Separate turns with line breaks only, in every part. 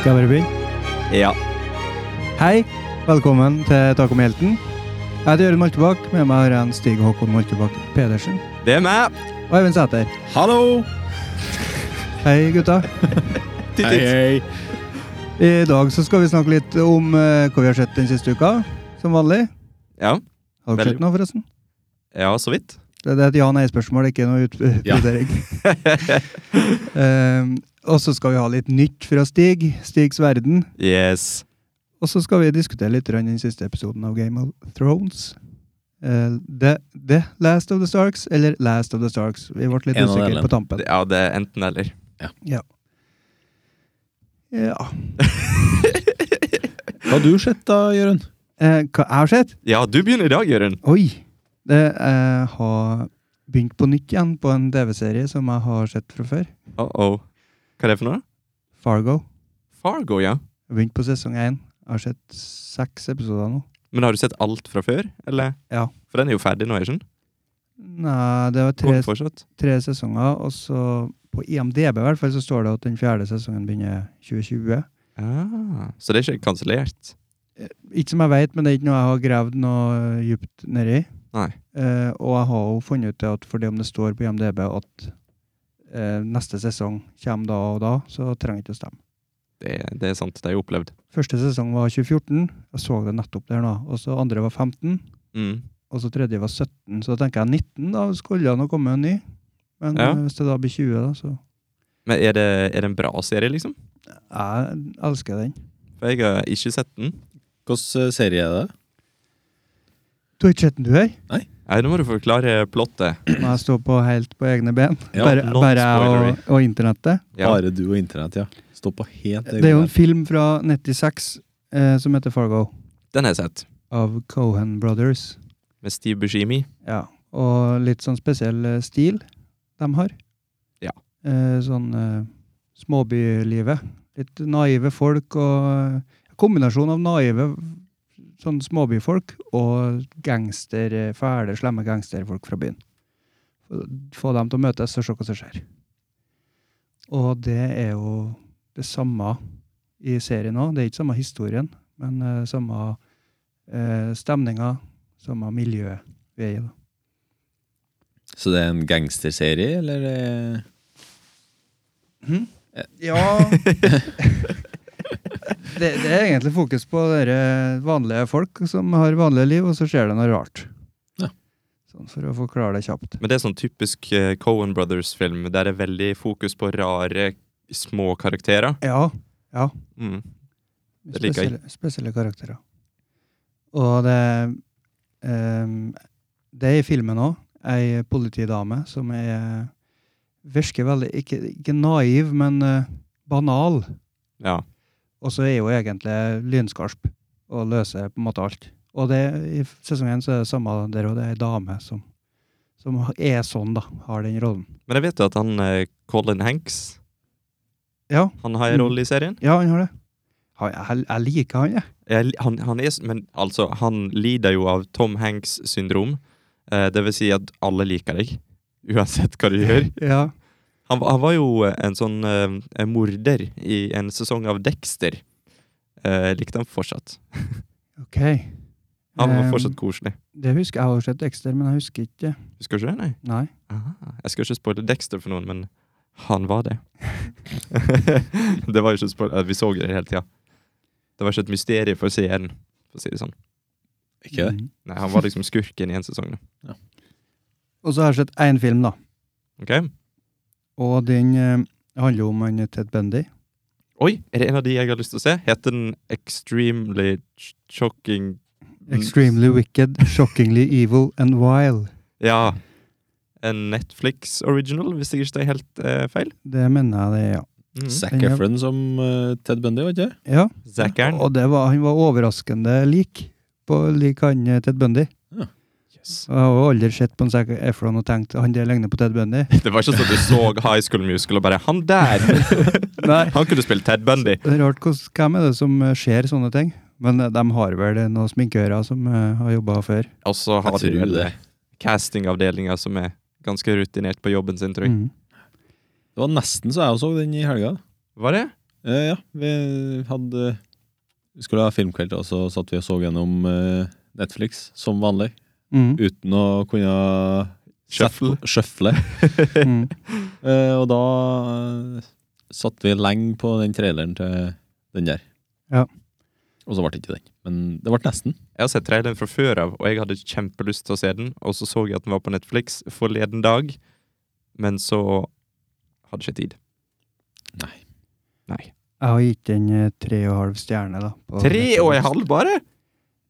Skal jeg bare begynne?
Ja.
Hei, velkommen til Taco med helten. Jeg heter Jørund Moltebakk, med meg har jeg en Stig Håkon Moltebakk Pedersen
Det er meg.
og Eivind Sæter.
Hallo.
Hei, gutta.
Titt,
Hei,
titt.
hei.
I dag så skal vi snakke litt om eh, hva vi har sett den siste uka, som vanlig.
Ja.
Har dere
Veldig.
sett noe, forresten?
ja, så vidt.
Det, det er et ja-nei-spørsmål, ikke noe
Ja.
utbrodering. um, og så skal vi ha litt nytt fra Stig. Stigs verden.
Yes.
Og så skal vi diskutere litt rundt den siste episoden av Game of Thrones. Eh, the, the Last of the Starks eller Last of the Starks? Vi ble litt
En av
usikre
delene.
på tampen.
Ja, det er enten eller.
Ja.
Hva har du sett da, Jørund?
Eh, hva jeg har sett?
Ja, du begynner i dag, Jørund.
Oi! Det, jeg har begynt på nytt igjen på en TV-serie som jeg har sett fra før.
Uh -oh. Hva er det for noe?
Fargo.
Fargo, ja.
Jeg har begynt på sesong én. Jeg har sett seks episoder nå.
Men har du sett alt fra før? Eller?
Ja.
For den er jo ferdig nå, er den?
Nei, det var tre,
Går fortsatt.
tre sesonger, og så på IMDb i hvert fall så står det at den fjerde sesongen begynner 2020.
Ah, så det er ikke kansellert?
Eh, Ikke som jeg vet, men det er ikke noe jeg har gravd noe eh, djupt nedi.
Nei.
Eh, og jeg har jo funnet ut at fordi om det står på IMDb at eh, neste sesong kommer da og da, så trenger jeg ikke å stemme.
Det, det er sant, det har jeg opplevd.
Første sesong var 2014, jeg så det nettopp der nå. Og så andre var 15,
Mm.
og så tredje var 17. Så da tenker jeg 19, da skulle det nå komme en ny. Men
Ja.
eh, hvis det da blir 20, da, så
Men er det, er det en bra serie, liksom?
Jeg elsker den.
For jeg har ikke sett den.
Hvilken eh, serie er det?
Du har ikke sett den, du her?
Nei, nå må du forklare plottet.
Må jeg stå på helt på egne ben?
Ja,
bare
non
bare jeg og,
spoilery.
og internettet?
Ja.
Bare du og internett, ja. Står på helt
Det er jo en film fra 96 eh, som heter Fargo,
Den har jeg sett.
av Cohen Brothers.
Med Steve Buscemi.
Ja, Og litt sånn spesiell eh, stil de har.
Ja.
Eh, sånn eh, småbylivet. Litt naive folk og eh, Kombinasjon av naive sånn småbyfolk og gangster, eh, fæle, slemme gangsterfolk fra byen. Få dem til å møtes og se hva som skjer. Og det er jo det samme i serien òg. Det er ikke samme historien, men eh, samme eh, stemninga, samme miljøet vi er i. da.
Så det er en gangsterserie, eller? eh?
Ja det, det er egentlig fokus på dere vanlige folk som har vanlige liv, og så skjer det noe rart.
Ja.
Sånn for å forklare det kjapt.
Men det er sånn typisk eh, Coen Brothers-film, der det er veldig fokus på rare, små karakterer.
Ja.
Mm. Det liker jeg.
Spesielle, spesielle karakterer. Og det ehm, Det er i filmen òg ei politidame som er Virker veldig Ikke, ikke naiv, men eh, banal.
Ja.
Og så er hun egentlig lynskarp og løser på en måte alt. Og det, i sesongen så er det samme der, og det er ei dame som, som er sånn, da. Har den rollen.
Men jeg vet jo at han eh, Colin Hanks
Ja,
han har en
Mm.
rolle i serien.
ja han har det. Han, jeg, jeg liker han, jeg.
Jeg, li- han, han er, s- men altså, han lider jo av Tom Hanks syndrom. Eh, det vil si at alle liker deg, uansett hva du gjør.
Ja.
Han, var- han var jo eh, en sånn eh, en morder i en sesong av Dexter. Eh, likte han fortsatt.
OK.
Han var
Ehm,
fortsatt koselig.
Det husker jeg. Jeg har sett Dexter, men jeg husker ikke
Husker du ikke det? Nei.
Nei.
Ah, jeg skal ikke spoile Dexter for noen, men han var det. det var jo ikke spoil... eh, Vi så det hele tida. Det var ikke et mysterium for seeren, for å si det sånn.
Ikke det?
Mm.
Nei, Han var liksom skurken i en sesong. da.
Og så har jeg sett én film, da.
Ok?
Og den eh, handler jo om han eh, Ted Bendy.
Oi, er det en av de jeg har lyst til å se? Heter den Extremely Ch- Shocking
Mm.
Extremely wicked, shockingly evil and wild.
Ja. En Netflix original, hvis jeg ikke tar helt eh, feil.
Det mener jeg det er, ja.
Mm.
Zac
Den er-
Efron som eh, Ted Bundy, var ikke det?
ja.
Zackeren.
Og det var, han var overraskende lik. På lik han eh, Ted Bundy.
Yes.
Og Jeg har jo aldri sett på en Zac Efron og tenkt han der ligner på Ted Bundy.
Det var ikke sånn du så High School Musical og bare Han der!
Nei.
Han kunne spilt Ted Bundy.
Det er rart hvordan- hvem er det som eh, ser sånne ting. Men eh, de har vel eh, noen sminkører som eh, har jobba før.
Og så har de
tror
vel
det.
castingavdelinga som er ganske rutinert på jobben sin, tror jeg.
Mm.
Det var nesten så jeg også så den i helga.
Var det?
Eh, ja, vi hadde Vi skulle ha filmkveld, og så satt vi og så gjennom eh, Netflix som vanlig.
Mm.
Uten å kunne
Shuffle.
Sjøfle.
Mm.
Eh, og da eh, satt vi lenge på den traileren til den der.
Ja.
Og så ble det ikke den. Men det ble nesten.
Jeg har sett traileren fra før av, og jeg hadde kjempelyst til å se den. Og så så jeg at den var på Netflix forleden dag, men så hadde jeg ikke tid.
Nei.
Nei.
Jeg har gitt den eh, tre og en halv stjerne, da. på
Tre og en
Letterboxd.
halv, bare?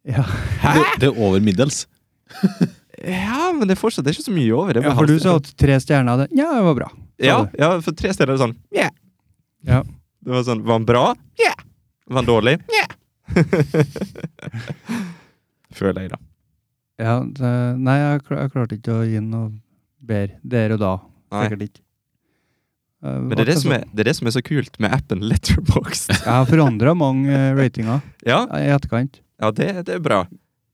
Ja.
Det, det er over middels.
Ja, men det er fortsatt det er ikke så mye over. Det er
ja,
bare
for du
halv-
sa at tre stjerner hadde Ja, det var bra.
ja, ja, for tre steder er det sånn yeah.
Ja.
Det var sånn Var han bra? Ja. Var han dårlig? Ja. Føler jeg, da.
Ja, det, nei, jeg, kla- jeg klarte ikke å gi den noe bedre der og da.
Nei.
Sikkert ikke. Eh,
Men det er
ble
det, som
sånn.
er, det er det som er så kult med appen Letterboxd.
Jeg har forandra mange eh, ratinger
Ja,
i etterkant.
ja det, det er bra.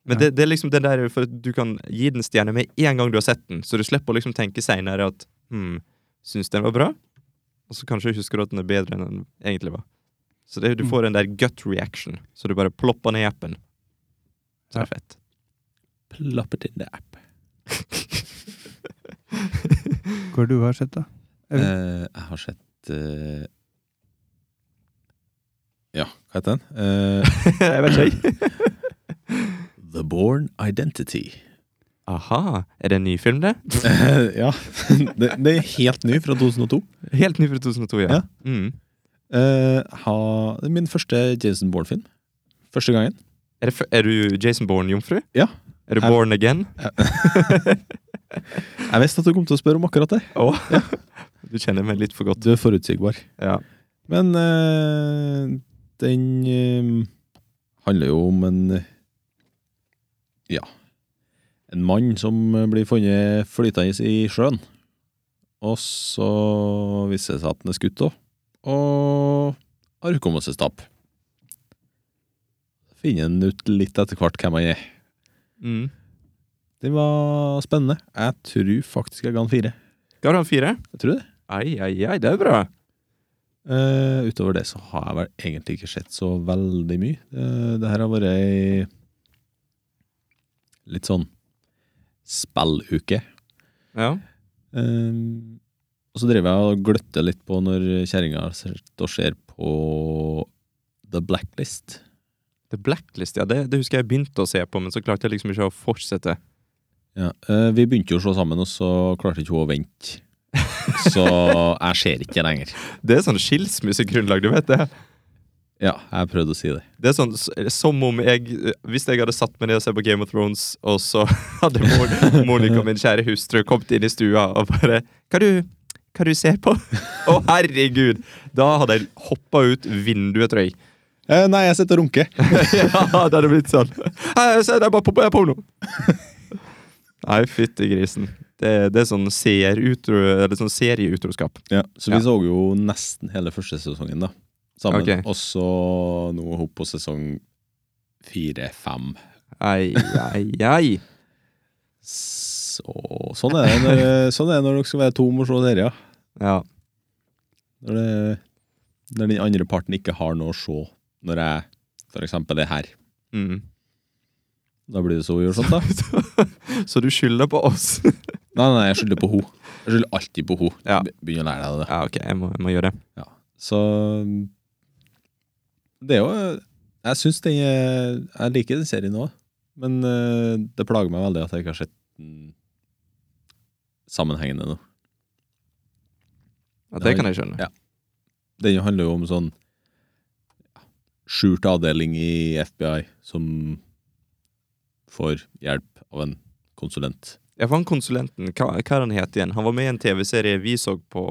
Men
Ja.
det, det er liksom den der For du kan gi den stjerne med en gang du har sett den, så du slipper å liksom tenke seinere at hm, syns den var bra? Og så kanskje husker du at den er bedre enn den egentlig var. Så det, du
Mm.
får den der gut reaction, så du bare plopper ned i appen. Så det er fett.
Plappet in the app.
Hvor du har sett det?
Eh, jeg har sett eh, Ja, hva heter den? Eh,
jeg vet ikke.
The Born Identity.
Aha. Er det en ny film, det?
Eh, ja. det, det er helt ny fra 2002.
Helt ny fra 2002, ja.
Ja.
Mm.
Eh, ha, det er min første Jason Bourne-film. Første gangen.
Er, det, f- er du Jason Bourne-jomfru?
Ja.
Er du
Jeg-
born again?
Jeg visste at du kom til å spørre om akkurat det.
Å, du kjenner meg litt for godt.
Du er forutsigbar.
Ja.
Men eh, den eh, handler jo om en eh, Ja. En mann som eh, blir funnet flytende i sjøen. Og så viser det seg at han er skutt òg. Og har hukommelsestap. Finner han ut litt etter hvert hvem han er.
Mm.
Det var spennende. Jeg tror faktisk jeg ga han fire.
Ga du han fire?
Jeg tror det.
Ai, ai, ai, det er bra.
Eh, utover det så har jeg vel egentlig ikke sett så veldig mye. Eh, det her har vært ei litt sånn spilluke.
Ja.
Eh, og så driver jeg og gløtter litt på når kjerringa sitter og ser på The Blacklist.
The Blacklist, ja, det, det husker jeg begynte å se på, men så klarte jeg liksom ikke å fortsette.
Ja, eh, vi begynte jo å slå sammen, og så klarte ikke hun å vente. Så jeg ser ikke lenger.
Det er sånn skilsmissegrunnlag, du vet det.
Ja, jeg prøvde å si det.
Det er sånn s- som om jeg Hvis jeg hadde satt meg ned og sett på Game of Thrones, og så hadde Mon- Monica, min kjære hustru, kommet inn i stua og bare Hva du, hva du ser på? Å, herregud! Da hadde jeg hoppa ut vinduet, tror jeg.
Eh, nei, jeg sitter og runker.
ja, det hadde blitt sånn. Hei, se, det er bare på, på porno! Nei, fytti grisen. Det, det er sånn seerutro... Eller sånn serieutroskap.
Ja, så vi
Ja.
så jo nesten hele første sesongen da Sammen
Ok.
Og så nå er hun på sesong 4-5
Ai, ai, ai.
Så sånn er det når, sånn er det når dere skal være tom og se dere ja.
Ja.
når, det, når den andre parten ikke har noe å se Når jeg for eksempel er her
Mm.
Da blir det så å gjøre sånt da
Så, så du skylder på oss?
Nei, nei, jeg skylder på ho Jeg skylder alltid på ho
Ja.
Be- Begynn å lære deg det
Ja, ok, jeg må, jeg må gjøre det.
Så det er jo Jeg syns den er Jeg liker den serien òg, men eh, det plager meg veldig at jeg ikke har sett den sammenhengende nå.
Ja, det kan jeg skjønne.
Ja. Den handler jo om sånn ja, skjult avdeling i FBI som får hjelp av en konsulent.
Ja, for han konsulenten, hva, hva er han het igjen? Han var med i en TV-serie vi så på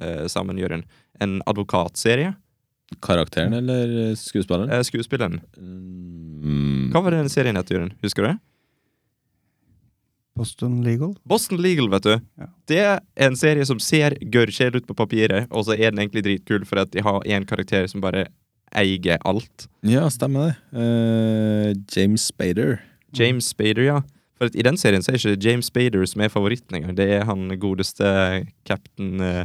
eh, sammen, Jørund. En advokatserie.
Karakteren eller skuespilleren?
Eh, skuespilleren.
Mm.
Hva var den serien het, Jørund? Husker du det?
Boston Legal?
Boston Legal, vet du.
Ja.
Det er en serie som ser gørrkjedelig ut på papiret, og så er den egentlig dritkul fordi at de har én karakter som bare eier alt.
Ja, stemmer det. Eh, James Spader.
Mm.
James Spader, ja. For at i den serien så er ikke James Spader som er favoritten engang. Det er han godeste cap'n eh,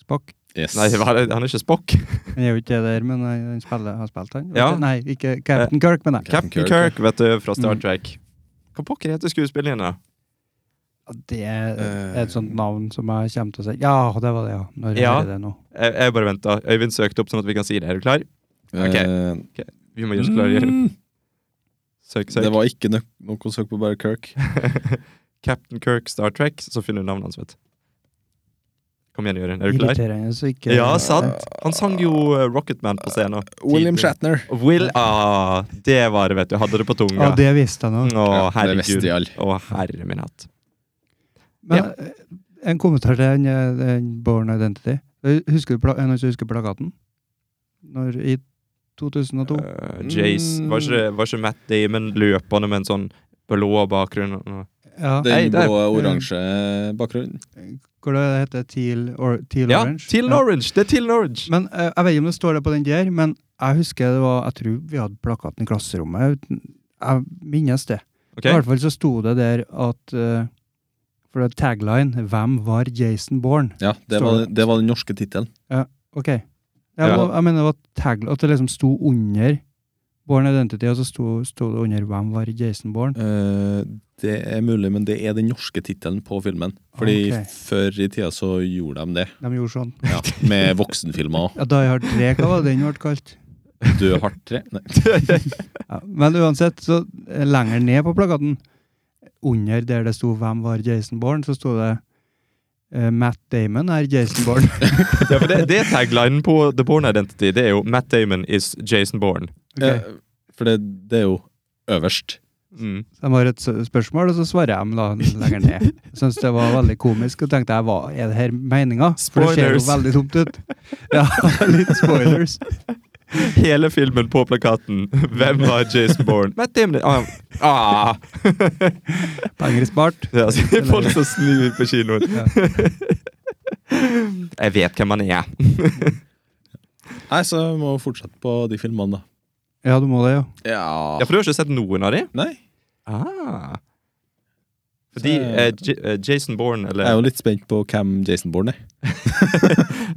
Spakk?
Yes.
Nei, hva er det? han er ikke Spock.
Han er jo ikke det der, men jeg, han spiller, har spilt han.
Ja.
Nei, ikke Captain Kirk, men jeg.
Captain
Captain
Kirk,
Kirk,
vet du, fra Star
Mm.
Trek. Hva pokker heter skuespilleren, da? Eh,
Det er et sånt navn som jeg kommer til å si. Ja, det var det, ja. Når jeg
Ja.
hører det nå.
Jeg, jeg bare venter. Øyvind søkte opp sånn at vi kan si det. Er du klar? ok.
Eh,
Vi må gjøre oss klare. igjen.
mm,
Søk, søk.
det var ikke nok, nok å søke på bare Kirk.
Captain Kirk Star Trek, så finner du navnet hans, vet du. Kom igjen, Jørund. Er du klar?
Irriterende så ikke
Ja, sant. Han sang jo eh, Rocket Man på scenen.
Eh,
William
Tidlig.
Shatner.
Will Ah, det var det, vet du. Hadde det på tunga.
Ja, det visste jeg nå.
Å,
Ja, det visste
herregud.
de alle.
Å, herre min hatt.
Men
Ja.
eh, en kommentar til den, eh, den Born Identity. Eh, Husker du pla en som husker plakaten? Når, I 2002.
Eh, Jace var ikke, var ikke Matt Damon løpende med en sånn blå bakgrunn?
Ja. Mm.
Den
Hei, der.
blå oransje bakgrunnen.
Hvor det heter Teal, or teal
Ja,
Orange?
Teal Orange! Det er Teal Orange!
Men eh, Jeg vet ikke om det står det på den der, men jeg husker det var Jeg tror vi hadde plakaten i klasserommet. uten- Jeg minnes det.
Ok,
I hvert fall så sto det der at eh, For det er tagline 'Hvem var Jason Bourne?'
Ja, det
Står
var,
det.
det var den norske tittelen.
Ok. Jeg,
Ja.
jeg mener det var tag, at det liksom sto under Born Identity, og så sto, sto det under 'Hvem var Jason Bourne?'
Eh, det er mulig, men det er den norske tittelen på filmen. Fordi
Ok.
før i tida så gjorde de det.
De gjorde sånn.
Ja, med voksenfilmer og
Ja, Die Hard 3, hva var det den ble kalt?
Død hardt tre. Nei.
Ja. Men uansett, så eh, lenger ned på plakaten, under der det sto 'Hvem var Jason Bourne?', så sto det eh, 'Matt Damon er Jason Bourne'.
det, er for det, det er taglinen på The Born Identity. Det er jo Matt Damon is Jason Bourne.
Ok.
Eh, for det, det er jo øverst.
Mm.
Så de har et s- spørsmål, og så svarer jeg dem da lenger ned. Jeg Syns det var veldig komisk, og tenkte jeg, hva er det her meninga? For det ser jo
Spoilers.
veldig dumt ut. Ja, litt spoilers.
Hele filmen på plakaten. Hvem var Jason Bourne? Matt Damon ah, ah.
Penger spart.
Det er altså folk som snur på kinoen.
Ja.
Jeg vet hvem han er.
Nei, så vi må fortsette på de filmene, da.
Ja, du må det, ja.
Ja,
Ja.
For du har ikke sett noen av dem?
Nei.
Ah. Fordi
Så-
eh, J eh, Jason Bourne, eller
Jeg er jo litt spent på hvem Jason Bourne er.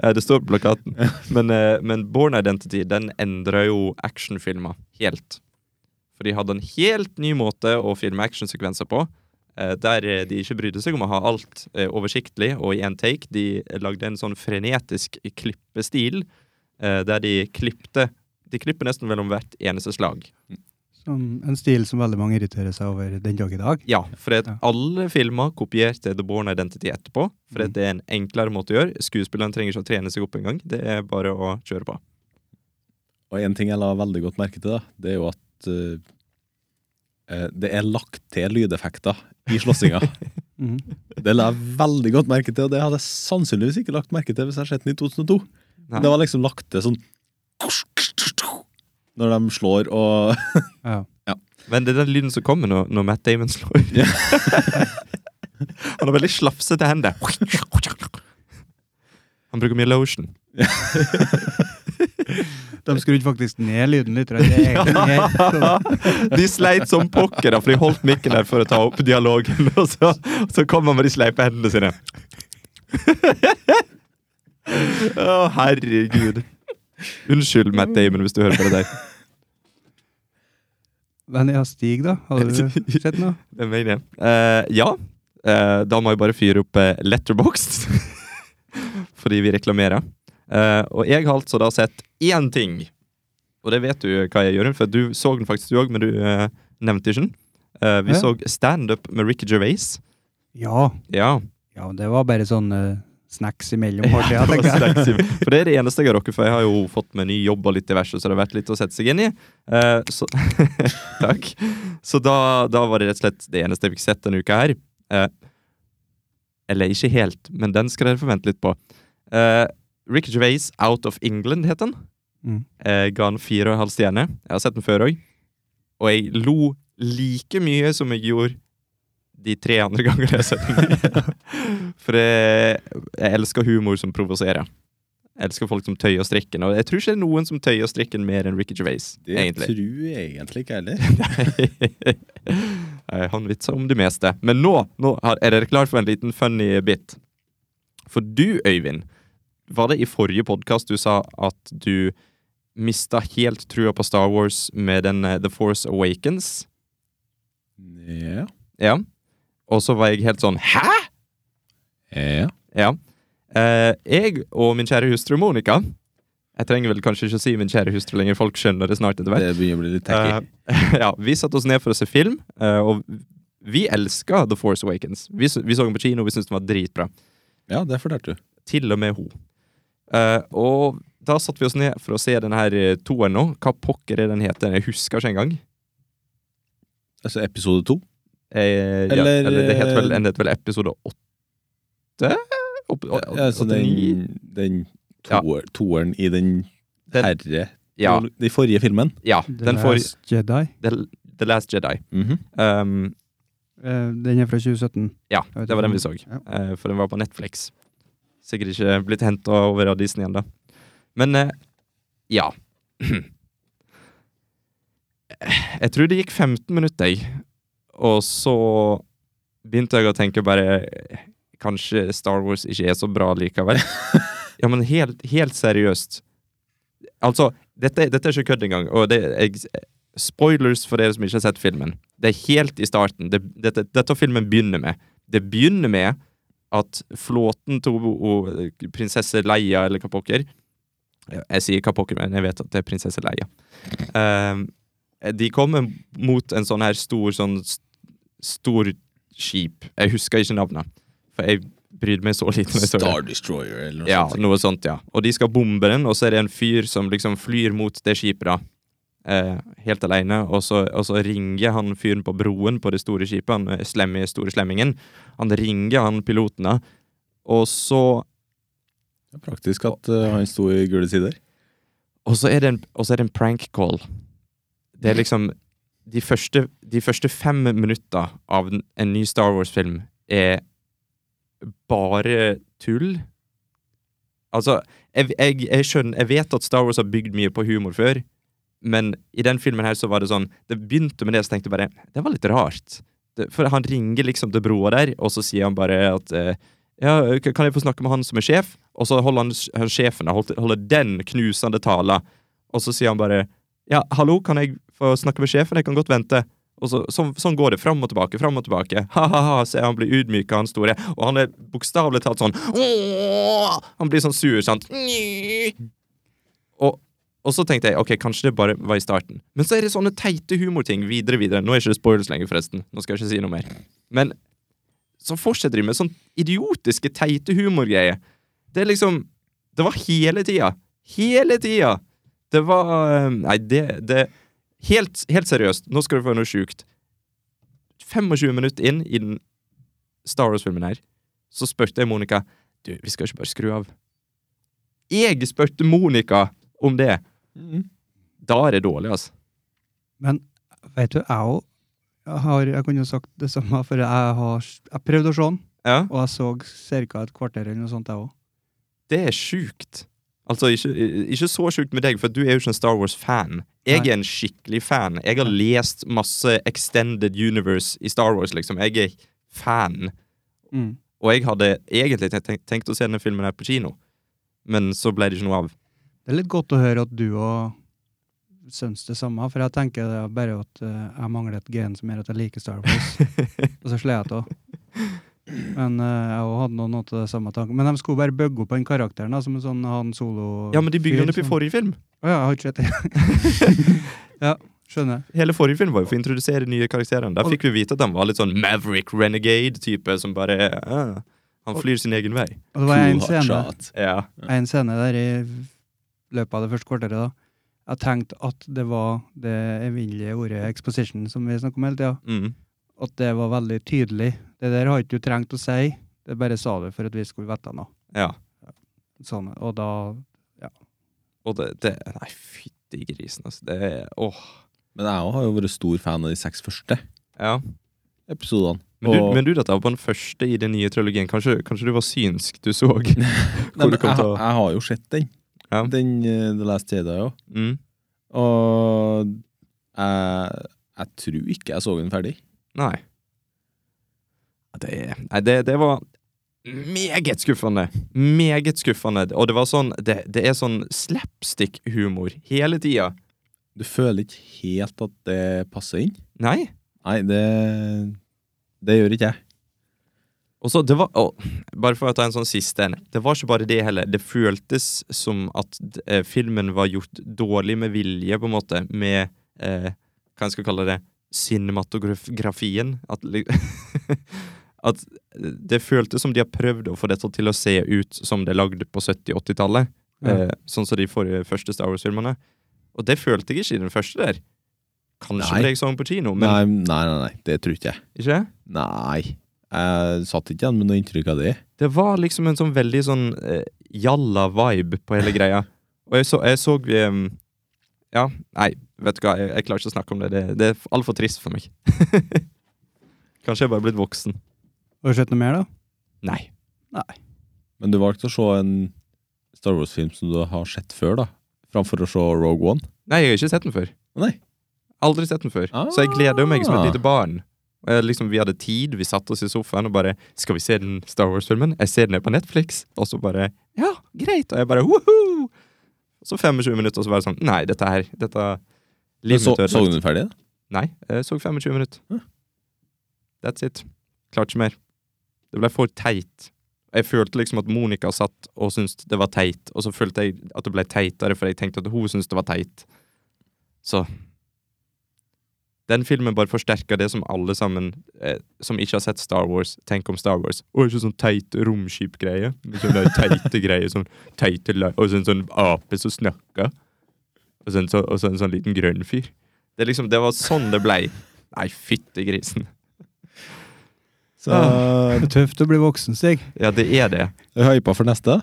Eh, Det står på plakaten. Men, eh, men Born Identity den endrer jo actionfilmer helt. For de hadde en helt ny måte å filme actionsekvenser på. eh, Der eh, de ikke brydde seg om å ha alt eh, oversiktlig og i én take. De lagde en sånn frenetisk klippestil eh, der de klippte De klipper nesten mellom hvert eneste slag.
Sånn, en stil som veldig mange irriterer seg over den dag i dag.
Ja, for at
Ja.
alle filmer kopierte The Born Identity etterpå. For at det er en enklere måte å gjøre. Skuespilleren trenger ikke å trene seg opp engang. Det er bare å kjøre på.
Og en ting jeg la veldig godt merke til, da, det er jo at eh, eh, det er lagt til lydeffekter i slåssinga.
Mhm.
det la jeg veldig godt merke til, og det hadde jeg sannsynligvis ikke lagt merke til hvis jeg hadde sett den i 2002.
Nei.
Det var liksom lagt til sånn Når de slår og
Ja.
Men det er den lyden som kommer når, når Matt Damon slår.
Ja.
Han har veldig slafsete hender. Han bruker mye lotion.
De skrudde faktisk ned lyden litt. Det er egentlig mer sånn-
De sleit som pokker, da, for de holdt mikken der for å ta opp dialogen. Og så, så kom han med de sleipe hendene sine. Å, herregud. Unnskyld, Matt Damon, hvis du hører på det der.
Men ja, Stig, da? Har du sett noe?
Det mener jeg. Eh, ja, Eh, da må jeg bare fyre opp uh, Letterboxd, fordi vi reklamerer. Eh, og jeg har altså da sett én ting, og det vet du hva jeg gjør, for du så den faktisk du òg, men du eh, nevnte ikke den. Eh, vi
Ja.
så standup med Ricky Gervais.
Ja.
Ja.
ja. Det var bare sånn eh, snacks imellom.
Ja,
måltida,
det var
tenker jeg.
sterk sim. For det er det eneste jeg har rukket, for jeg har jo fått meg ny jobb og litt diverse, så det har vært litt å sette seg inn i. Eh, så Takk. Så da, da var det rett og slett det eneste jeg fikk sett denne uka her. Eh, eller ikke helt, men den skal dere forvente litt på. Eh, Ricky Gervais Out of England het den.
Mm.
Eh, ga den fire og en halv stjerne. Jeg har sett den før òg. Og jeg lo like mye som jeg gjorde de tre andre gangene jeg har sett den. For jeg, jeg elsker humor som provoserer. Jeg elsker folk som tøyer strikken. Og jeg tror ikke det er noen som tøyer strikken mer enn Ricky Gervais.
Det
egentlig.
tror jeg egentlig ikke heller.
Nei, Han vitser om det meste. Men nå, nå har- er dere klar for en liten funny bit. For du, Øyvind, Var det i forrige podkast du sa at du mista helt trua på Star Wars med den eh, The Force Awakens?
Ja.
Ja. Og så var jeg helt sånn Hæ?!
ja.
Ja. Eh, jeg og min kjære hustru Monica Jeg trenger vel kanskje ikke å si min kjære hustru lenger, folk skjønner det snart etter hvert.
Det begynner å bli litt tacky.
Eh, ja, vi satte oss ned for å se film, eh, og vi elska The Force Awakens. Vi, s- vi så den på kino, og vi syntes den var dritbra.
ja, det fortalte du.
Til og med hun. Eh, og da satte vi oss ned for å se den her eh, toeren nå. Hva pokker er den heter? Jeg husker ikke engang.
Altså episode to.
Eh, ja,
Eller,
eller det heter vel,
eh,
den heter vel episode åtte? Opp- å- å-
Ja, altså
åttini?
den, den toer, toeren i den,
Den-
herre
Ja,
Den forrige filmen.
ja.
The
Den får
Last Jedi.
The, The Last Jedi.
Mhm.
Um,
Eh, den er fra 2017.
Ja,
Jeg vet
det
ikke.
var den vi så.
Ja.
Eh, for den var på Netflix. Sikkert ikke blitt henta over av Disney ennå. Men eh, ja. Jeg tror det gikk 15 minutter, jeg. Og så begynte jeg å tenke bare Kanskje Star Wars ikke er så bra likevel. ja, men helt, helt seriøst. Altså, dette, dette er ikke kødd engang. Og det, jeg, spoilers for dere som ikke har sett filmen. Det er helt i starten. Det, dette, dette filmen begynner med. Det begynner med at flåten til o- o- prinsesse Leia, eller hva pokker Jeg sier hva pokker, men jeg vet at det er prinsesse Leia. Ehm, de kommer mot en sånn her stor sånn s- stor skip. Jeg husker ikke navnet, for jeg bryr meg så lite. om jeg så det.
Star Destroyer eller noe
Ja,
sånt.
noe sånt, ja. Og de skal bombe den, og så er det en fyr som liksom flyr mot det skipet, da. Eh, helt aleine. Og, så- og så ringer han fyren på broen på det store skipet, han eh, slemme, store slemmingen. Han ringer han piloten, da. Og så,
Det er Praktisk at eh, han sto i gule sider.
og så er det en, og så er det en prank call. Det er liksom De første, de første fem minutta av en, en ny Star Wars-film er bare tull. Altså, jeg, jeg, jeg skjønner Jeg vet at Star Wars har bygd mye på humor før, men i den filmen her så var det sånn Det begynte med det, så tenkte jeg bare Det var litt rart. Det, for han ringer liksom til broa der, og så sier han bare at eh, ja, k- kan jeg få snakke med han som er sjef? Og så holder han, s- han sjefen han holdt- holder den knusende tala, og så sier han bare Ja, hallo, kan jeg få snakke med sjefen? Jeg kan godt vente. Og så, sånn, sånn går det. Fram og tilbake, fram og tilbake. Ha-ha-ha, ser han blir ydmyka, han store. Og han er bokstavelig talt sånn «Åh!» Han blir sånn sur, sant. Og, og så tenkte jeg ok, kanskje det bare var i starten. Men så er det sånne teite humorting videre, videre. Nå er ikke det spoilers lenger, forresten. Nå skal jeg ikke si noe mer. Men så fortsetter de med sånn idiotiske, teite humorgreier. Det er liksom Det var hele tida. Hele tida! Det var eh, Nei, det, det helt, helt seriøst, nå skal du få noe sjukt. 25 minutter inn i den Star Wars-filmen her, så spurte jeg Monica Du, vi skal ikke bare skru av. Jeg spurte Monica om det!
Mm.
Da er det dårlig, altså.
Men vet du, jeg òg har Jeg kunne jo sagt det samme, for jeg har jeg prøvde å se den,
Ja,
og jeg så ca. et kvarter eller noe sånt, jeg òg.
det er sjukt. Altså, ikke, ikke så sjukt med deg, for du er jo ikke en Star Wars-fan. Jeg
Nei.
er en skikkelig fan. Jeg har lest masse Extended Universe i Star Wars, liksom. Jeg er fan.
Mm.
Og jeg hadde egentlig tenkt, tenkt å se denne filmen her på kino, men så ble det ikke noe av.
Det er litt godt å høre at du òg syns det samme, for jeg tenker det er bare at eh, jeg mangler et gen som gjør at jeg liker Star Wars, og så slår jeg til. Men eh, jeg òg hadde noen av det samme tanken. Men de skulle bare bygge opp den karakteren, da, som en sånn han solo...
Ja, men de bygde den opp i
som-
forrige film.
Å ja, jeg har ikke sett det. ja, skjønner.
Hele forrige film var jo for å introdusere nye karakterer. Da
Og-
fikk vi vite at han var litt sånn Maverick Renegade-type, som bare ah, Han flyr sin egen vei.
Og det var en
Cool
scene,
hotshot.
Ja.
en scene der i løpet av det første kvarteret, da. Jeg tenkte at det var det evinnelige ordet exposition som vi snakker om hele tida.
Mm.
At det var veldig tydelig. Det der har ikke du trengt å si, det bare sa du for at vi skulle vite noe.
ja.
Sånn, og da
Og det, det Nei, fytti grisen, altså. Det er Åh.
Men jeg også har jo vært stor fan av de seks første
Ja.
episodene.
Men du,
Og-
men du dette var på den første i den nye trilogien. Kanskje, kanskje du var synsk du så?
Nei,
Hvor
men
du kom
jeg,
til å
jeg har jo sett den.
Ja.
Den eh, The Last Jedi òg.
mm.
Og jeg, jeg tror ikke jeg så den ferdig.
Nei. Ja, Det, nei, det, det var Meget skuffende. Meget skuffende. Og det var sånn Det, det er sånn slapstick-humor hele tida.
Du føler ikke helt at det passer inn?
Nei.
Nei, det, det gjør ikke jeg.
Og så det var å, Bare for å ta en sånn siste en. Det var ikke bare det heller. Det føltes som at eh, filmen var gjort dårlig med vilje, på en måte, med eh, Hva jeg skal kalle det? Cinematografien. At, li- at det føltes som de har prøvd å få dette til å se ut som det er lagd på 70-80-tallet.
Ja.
Eh, sånn som de forrige første Star Wars-filmene. Og det følte jeg ikke i den første der. Kanskje
Nei.
fordi jeg så den på kino, men
Nei, nei, nei, nei, det tror ikke jeg.
ikke?
Nei. Jeg satt ikke igjen med noe inntrykk av det.
Det var liksom en sånn veldig sånn eh, jalla vibe på hele greia. Og jeg så, jeg så em, Ja, nei, vet du hva, jeg, jeg klarer ikke å snakke om det. Det, det er altfor trist for meg. Kanskje jeg bare er blitt voksen.
Har du sett noe mer, da?
Nei.
Men du valgte å se en Star Wars-film som du har sett før, da. Framfor å se Rogue One.
Nei, jeg har ikke sett den før.
Nei.
Aldri sett den før. Så jeg gleder jo meg
Ah.
som et lite barn. Og jeg, liksom, vi hadde tid, vi satte oss i sofaen og bare Skal vi se den Star Wars-filmen? Jeg ser den her på Netflix. Og så bare Ja, greit. Og jeg bare woho! Så 25 minutter, og så var det sånn Nei, dette her Dette
Men
livet
Så,
mitt er
så
ødelagt.
du den ferdig, da?
Nei, jeg så 25 minutter.
Hæ?
That's it. Klarte ikke mer. Det ble for teit. Jeg følte liksom at Monica satt og syntes det var teit, og så følte jeg at det ble teitere, for jeg tenkte at hun syntes det var teit. Så Den filmen bare forsterka det som alle sammen eh, som ikke har sett Star Wars, tenker om Star Wars. Og ikke sånn teit romskipgreie. men Sånn der teite greier. Sånn teite la- Og så en sånn ape som snakker. Og så en, så, og så en sånn liten grønn fyr. Det, er liksom, det var sånn det blei. Nei, fytti grisen.
Så eh,
Det er tøft å bli voksen, Stig.
Ja, det er det.
jeg er hypa for neste.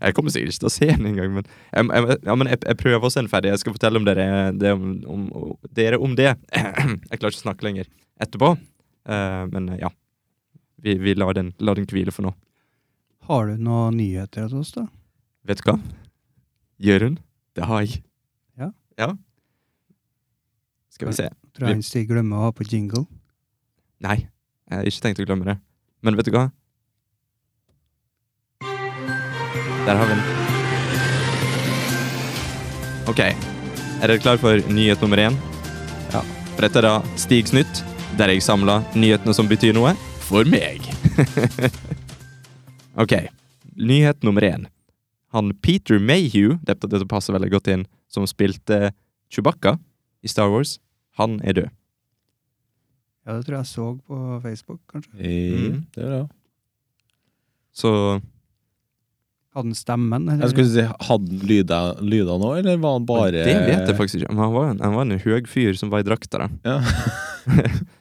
Jeg kommer sikkert ikke til å se den engang, men, jeg, jeg, ja, men jeg, jeg prøver å se den ferdig. Jeg skal fortelle om dere det, om, om, dere om det. Jeg klarer ikke å snakke lenger etterpå. Eh, men ja. Vi, vi lar, den, lar den hvile for nå.
Har du noen nyheter til oss, da?
Vet du hva? Jørund, det har jeg.
Ja.
Skal vi se.
Tror jeg han Stig glemmer å ha på jingle.
Nei, jeg har ikke tenkt å glemme det. Men vet du hva? Der har vi den. Ok, er dere klar for nyhet nummer én?
Ja.
For dette er da Stigs nytt, der jeg samla nyhetene som betyr noe for meg. ok, nyhet nummer én. Han Peter Mayhew, dette, dette passer veldig godt inn, som spilte Chewbacca i Star Wars, han er død.
Ja, det tror jeg jeg så på Facebook, kanskje.
I,
Mm.
det er det, ja.
Så
Hadde han stemmen? eller?
Jeg skulle si, Hadde han lyder- lyder nå, eller var han bare
Det vet jeg faktisk ikke. Men han var en, han var en høg fyr som var i drakta. da.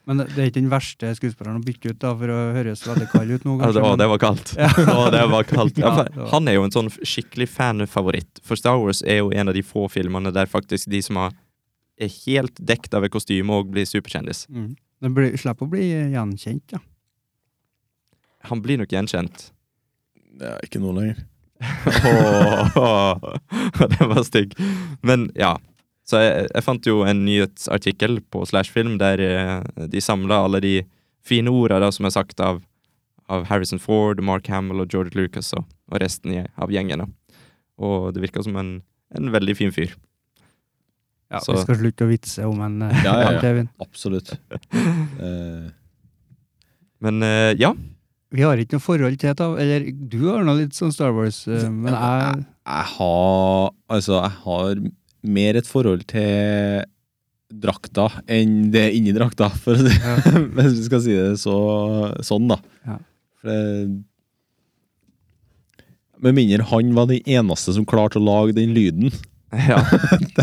Men det er ikke den verste skuespilleren å bytte ut, da, for å høres veldig kald ut nå.
Ja, det, å, det var kaldt.
Ja.
Å, det var kaldt. Ja,
Ja,
for
det var-
han er jo en sånn skikkelig fanfavoritt. For Star Wars er jo en av de få filmene der faktisk de som har er helt dekt av et kostyme og blir superkjendis.
Mm. Den blir, slipper å bli gjenkjent, da.
Han blir nok gjenkjent.
Ja, ikke nå lenger.
Åh, den var stygg. Men ja. Så jeg, jeg fant jo en nyhetsartikkel på Slashfilm der eh, de samla alle de fine orda da, som er sagt av, av Harrison Ford, Mark Hamill og George Lucas og, og resten i, av gjengen. da. Og det virka som en, en veldig fin fyr.
Ja,
Så-
Vi skal slutte å vitse om en eh,
Ja, ja, ja.
Kevin.
Absolutt. Eh,
Men eh, ja.
Vi har ikke noe forhold til det, eller du har nå litt sånn Star Wars, eh, men jeg
jeg har Altså, jeg har mer et forhold til drakta enn det inni drakta, for å si
ja.
Hvis vi skal si det så, sånn, da.
Ja.
For det, med mindre han var den eneste som klarte å lage den lyden,
ja.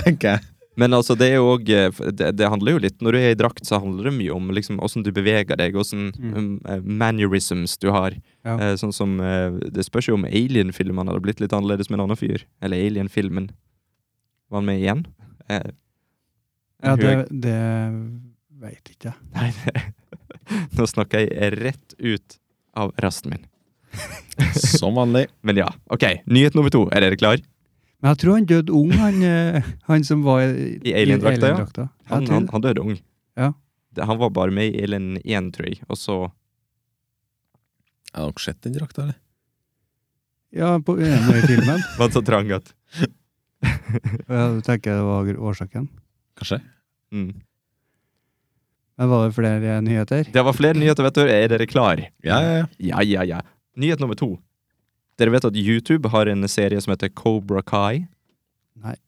tenker jeg.
Men altså, det er jo òg det, det handler jo litt Når du er i drakt, så handler det mye om liksom, åssen du beveger deg, åssen
Mm.
eh, mannerisms du har.
Ja.
Eh, sånn som eh, Det spørs jo om Alien-filmene hadde blitt litt annerledes med en annen fyr. Eller Alien-filmen. Var han med igjen? Eh,
ja,
en
det,
høg-
det veit ikke jeg.
Nei, det, nå snakker jeg rett ut av rasten min.
Som vanlig.
Men ja, OK. Nyhet nummer to. Er dere klar?
Men jeg tror han døde ung, han, eh, han som var i,
I Alien-drakta, ja.
Alien-drakta. Jeg
Han,
tror-
han, han døde ung.
Ja.
Det, han var bare med i Alien 1, tror jeg. Og så
Jeg har dere sett den drakta, eller?
Ja, på den i filmen.
Var så trang at
Ja, Du tenker jeg det var gr- årsaken.
Kanskje?
mm.
Men var det flere nyheter?
Det var flere nyheter, vet du. Er dere klar?
Ja, ja, ja.
Ja, ja, ja. Nyhet nummer to. Dere vet at YouTube har en serie som heter Cobra Kai?
Nei.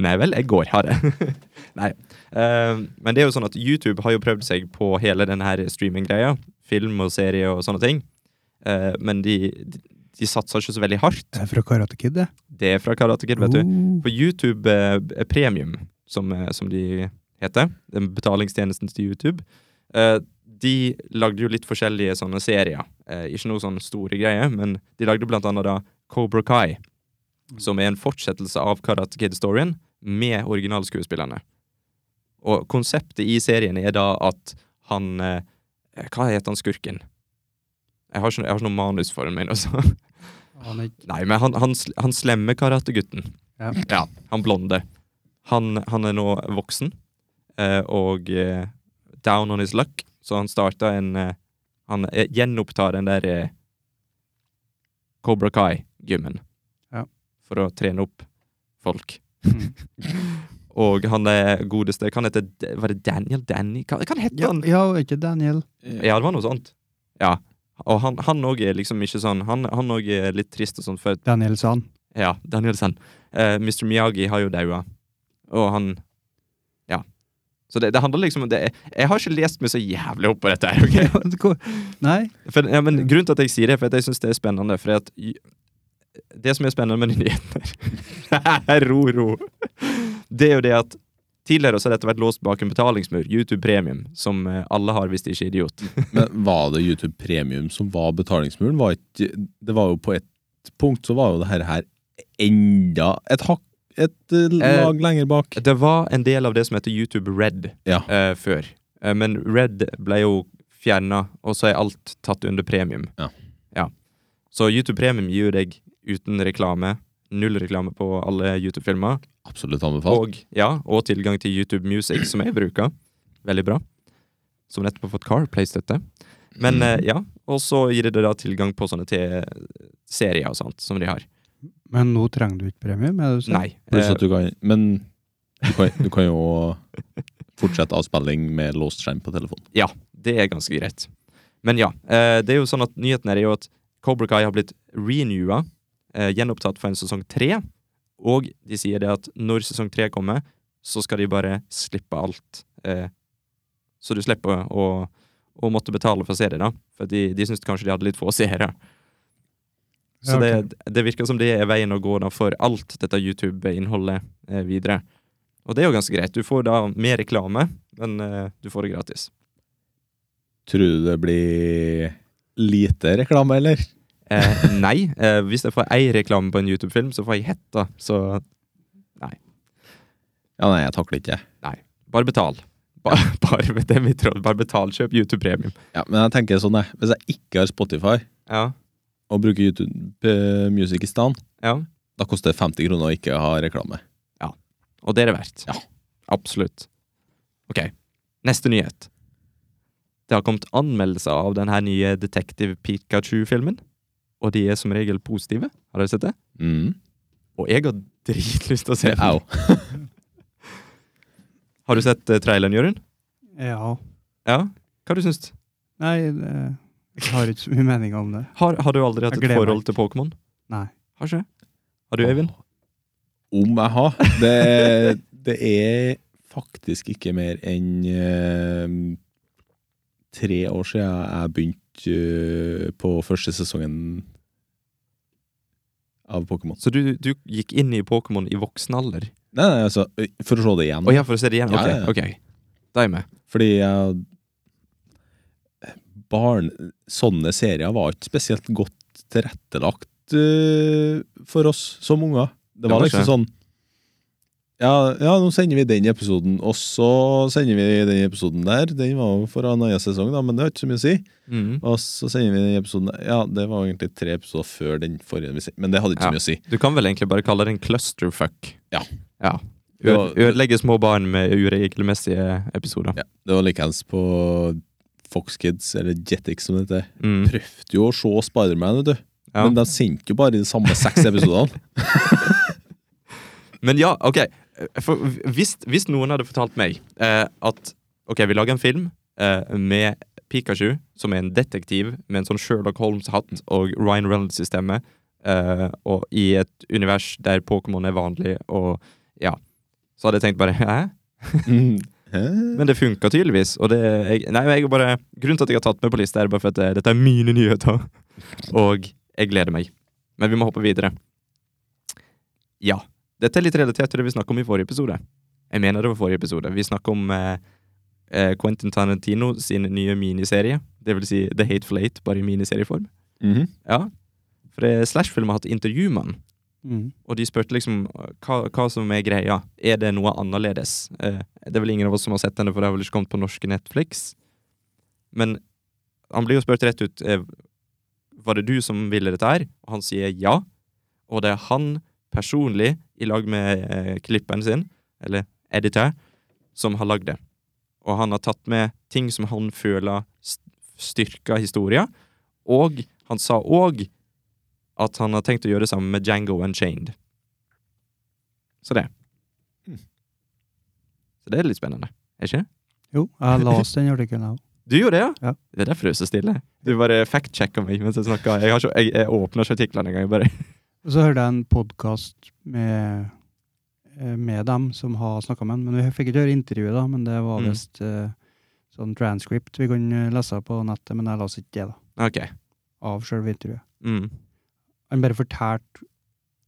Nei vel, jeg går, har jeg. Nei. Eh, men det er jo sånn at YouTube har jo prøvd seg på hele denne her streaminggreia. Film og serie og sånne ting. Eh, men de, de, de satser ikke så veldig hardt.
Det er fra Karate Kid, det.
Det er fra Karate Kid, vet du.
Oh.
På YouTube eh, Premium, som, eh, som de heter, den betalingstjenesten til YouTube, eh, de lagde jo litt forskjellige sånne serier. Eh, ikke noe sånn store greier, men de lagde blant annet da Cobra Kai, som er en fortsettelse av Karate Kid-storyen med originalskuespillerne. Og konseptet i serien er da at han eh, Hva heter han skurken? Jeg har ikke, jeg har ikke noe manus for den min, altså.
Aner ikke.
Nei, men han, han, sl- han slemme karategutten.
Ja.
Ja, han blonde. Han, han er nå voksen, eh, og eh, down on his luck, så han starta en eh, Han eh, gjenopptar den der eh, Cobra Kai-gymmen
Ja.
for å trene opp folk.
Mm.
Og han er godeste Hva heter Var det Daniel? Danny? Hva, hva heter
Ja,
han?
ja, og ikke Daniel.
Ja, det var noe sånt. Ja. Og han han òg er liksom ikke sånn Han han òg er litt trist og sånn, for
Daniel San.
ja, Danielsen. Eh, Mr. Miyagi har jo daua, og han Ja. Så det, det handler liksom om det Jeg har ikke lest meg så jævlig opp på dette. her, ok?
Nei?
For, ja, men Grunnen til at jeg sier det, er for at jeg syns det er spennende. For at y- Det som er spennende med de nyhetene Ro, ro. Det er jo det at tidligere så har dette vært låst bak en betalingsmur, YouTube Premium, som eh, alle har hvis de ikke er idiot.
Men var det YouTube Premium som var betalingsmuren? Var ikke, det var jo på et punkt så var jo det her, her enda et hakk et eh, lag lenger bak.
Det var en del av det som heter YouTube Red
Ja.
eh, før. Eh, men Red ble jo fjerna, og så er alt tatt under premium.
Ja.
Ja. Så YouTube Premium gir jo deg uten reklame, null reklame på alle YouTube-filmer,
Absolutt anbefalt.
og, ja, og tilgang til YouTube Music, som jeg bruker. Veldig bra. Som nettopp har fått Carplay-støtte. Men
Mm.
eh, ja, og så gir det deg da tilgang på sånne T-serier og sånt, som de har.
Men nå trenger du ikke premium, er det du sier?
Nei.
Pluss
eh,
at du kan Men du kan, du kan jo fortsette avspilling med låst skjerm på telefonen.
Ja, det er ganske greit. Men ja, eh, det er jo sånn at nyheten her er jo at Cobra Kai har blitt renewa, eh, gjenopptatt for en sesong tre. Og de sier det at når sesong tre kommer, så skal de bare slippe alt. Eh, så du slipper å, å måtte betale for å se det, da. For de, de syntes kanskje de hadde litt få seere. Så
Ja, ok.
det, det virker som det er veien å gå da for alt dette YouTube-innholdet eh, videre. Og det er jo ganske greit. Du får da mer reklame, men eh, du får det gratis.
Tror du det blir lite reklame, eller?
Eh, nei. Eh, hvis jeg får ei reklame på en YouTube-film, så får jeg hetta. Så
Ja, nei, jeg takler ikke det.
bare betal. Bare, bare, det er mitt råd. Bare betal. Kjøp YouTube-premium.
Ja, men jeg tenker sånn, jeg. Hvis jeg ikke har Spotify
Ja.
og bruker YouTube eh, Music i stedet,
ja.
da koster det 50 kroner å ikke ha reklame.
Og det er det verdt.
Ja.
Absolutt. Ok. Neste nyhet. Det har kommet anmeldelser av den her nye Detective Pikachu-filmen. Og de er som regel positive. Har dere sett det?
Mm.
Og jeg har dritlyst til å se
Det er
den.
jo
Har du sett eh, traileren, Jørund?
Ja.
Ja? Hva har du syns du?
Nei, det, jeg har ikke så mye mening om det.
Har, har du aldri hatt
Jeg
et
gleder meg.
forhold til Pokémon?
Nei.
Har ikke det? Har du, Øyvind?
Om jeg har. Det, det er faktisk ikke mer enn eh, tre år siden jeg begynte eh, på første sesongen av Pokémon.
Så du, du gikk inn i Pokémon i voksen alder?
Nei, nei, altså, ø, for å se det igjen.
Å ja, for å se det igjen? Ok,
Ja, ja, ja.
ok. Da er jeg med.
Fordi jeg barn, Sånne serier var ikke spesielt godt tilrettelagt eh, for oss som unger. Det
Det
var
var
liksom
ikke.
sånn ja, ja, nå sender vi den episoden, og så sender vi den episoden der. Den var jo for en annen sesong, da, men det har ikke så mye å si.
Mhm.
Og så sender vi den episoden der. Ja, det var egentlig tre episoder før den forrige, vi sendte, men det hadde ikke
Ja.
så mye å si.
Du kan vel egentlig bare kalle det en clusterfuck?
Ja.
ja.
Det
Ø-
var-
Ødelegge små barn med uregelmessige episoder.
Ja, det var likeens på Fox Kids, eller Jetix som det heter,
Mm.
prøvde jo å se Spiderman, vet du.
Ja.
Men de sendte jo bare de samme seks episodene.
Men ja, ok Eh, For hvis, hvis noen hadde fortalt meg eh, At, ok, vi lager en film eh, Med Pikachu Som er en detektiv Med en sånn Sherlock Holmes-hatt Og Ryan Reynolds-systemet eh, Og i et univers der Pokémon er vanlig Og ja Så hadde jeg tenkt bare, hæ?
Mm. Hæ?
Men det funka tydeligvis. Og det, jeg, nei, men jeg er bare, grunnen til at jeg har tatt meg på lista, er bare for at det, dette er mine nyheter. Og jeg gleder meg. Men vi må hoppe videre. Ja. Dette er litt relatert til det vi snakka om i forrige episode. Jeg mener det var forrige episode. Vi snakka om eh, eh, Quentin Tarantino sin nye miniserie. Det vil si The Hateful Eight, bare i miniserieform.
Mhm.
Ja. For det- Slash-filmen har hatt intervju med han.
Mm.
Og de spurte liksom hva, hva som er greia. Er det noe annerledes? Eh, det er vel ingen av oss som har sett henne, for det har vel ikke kommet på norske Netflix. Men han blir jo spurt rett ut eh, Var det du som ville dette her? Og han sier ja. Og det er han personlig, i lag med eh, klipperen sin, eller editor, som har lagd det. Og han har tatt med ting som han føler st- styrker historien. Og han sa òg at han har tenkt å gjøre det samme med Django Unchained. Så det. Mm.
Hmm.
Så det er litt spennende, er ikke det?
Jo, jeg leste den artikkelen, jeg òg.
Du gjorde det, ja?
Ja.
Det er derfor du er så stille. Du bare fact-checka meg mens jeg snakka. Jeg, har ikke- jeg, jeg åpna ikke artiklene engang. jeg Bare.
Og så hørte jeg en podkast med, eh, med dem som har snakka med ham. Men vi fikk ikke høre intervjuet, da, men det var
Mm.
visst eh, sånn transcript vi kunne lese på nettet. Men jeg leste ikke det, da.
Ok.
Av sjølve intervjuet.
Mm.
Han bare fortalte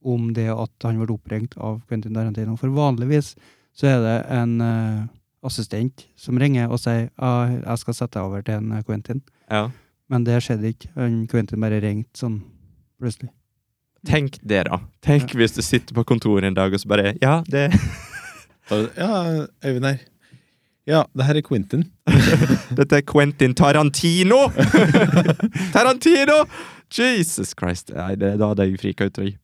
om det at han ble oppringt av Quentin Tarantino. For vanligvis så er det en eh, assistent som ringer og sier ah, 'jeg skal sette deg over til en eh, Quentin'.
Ja.
Men det skjedde ikke. Han Quentin bare ringte sånn plutselig.
Tenk det, da. Tenk hvis du sitter på kontoret en dag og så bare Ja, det
Da- Ja, Øyvind her. Ja, det her er Quentin.
Dette er Quentin Tarantino! Tarantino! Jesus Christ. Nei, det, da hadde jeg frika ut. tror jeg.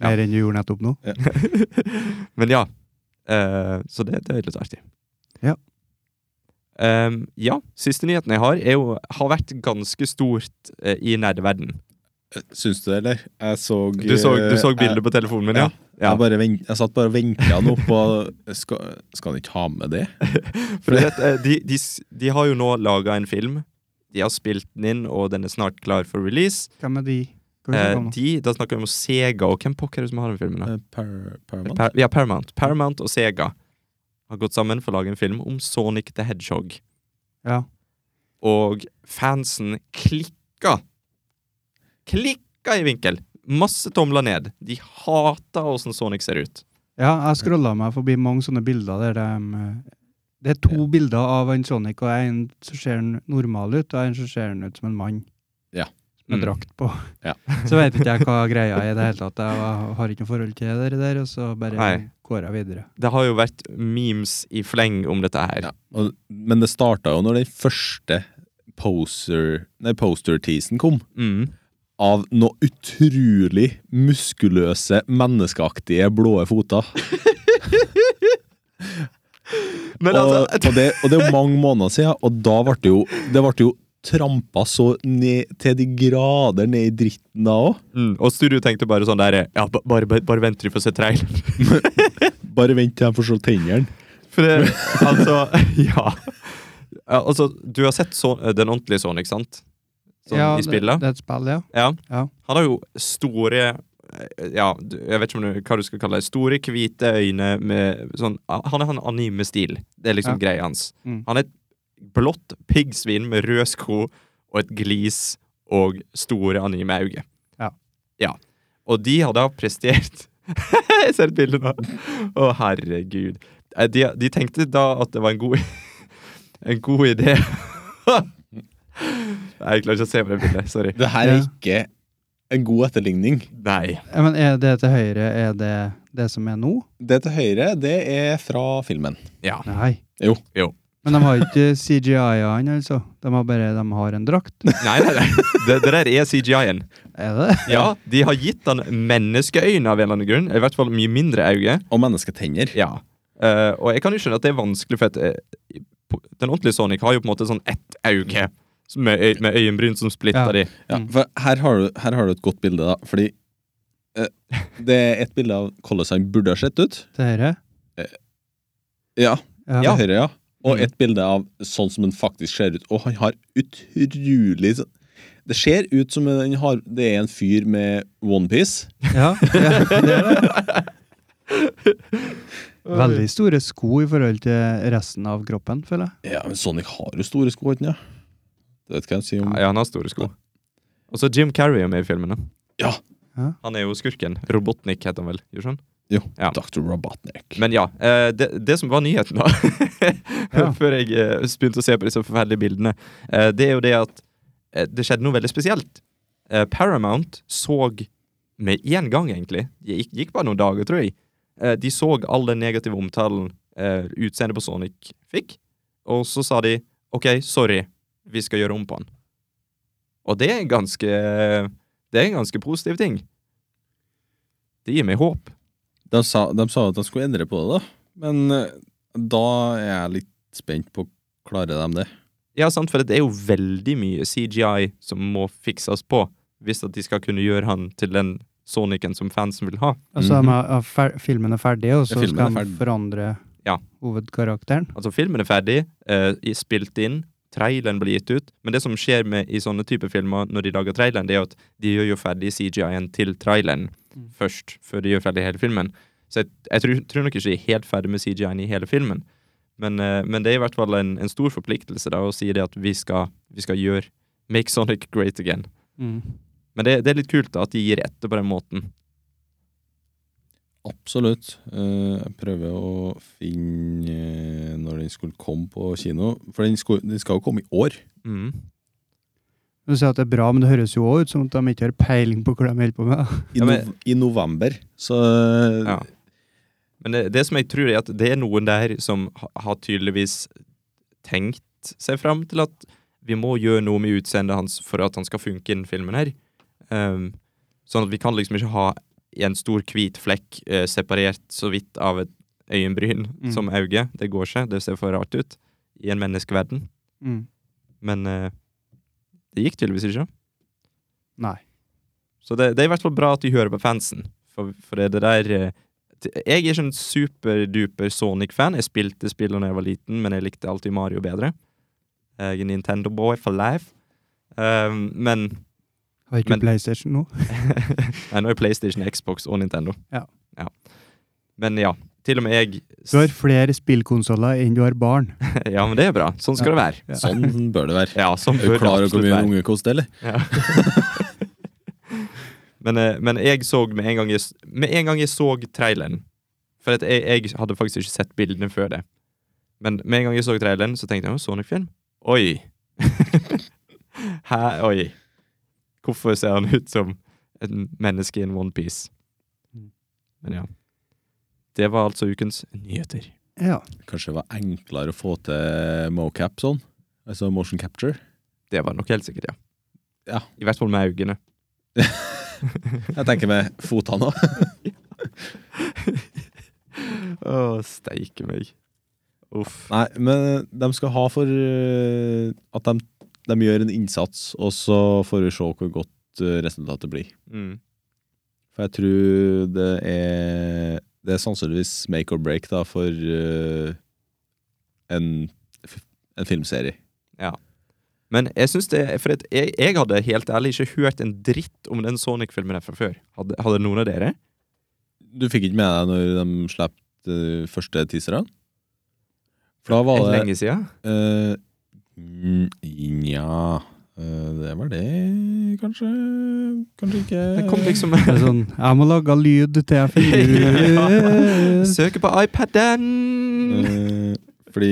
Ja.
Mer enn du gjorde nettopp nå.
Men ja. eh, så det, det er litt artig.
Ja.
Ehm, ja. Siste nyheten jeg har, er jo, har vært ganske stort eh, i nerdeverden.
Syns du det, eller? Jeg så eh,
Du så, du så bildet
jeg,
på telefonen min, ja? Ja.
Jeg, bare vent, jeg satt bare og venta nå på skal, skal han ikke ha med det?
For du vet, eh, de, de, s- de har jo nå laga en film. De har spilt den inn, og den er snart klar for release.
Hvem er de? Hva er det
Eh,
som kommer?
de, Da snakker vi om Sega, og hvem pokker er det som har den filmen? da?
Eh, Par, Paramount?
Par ja, Paramount. Paramount og Sega har gått sammen for å lage en film om Sonic the Hedgehog.
ja.
og fansen klikka. Klikka i vinkel! Masse tomler ned. De hater åssen Sonic ser ut.
ja, jeg scrolla meg forbi mange sånne bilder der de eh, Det er to bilder av en Sonic, og en som ser han normal ut, og en som ser han ut som en mann.
Ja.
Med
Mm.
drakt på.
Ja.
så vet ikke jeg hva greia er i det hele tatt. Jeg har ikke noe forhold til det der, og så bare
Nei.
går jeg videre.
Det har jo vært memes i fleng om dette her.
Ja. Og, men det starta jo når den første poster Nei, poster-teasen kom.
Mm.
Av noe utrolig muskuløse, menneskeaktige blå foter.
Men
og,
altså
og, det, og det er jo mange måneder siden, og da ble det jo, det ble jo trampa så ned, til de grader ned i dritten da òg.
mm, Og studio tenkte bare sånn der Ja, ba- bare, bare, bare venter de får se traileren.
Bare vent til de får se tennene.
For det, altså Ja. Ja, Altså, du har sett så, den ordentlige Sonic, sant? Sånn i spillet?
Det, det er et spill, ja.
Ja.
Ja.
Han har jo store eh, ja, du- jeg vet ikke om du, hva du skal kalle det. Store, hvite øyne med sånn Han har en anime-stil. Det er liksom greia hans.
Mm.
Han er et blått piggsvin med rød sko og et glis og store anime-øyne.
Ja.
ja. Og de har da prestert Jeg ser et bilde nå. Å, herregud. Eh, De, de tenkte da at det var en god En god idé. Nei, jeg klarer ikke å se på det bildet. Sorry.
Det her
Ja.
er ikke en god etterligning.
Nei.
Ja, Men er det til høyre, er det det som er nå?
Det til høyre, det er fra filmen.
Ja.
Nei.
Jo.
Jo.
Men de har ikke CGI-en, altså. De har bare de har en drakt.
Nei, nei, nei. Det, det der er CGI-en.
Er det det?
Ja, de har gitt han menneskeøyne av en eller annen grunn. I hvert fall mye mindre øyne.
Og mennesketenner.
Ja. Eh, og jeg kan jo skjønne at det er vanskelig, for at eh, på- Den ordentlige Sonic har jo på en måte sånn ett auge som med, øy, med øyenbryn som
Ja.
splitter de.
Ja,
Mm.
for her har, du, her har du et godt bilde, da. Fordi eh, det er et bilde av hvordan han burde ha sett ut.
Til høyre?
Ja, til
Ja.
høyre, ja. Og
Mm.
et bilde av sånn som han faktisk ser ut. Og han har utrolig sånn- Det ser ut som en- han har, det er en fyr med onepiece.
ja. ja, det er det. Veldig store sko i forhold til resten av kroppen, føler jeg.
Ja, men Sonic har jo store sko, ikke sant? Du vet hva jeg sier om
Ja, ja, han har store sko. Og så Jim Carrey er med i filmen. da.
Ja.
Ja.
Han er jo skurken. Robotnik heter han vel. gjør han? ja.
Dr. Robotnik.
Men ja, eh, det, det som var nyheten, da,
Ja.
før jeg eh, begynte å se på disse forferdelige bildene, eh, det er jo det at eh, det skjedde noe veldig spesielt. Eh, Paramount så med en gang, egentlig, det gikk, gikk bare noen dager, tror jeg, eh, de så all den negative omtalen eh, utseendet på Sonic fikk, og så sa de OK, sorry, vi skal gjøre om på han. Og det er en ganske Det er en ganske positiv ting. Det gir meg håp.
De, sa, de sa at de skulle endre på det, da. Men eh, da er jeg litt spent på Klarer de det.
Ja, sant, for det er jo veldig mye CGI som må fikses på hvis at de skal kunne gjøre han til den Sonicen som fansen vil ha.
Altså,
Mhm.
de er- er fer filmen er ferdig, og så
Ja, filmen er
skal de
ferdig.
forandre
Ja.
hovedkarakteren.
Altså, filmen er ferdig, eh, i- spilt inn, traileren blir gitt ut, men det som skjer med i sånne typer filmer når de lager traileren, det er jo at de gjør jo ferdig CGI-en til traileren
Mm.
først, før de gjør ferdig hele filmen. Så jeg, jeg tror, tror nok ikke de er helt ferdig med CGI-en i hele filmen, men, eh, men det er i hvert fall en, en stor forpliktelse da, å si det at vi skal, vi skal gjøre Make Sonic Great Again.
Mm.
Men det, det er litt kult da, at de gir etter på den måten.
Absolutt. Eh, Jeg prøver å finne eh, når den skulle komme på kino. For den, skulle, den skal jo komme i år.
Mm.
Du sier at det er bra, men det høres jo også ut som at de ikke har peiling på hva de holder på med.
I,
Ja, men-
nov, I november. Så
Ja. Men det, det som jeg tror er at det er noen der som ha- har tydeligvis tenkt seg fram til at vi må gjøre noe med utseendet hans for at han skal funke i den filmen her. Ehm, sånn at vi kan liksom ikke ha en stor hvit flekk eh, separert så vidt av et øyenbryn
Mm.
som auge. Det går ikke, det ser for rart ut i en menneskeverden.
Mm.
Men eh, det gikk tydeligvis ikke.
Nei.
Så det, det er i hvert fall bra at de hører på fansen. For, for det, det der eh, t- Jeg er ikke en superduper Sonic-fan. Jeg spilte spillet da jeg var liten, men jeg likte alltid Mario bedre. Jeg er Nintendo-boy for life. Um, men
Har ikke
Men-
du PlayStation nå?
Nei, nå er PlayStation, Xbox og Nintendo.
Ja.
Men ja, til og med jeg
Du har flere spillkonsoller enn du har barn.
Ja, men det er bra. Sånn skal det være.
Ja.
sånn bør det være.
Ja, sånn
Er
bør
du
det
klar over hvor
absolutt
mye
være.
en unge koster, eller?
Ja. men, eh, men jeg så med en gang jeg, s- med en gang jeg så traileren For at jeg, jeg hadde faktisk ikke sett bildene før det. Men med en gang jeg så traileren, så tenkte jeg «Å, Sonic-film. Oi! Hæ? Oi. Hvorfor ser han ut som et menneske i en onepiece?
Mm.
Men ja. Det var altså ukens nyheter.
Ja.
Kanskje det var enklere å få til mocap sånn? Altså motion capture?
Det var nok helt sikkert, ja.
Ja.
I hvert fall med øynene.
Jeg tenker med fotene òg.
Å, steike meg. Uff.
Nei, men de skal ha for eh, at de, de gjør en innsats, og så får vi se hvor godt eh, resultatet blir.
Mm.
For jeg tror det er Det er sannsynligvis make or break da for eh, en, f- en filmserie.
Men jeg synes det For at jeg, jeg hadde helt ærlig ikke hørt en dritt om den Sonic-filmen her fra før. Hadde, hadde noen av dere?
Du fikk ikke med deg når de slapp de første teaserne? For da var
En
det
lenge siden?
eh, mm, Nja eh, Det var det, kanskje? Kanskje ikke
Den kom liksom
Det er sånn Jeg må lage lyd til jeg finner ut
Søker på
Mm.
iPaden!
Eh, Fordi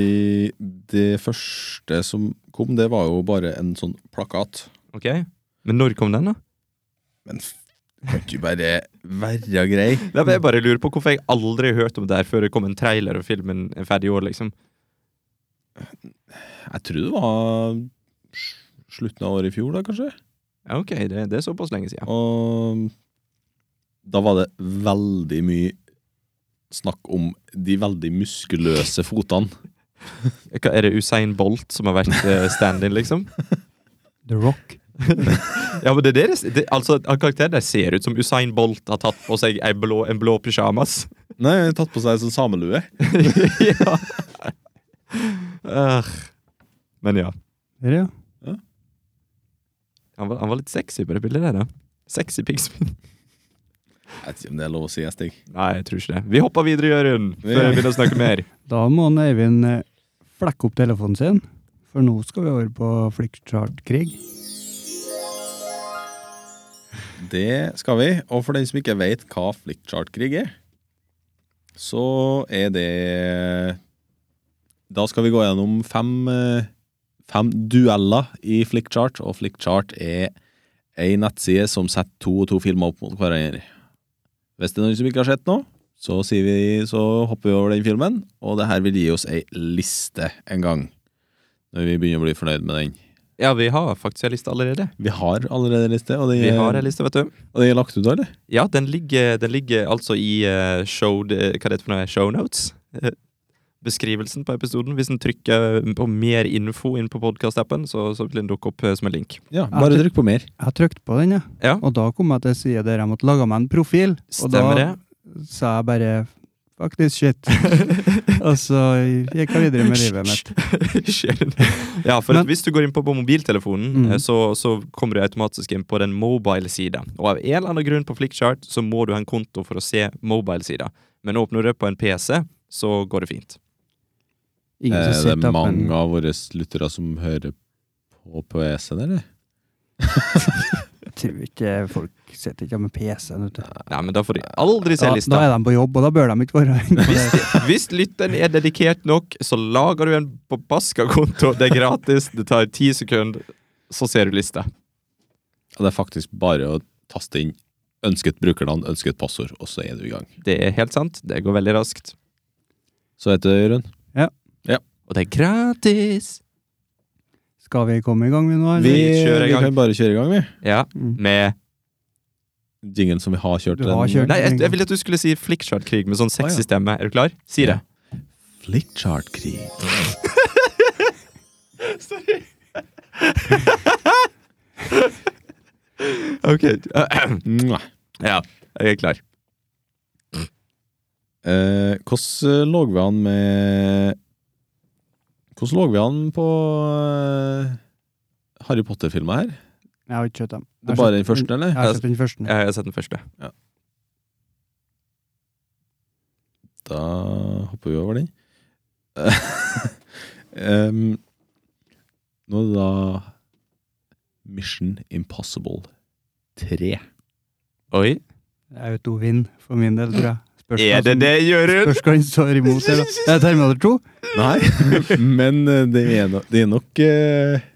det første som kom, det var jo bare en sånn plakat.
Ok. Men når kom den, da?
Men f- kan ikke du bare være grei?
Nei, men Jeg bare lurer på hvorfor jeg aldri har hørt om det her før det kom en trailer og filmen er ferdig i år, liksom.
Jeg tror det var s- slutten av året i fjor, da, kanskje.
Ja, ok, det, det er såpass lenge siden.
Og da var det veldig mye snakk om de veldig muskuløse fotene.
Hva, er det Usain Bolt som har vært eh, stand-in, liksom?
The Rock.
Ja, men det er deres, det, altså, han Karakteren der ser ut som Usain Bolt har tatt på seg en blå, en blå pysjamas.
Nei, jeg har tatt på seg sånn samelue.
ja. Ør. Men ja.
Er det, ja?
Han var, han var litt sexy på det bildet der, da. Sexy pigsvin.
Jeg vet ikke om det er lov å si, jeg, Stig.
Nei, jeg tror ikke det. Vi hopper videre, Jørund, før vi begynner å snakke mer.
Da må han Eivind eh, flekke opp telefonen sin, for nå skal vi over på flickchart-krig.
Det skal vi. Og for den som ikke vet hva flickchart-krig er, så er det Da skal vi gå gjennom fem, eh, fem dueller i flickchart, og flickchart er ei nettside som setter to og to filmer opp mot hverandre. Hvis det er noen som ikke har sett noe, så, sier vi, så hopper vi over den filmen, og det her vil gi oss ei liste en gang, når vi begynner å bli fornøyd med den.
Ja, vi har faktisk en liste allerede.
Vi har allerede liste, og den
Vi har en
er,
liste, vet du.
og den er lagt ut, da, eller?
Ja, den ligger, den ligger altså i eh, show, det- hva er det for noe, show notes? Eh, Beskrivelsen på episoden. Hvis en trykker på mer info inn på podkastappen, så, så vil den dukke opp eh, som en link.
Ja, bare trykk på mer.
Jeg trykte på den, ja.
Ja.
og da kom jeg til sida der jeg måtte lage meg en profil.
Stemmer det?
Og da sa jeg bare fuck this shit. og så gikk jeg videre med livet mitt.
Skjer det? ja, for at
Men-
hvis du går inn på, på mobiltelefonen,
Mhm.
eh, så, så kommer du automatisk inn på den mobile-sida. Og av en eller annen grunn på Flickchart så må du ha en konto for å se mobile-sida. Men åpner du det på en PC, så går det fint.
Ingen
Eh,
som
det
sitter
er
opp en-
mange av våre lyttere som hører på PC-en, eller?
Jeg tror ikke folk sitter ikke med PC-en, vet du.
Nei, men da får de aldri se
Da,
lista.
da er de på jobb, og da bør de ikke være inne på det.
Hvis lytteren er dedikert nok, så lager du en forbaska konto. Det er gratis, det tar ti sekunder, så ser du lista.
Og det er faktisk bare å taste inn ønsket brukernavn, ønsket passord, og så er du i gang.
Det er helt sant. Det går veldig raskt.
Så heter det Jørund.
Og det er gratis!
Skal vi komme i gang med noe?
Vi,
eller?
kjører i
vi
gang.
kan bare kjøre i gang, vi.
Ja,
Mm.
med
Jingen som vi har kjørt.
Du har
den-
kjørt.
Nei, jeg, jeg ville at du skulle si Flickchart-krig med sånn
Å, ja.
sexy stemme. Er du klar? Si det.
Flickchart-krig.
Ok.
Mwah.
Ja, jeg er klar.
Eh, hvordan lå vi an med Hvordan lå vi an på eh, Harry Potter-filmer her?
Jeg har ikke kjøpt dem.
Det er bare den første,
Jeg
eller?
har kjøpt den første.
Eh, Jeg har sett den første.
Da hopper vi over den. Em, nå er det da Mission Impossible 3.
Oi.
Det er jo to vinn, for min del, tror jeg. Spørs hva
Er det
som-
det, Jørund?
Spørs hva han står imot. her, da. Det er Terminator 2.
Nei, men eh, det er nok, det er nok eh,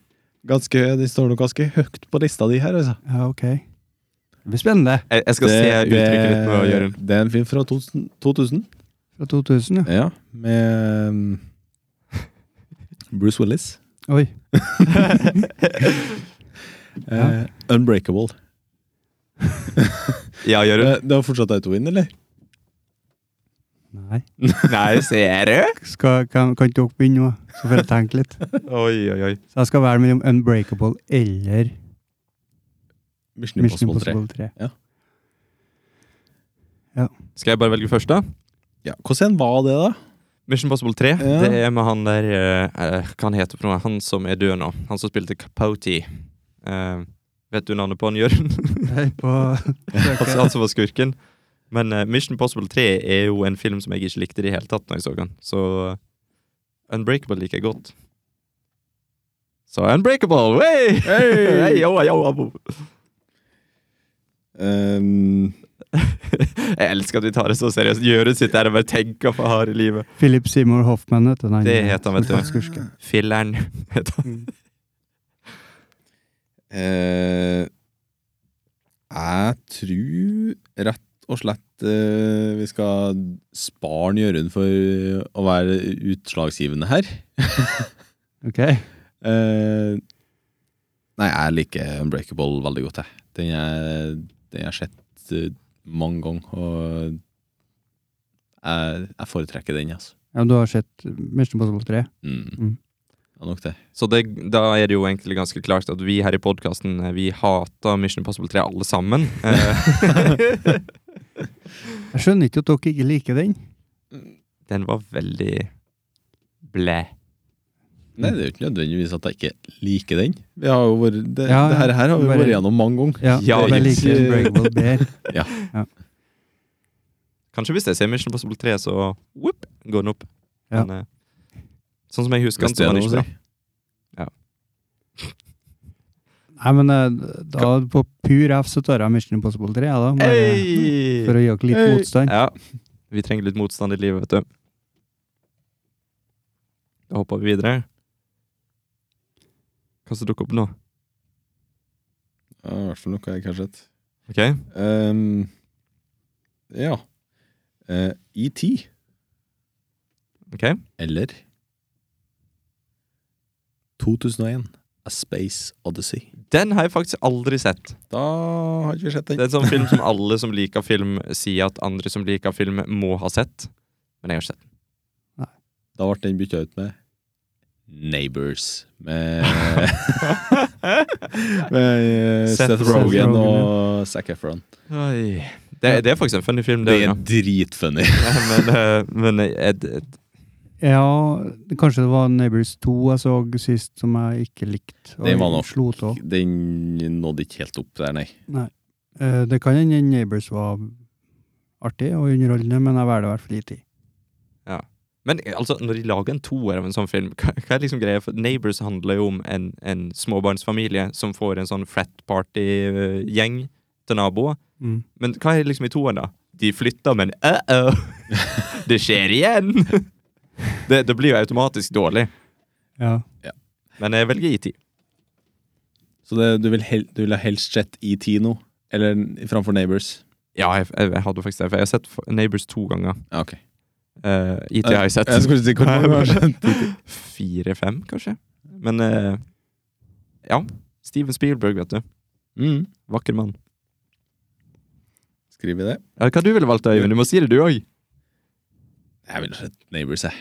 ganske, Det står nok ganske høyt på lista di her, altså.
Ja, ok. Det blir spennende.
Jeg, jeg skal se uttrykket ditt nå, Jørund.
det er en film fra 2000. 2000
Fra 2000, ja.
ja, med em, Bruce Willis.
Oi.
Eh, Unbreakable.
Ja, Jørund.
Eh, det var fortsatt autowin, eller?
Nei.
Nei, ser du?
Skal, kan, kan ikke dere begynne nå, så får jeg tenke litt?
Oi, oi, oi.
Så jeg skal være mellom Unbreakable eller
Mission
Mission
Impossible 3.
Impossible 3.
Skal jeg bare velge først, da?
Ja, Hvordan var det, da?
Mission Possible 3.
Ja.
Det er med han der eh, eh, Hva han heter for noe? Han som er død nå. Han som spilte Capote. Eh, vet du navnet på han, Jørund?
Hei på
altså, han som var skurken. Men eh, Mission Possible 3 er jo en film som jeg ikke likte i det hele tatt når jeg så den. Så eh, Unbreakable liker jeg godt. Så Unbreakable! Hey! Hey, yo, yo, abo.
Ehm,
Jeg elsker at vi tar det så seriøst. Jørund sitter her og bare tenker på harde livet.
Philip Seymour Hoffman, vet du.
Det heter han, vet du.
Skursken.
Filler'n heter han.
eh, jeg tror rett og slett eh, vi skal spare den Jørund for å være utslagsgivende her.
Ok.
Eh, nei, jeg liker Unbreakable veldig godt, jeg. Den er- den har jeg sett eh, mange ganger, og jeg, jeg foretrekker den, altså.
Ja, men du har sett Mission Impossible 3?
Mm.
Mm.
Ja, nok det.
Så det, da er det jo egentlig ganske klart at vi her i podkasten Vi hater Mission Impossible 3 alle sammen. Eh,
Jeg skjønner ikke at dere ikke liker den.
Den var veldig blæ.
Nei, det er jo ikke nødvendigvis at jeg ikke liker den. Vi har jo vært, det,
Ja,
det her, her har vi
bare-
vært gjennom mange ganger.
Ja,
Ja,
men jeg
yes.
liker Unbreakable bedre.
Kanskje hvis jeg ser Mission Impossible 3, så whoop, går den opp.
Ja.
Men, eh, sånn som jeg husker den,
Hvis det
så
er
var den
noe å
ikke bra.
si.
Nei, men eh, da på pur F så tar jeg Mission Impossible 3, ja, da. Bare, For
Hey!
å gi dere litt
Hey!
motstand.
Ja. Vi trenger litt motstand i livet, vet du. Da hopper vi videre. Hva som dukker opp nå?
Ja, I hvert fall noe jeg ikke har sett.
Ok?
Ehm, ja. Eh, ET,
ok?
eller 2001 A Space Odyssey.
Den har jeg faktisk aldri sett.
Da har ikke vi sett
Det er
den.
en sånn film som alle som liker film, sier at andre som liker film, må ha sett. Men jeg har ikke sett den.
Da ble den bytta ut med Neighbors. Med, med eh,
Seth
Seth
Rogen,
Rogen
ja.
og Zac Efron.
Det, det er faktisk en funny film, det.
Det
ja.
er dritfunny.
Men, eh, men eh, jeg,
Ja, kanskje det var Neighbors 2 jeg så sist som jeg ikke likte. og
Den var nok-
Slo tå.
Den nådde ikke helt opp der, nei.
Eh, Det kan hende Neighbors var artig og underholdende, men jeg velger i hvert fall E ikke.
Men altså, når de lager en toer av en sånn film, hva, hva er liksom greia? For Neighbors handler jo om en, en småbarnsfamilie som får en sånn frat party-gjeng til naboer.
Mm.
Men hva er liksom i toeren, da? De flytter, men uh-oh! det skjer igjen! det, det blir jo automatisk dårlig.
Ja.
Men jeg velger E IT.
Så det, du, vil hel, du vil ha helst sett ET nå? Eller framfor Neighbors?
Ja, jeg, jeg, jeg hadde faktisk det, for jeg har sett F- Neighbors to ganger.
Ja, Ah, ok.
Eh, IT har jeg sett
Jeg skulle si hvor mange har sett
fire-fem, kanskje. Men eh, ja. Steven Spielberg, vet du.
Mm.
Vakker mann.
Skriv i det.
Ja, hva du ville valgt, Øyvind? Du må si det, du òg.
Jeg ville sett Neighbors, jeg.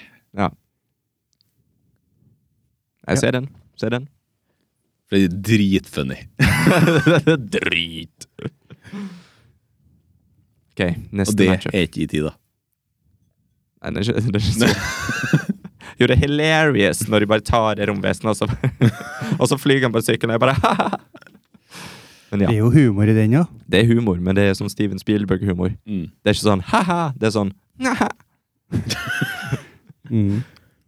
Jeg ser den. Ser den.
For det er dritfunny.
Drit. OK,
Og
neste
det
matchup.
er ikke ET, da.
Nei, det er ikke, det er ikke så. Jo, det er hilarious når de bare tar det romvesenet, og så bare- Og så flyr han på sykkelen, og jeg bare Men
Det
ja.
er jo humor i den, ja.
Det er humor, men det er sånn Steven Spielberg-humor.
Mm.
Det er ikke sånn ha-ha, det er sånn ha-ha.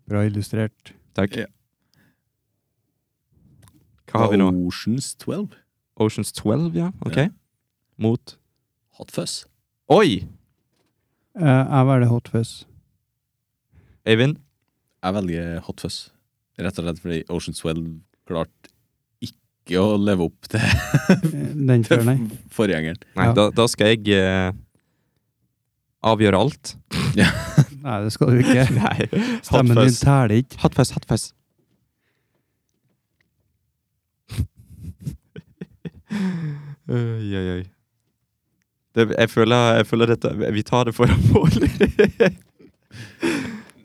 Bra illustrert.
Takk.
Ja.
Hva har vi nå?
Oceans 12.
Oceans 12, Oh. ja? OK.
Ja.
Mot
Hot Fuzz.
Oi!
Eh, Jeg velger Hot Fuzz.
Øyvind?
Jeg velger Hot Fuzz. Rett og slett fordi Oceans 12 klarte ikke å leve opp til
Eh, Den før, nei.
forgjengeren.
Nei,
Ja.
da, da skal jeg eh, avgjøre alt.
Nei, det skal du ikke.
Nei.
Stemmen din
Hotfuzz.
teller ikke.
Hotfuzz, hotfuzz. Oi, oi, oi. Det, jeg, føler, jeg føler dette Vi tar det for alvorlig.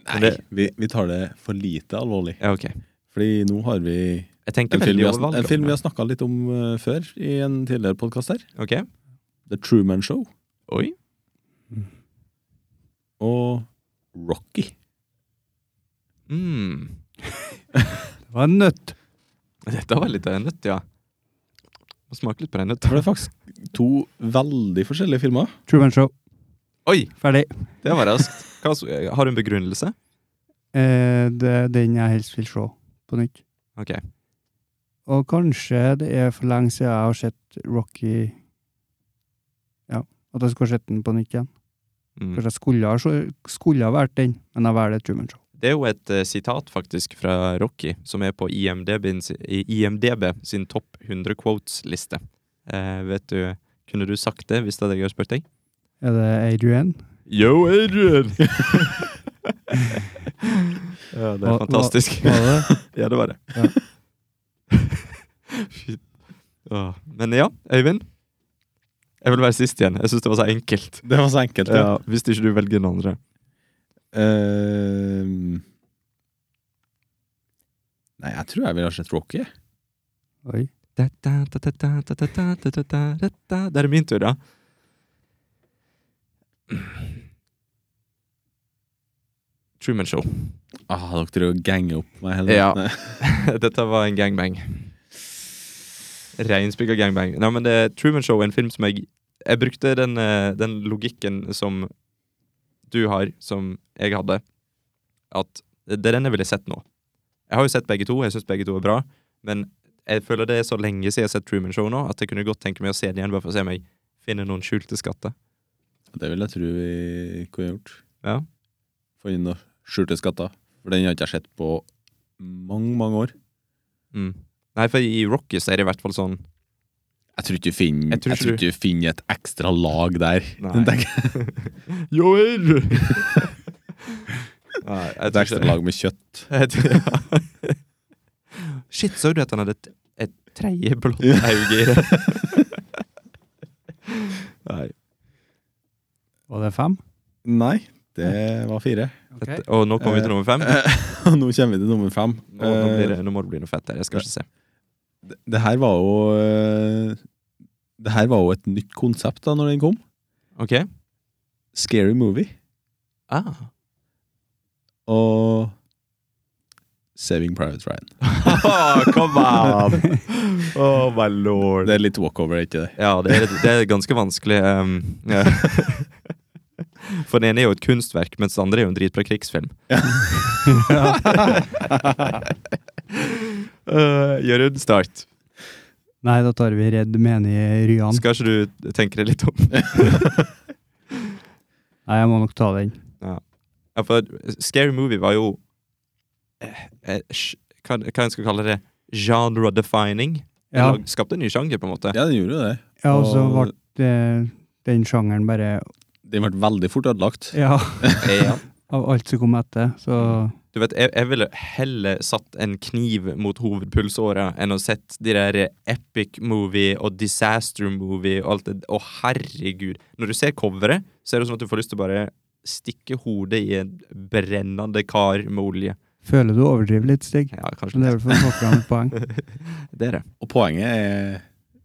Nei,
Det-
vi, vi tar det for lite alvorlig.
ja, OK.
Fordi nå har vi
Jeg tenker
en film
veldig
vi har,
over valget.
en film vi har snakka litt om eh, før i en tidligere podkast her.
Ok.
The Truman Show
Oi.
og Rocky.
Mm.
Det var en nøtt.
Dette var litt av en nøtt, ja. Må smake litt på den nøtta.
For det er faktisk to veldig forskjellige filmer.
Truman Show.
Oi!
Ferdig.
Det var raskt. Hva, så- har du en begrunnelse?
Eh, Det er den jeg helst vil se på nytt.
Ok.
Og kanskje det er for lenge siden jeg har sett Rocky Ja, at jeg skulle ha sett den på nytt igjen.
Mm.
Kanskje jeg skulle ha, så- skulle ha vært den, men jeg velger Truman Show.
Det er jo et eh, sitat faktisk fra Rocky, som er på IMDb, sin- i IMDb sin topp 100 quotes-liste. Eh, vet du, Kunne du sagt det hvis det hadde jeg hadde spurt deg?
Er det Adrian?
Yo, Adrian! ja, det er
Hva-
fantastisk.
Var det?
ja, det var det.
Ja.
Fy- Åh. Men ja, Øyvind. Jeg vil være sist igjen. Jeg syns det var så enkelt.
Det var så enkelt,
Ja, hvis ikke du velger den andre.
Eh, nei, jeg tror jeg ville ha sett Rocky.
Oi.
Da, da, da, da, da, da, da, da, da, da, da, da, da. Da er det min tur, da. Truman Show.
Ah, dere driver og ganger opp meg hele
Ja.
tiden.
Dette var en gangbang. Reinspikka gangbang. Nei, men det er Truman Show, en film som jeg Jeg brukte den, eh, den logikken som du har, som jeg hadde, at det er den jeg ville sett nå. Jeg har jo sett begge to, jeg syns begge to er bra, men jeg føler det er så lenge siden jeg har sett Truman Show nå, at jeg kunne godt tenke meg å se den igjen, bare for å se om jeg finner noen skjulte skatter.
Det vil jeg tro vi kunne gjort.
Ja.
Funnet noen skjulte skatter. For den har ikke jeg sett på mange, mange år.
Mm. Nei, for i Rocky så er det i hvert fall sånn
Jeg tror ikke du finner,
Jeg tror
jeg tror
ikke
ikke du finner et ekstra lag der.
Nei.
Det er
Joel! Nei, jeg tror
Et
ikke
ekstra
det.
lag med kjøtt.
Jeg tror- ja. Shit, så du at han hadde et, et tredje blått auge i det? Nei.
Var det fem?
Nei, det var fire.
Ok.
Dette, og nå kommer vi til nummer fem.
Og nå kommer vi til nummer fem. Eh,
Nå, nå, blir det, nå må det bli noe fett her. Jeg skal ikke se.
det, det her var jo eh, Det her var jo et nytt konsept da når den kom.
Ok?
Scary Movie
Ah.
og Saving Private Ryan.
come on! Oh my lord.
Det er litt walkover, er ikke det?
Ja, det er, det er ganske vanskelig. ehm, ja. For den ene er jo et kunstverk, mens den andre er jo en dritbra krigsfilm. uh, Jørund, start.
Nei, da tar vi Redd menige Ryan.
Skal ikke du tenke deg litt om?
Nei, jeg må nok ta den.
Ja, for Scary Movie var jo eh, eh, sj- Hva hva en skal kalle det? Genre-defining. Den
Ja,
lag- Skapte en ny sjanger, på en måte.
Ja, den gjorde jo det.
ja og så ble
og-
eh, den sjangeren bare
Den ble veldig fort ødelagt.
Ja,
Ja.
av alt som kom etter, så
Du vet, jeg, jeg ville heller satt en kniv mot hovedpulsåra enn å sett de der epic movie og disaster movie og alt det Å, herregud. Når du ser coveret, så er det sånn at du får lyst til å bare stikke hodet i en brennende kar med olje.
føler du overdriver litt, Stig.
Ja, kanskje
Men det er vel for å få fram et poeng.
Det er det.
Og poenget er,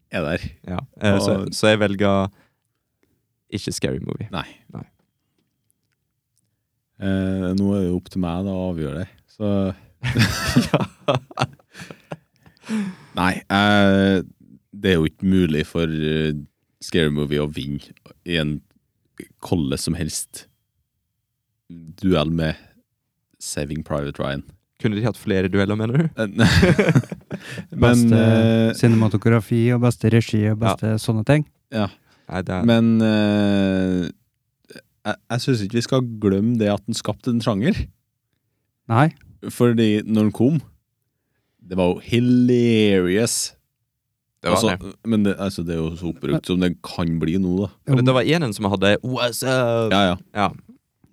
er der.
Ja. Eh, Så,
Og-
så jeg velger ikke Scary Movie.
Nei.
Nei.
Eh, nå er det jo opp til meg da, å avgjøre det. Så Nei, eh, det er jo ikke mulig for eh, Scary Movie å vinne i en kolle som helst duell med Saving Private Ryan.
Kunne de hatt flere dueller, mener du?
Eh, Men,
Beste
eh,
cinematografi og beste regi og beste sånne ting.
Nei, det er
men eh, jeg, jeg syns ikke vi skal glemme det at den skapte en sjanger.
Nei.
Fordi når den kom Det var jo hilarious
det var
altså,
det.
Men det, altså, det er jo så oppbrukt som det kan bli nå da
Det
Og Det var enen som hadde What's up?
Ja, ja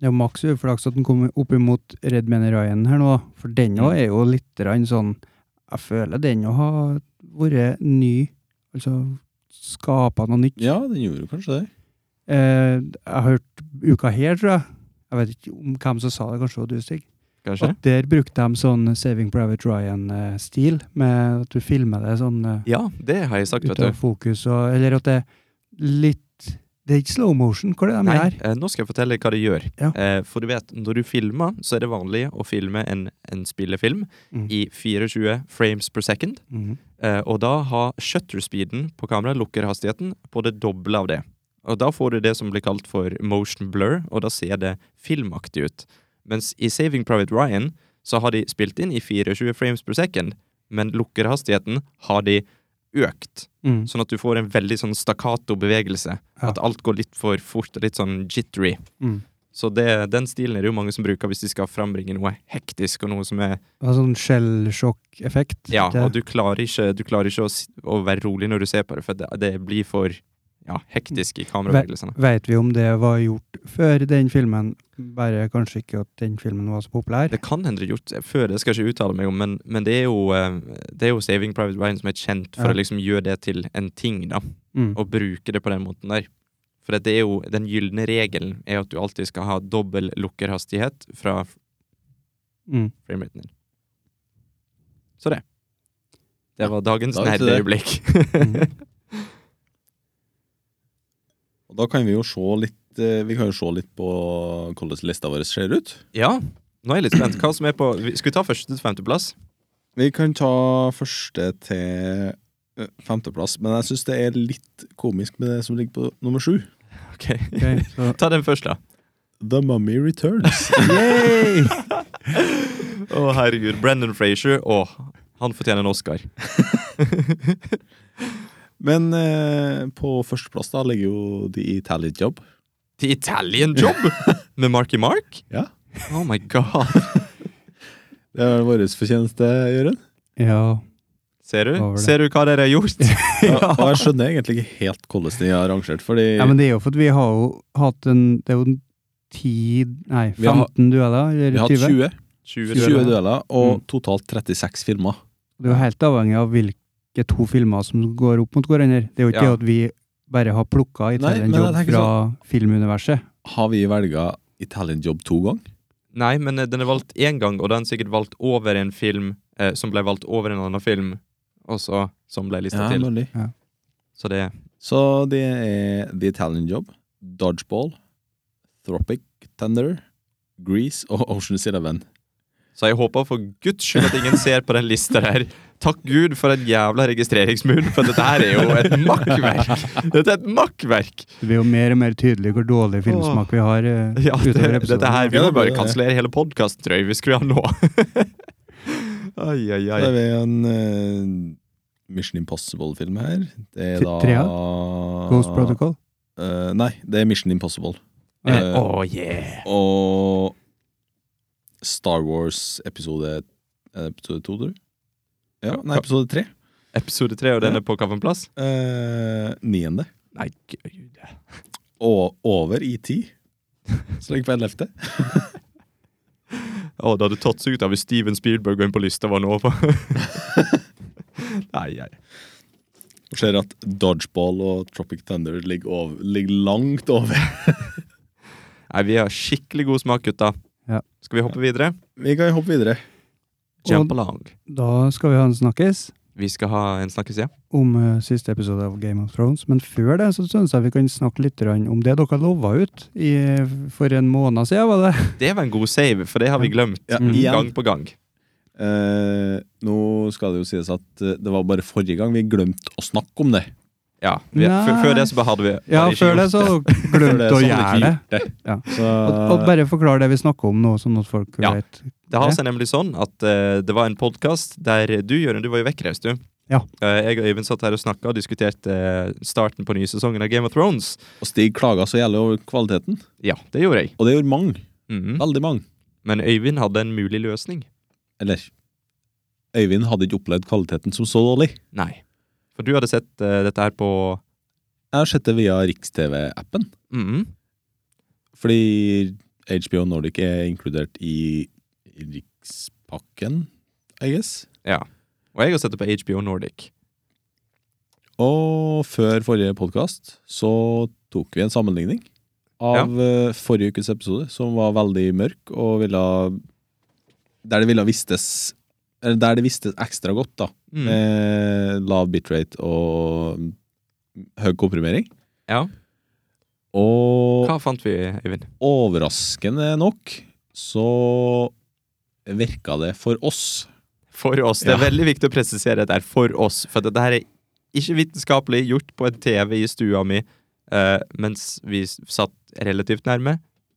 er jo maks uflaks at den kom opp imot Red Man Ryan her nå, for
Mm.
den òg er jo litt grann sånn Jeg føler den òg har vært ny, altså skapa noe nytt.
Ja, den gjorde jo kanskje det
Eh, jeg har hørt uka her, tror jeg. Jeg vet ikke om hvem som sa det, kanskje det var du, Stig.
Kanskje?
At der brukte de sånn Saving Private Ryan-stil, med at du filmer det sånn eh,
Ja, det har jeg sagt,
ut
vet du.
av fokus, og, eller at det er litt Det er ikke slow motion, hva er det de
Nei,
gjør?
eh, nå skal jeg fortelle hva det gjør.
Ja.
Eh, for du vet, når du filmer, så er det vanlig å filme en, en spillefilm
Mm.
i 24 frames per second.
Mhm.
Eh, og da har shutter-speeden på kameraet, lukkerhastigheten, på det doble av det. Og da får du det som blir kalt for motion blur, og da ser det filmaktig ut. Mens i Saving Private Ryan så har de spilt inn i 24 frames per second, men lukkerhastigheten har de økt.
Mm.
Sånn at du får en veldig sånn stakkato-bevegelse.
Ja.
At alt går litt for fort og litt sånn jittery.
Mm.
Så det, den stilen er det jo mange som bruker hvis de skal frambringe noe hektisk og noe som er
Det var sånn skjellsjokk-effekt.
Ja,
det,
og du klarer ikke, du klarer ikke å, s- å være rolig når du ser på det, for det, det blir for ja, hektisk i kamerabevegelsene.
Vet vi om det var gjort før den filmen, bare kanskje ikke at den filmen var så populær?
Det kan hende det er gjort før, det skal jeg ikke uttale meg om, men, men det, er jo, eh, det er jo Saving Private Ryan som er kjent for
Ja.
å liksom gjøre det til en ting, da.
Mm.
Og bruke det på den måten der. For at det er jo, den gylne regelen er at du alltid skal ha dobbel lukkerhastighet fra
Mm.
frameraten din. Så det. Det var dagens
Dagens
nerdeøyeblikk.
Og da kan vi jo se litt eh, Vi kan jo se litt på hvordan lista vår ser ut.
ja, nå er jeg litt spent. Hva som er på vi- Skal vi ta første til femteplass?
Vi kan ta første til eh, femteplass, men jeg syns det er litt komisk med det som ligger på nummer sju.
Ok.
Ok, så
Ta den først, da.
The Mummy Returns.
Yay!
Å, herregud. Brendan Frazier. Å, han fortjener en Oscar.
men eh, på førsteplass da ligger jo The Italian Job.
The Italian Job med Marky Mark?
Ja.
Oh my god.
Det er vår fortjeneste, Jørund.
Ja.
Ser
Hva var
du?
det?
Ser du hva dere har gjort?
Og- Og jeg skjønner egentlig ikke helt hvordan de har rangert, fordi
ja, men det er jo for at vi har jo hatt en Det er jo en ti Nei,
Vi har-
15 dueller,
vi
eller
har
20.
20,
20
20
dueller.
dueller og totalt 36 filmer.
Det er jo helt avhengig av hvilke to filmer som går opp mot hverandre. Det er jo ikke
Ja.
det at vi bare har plukka
Nei, men
Italian
jeg
Job
tenker
fra filmuniverset.
Har vi velga Italian Job to ganger?
Nei, men eh, den er valgt én gang, og den er sikkert valgt over en film eh, som ble valgt over en annen film, og så som ble lista til.
mulig.
Så det
Så det er The Italian Job, Dodgeball, Thropic Tender, Grease og Ocean's Eleven.
Så jeg håper for guds skyld at ingen ser på den lista der. Takk Gud for en jævla registreringsmur, for dette her er jo et makkverk! Dette er et makkverk!
Det blir jo mer og mer tydelig hvor dårlig filmsmak vi har eh,
Ja, det,
utover episoden.
dette her Vi
Ja,
må
det blir
bare
det.
kansellere hele podkasten, tror jeg, hvis vi skulle ha nå. Ai, ai, ai.
Så er vi en eh, Mission Impossible-film her. Det er
T-
da
trea? Ghost Protocol.
Eh, nei, det er Mission Impossible.
Eh,
Eh,
Oh yeah!
Og Star Wars episode er det Episode to, tror du? Ja, nei, episode tre.
Episode tre, og den er på hvilken plass?
Eh, niende.
Nei, gud
Og over i ti. Så ligger på ellevte.
Å, det hadde tatt seg ut av hvis Steven Spielberg var inne på lista var nå. nei, nei.
Og ser at Dodgeball og Tropic Thunder ligger, over, ligger langt over.
nei, vi har skikkelig god smak, gutta.
Ja.
Skal vi hoppe videre?
Vi kan hoppe videre.
Jump along.
Da skal vi ha en snakkes
Vi skal ha en snakkes, ja.
om eh, siste episode av Game of Thrones, men før det så syns jeg vi kan snakke litt grann om det dere lova ut i, for en måned siden, var det?
Det var en god save, for det har vi glemt
Ja,
Mm.
gang
igjen.
på gang.
Eh, nå skal det jo sies at eh, det var bare forrige gang vi glemte å snakke om det.
Ja, vi, f-
Nei.
før det så bare hadde vi hadde
Ja,
ikke
før det
gjort
så
For
glemte
er
å
sånn eh,
gjøre
vi
det.
gjorde
Ja.
Så,
Og, og bare forklar det vi snakker om nå, sånn at folk
Ja.
vet.
Det har seg nemlig sånn at eh, det var en podkast der du, Jørund, du var jo vekkreist, du.
Ja.
Eh, jeg og Øyvind satt her og snakka og diskuterte eh, starten på nye sesongen av Game of Thrones.
og Stig klaga så jævlig over kvaliteten,
Ja, det gjorde jeg.
og det gjorde mange.
Mhm.
Veldig mange.
Men Øyvind hadde en mulig løsning.
Eller Øyvind hadde ikke opplevd kvaliteten som så dårlig.
Nei. For du hadde sett eh, dette her på
Jeg har sett det via Riks-TV-appen,
Mhm.
fordi HBO Nordic er inkludert i i Rikspakken, I guess.
Ja. Og jeg har sett det på HBO Nordic.
Og før forrige podkast så tok vi en sammenligning av eh, forrige ukes episode, som var veldig mørk og ville Der det ville vistes Eller der det vistes ekstra godt, da.
Mm.
Med lav bitrate og høy komprimering.
Ja.
Og
Hva fant vi, Øyvind?
overraskende nok så virka det for oss
For oss. Det er
Ja.
veldig viktig å presisere at det er for oss. For dette her er ikke vitenskapelig gjort på en TV i stua mi eh, mens vi s- satt relativt nærme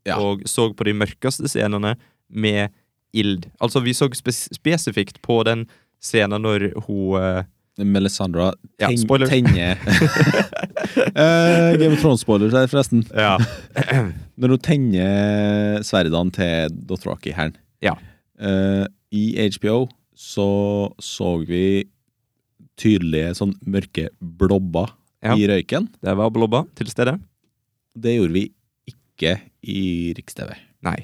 Ja.
og så på de mørkeste scenene med ild. Altså, vi så spes spesifikt på den scenen når hun eh,
Melisandra
Ja,
ten-
spoiler.
tenner Eh, Game of Thrones-spoilers her, forresten.
Ja.
Når hun tenner sverdene til Dothraki-hæren
Ja.
Eh, I HBO så så vi tydelige sånn mørke blobber
Ja.
i røyken.
Der var Blobba til stede.
Det gjorde vi ikke i Riks-TV.
Nei.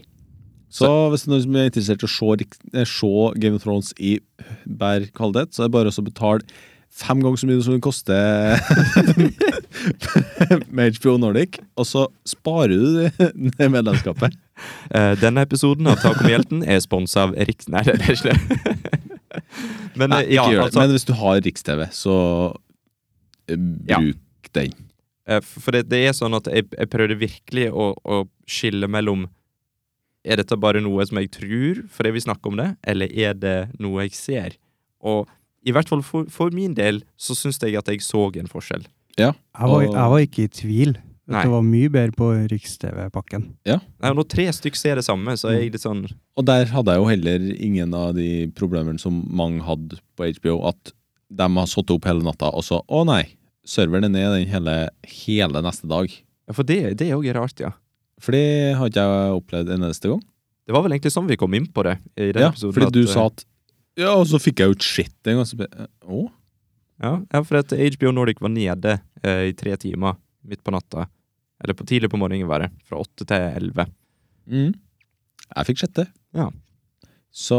Så hvis det er noen som er interessert i å se, Riks- eh, se Game of Thrones i bær kvalitet, så er det bare å betale fem ganger så mye som det koster med HBO Nordic, og så sparer du det, det medlemskapet.
Eh, denne episoden av Tak om hjelten er sponsa av Riks... Nei, det er ikke det. Men
Nei,
eh,
ikke
ja,
gjør det.
altså,
Men hvis du har Riks-TV, så eh,
Ja.
bruk den.
eh, for det, det er sånn at jeg, jeg prøvde virkelig å, å skille mellom Er dette bare noe som jeg tror fordi vi snakker om det, eller er det noe jeg ser? Og i hvert fall for, for min del så syns jeg at jeg så en forskjell.
Jeg var,
Og-
jeg var ikke i tvil.
Nei.
Det var mye bedre på Riks-TV-pakken.
Nei, og Når tre stykk ser det samme, så er jeg litt sånn
Og der hadde jeg jo heller ingen av de problemene som mange hadde på HBO, at de har satt opp hele natta, og så Å nei, serveren er ned den hele, hele neste dag.
Ja, For det, det er òg rart, ja.
For det har ikke jeg opplevd en eneste gang.
Det var vel egentlig sånn vi kom inn på det. i den
Ja,
episoden.
fordi
at,
du
eh,
sa at Ja, og så fikk jeg jo et shit en gang. Så ble, jeg, å?
Ja, ja for at HBO Nordic var nede eh, i tre timer midt på natta. Eller på tidlig på morgenen, var det. Fra åtte til elleve.
Mm. Jeg fikk sjette.
Ja.
Så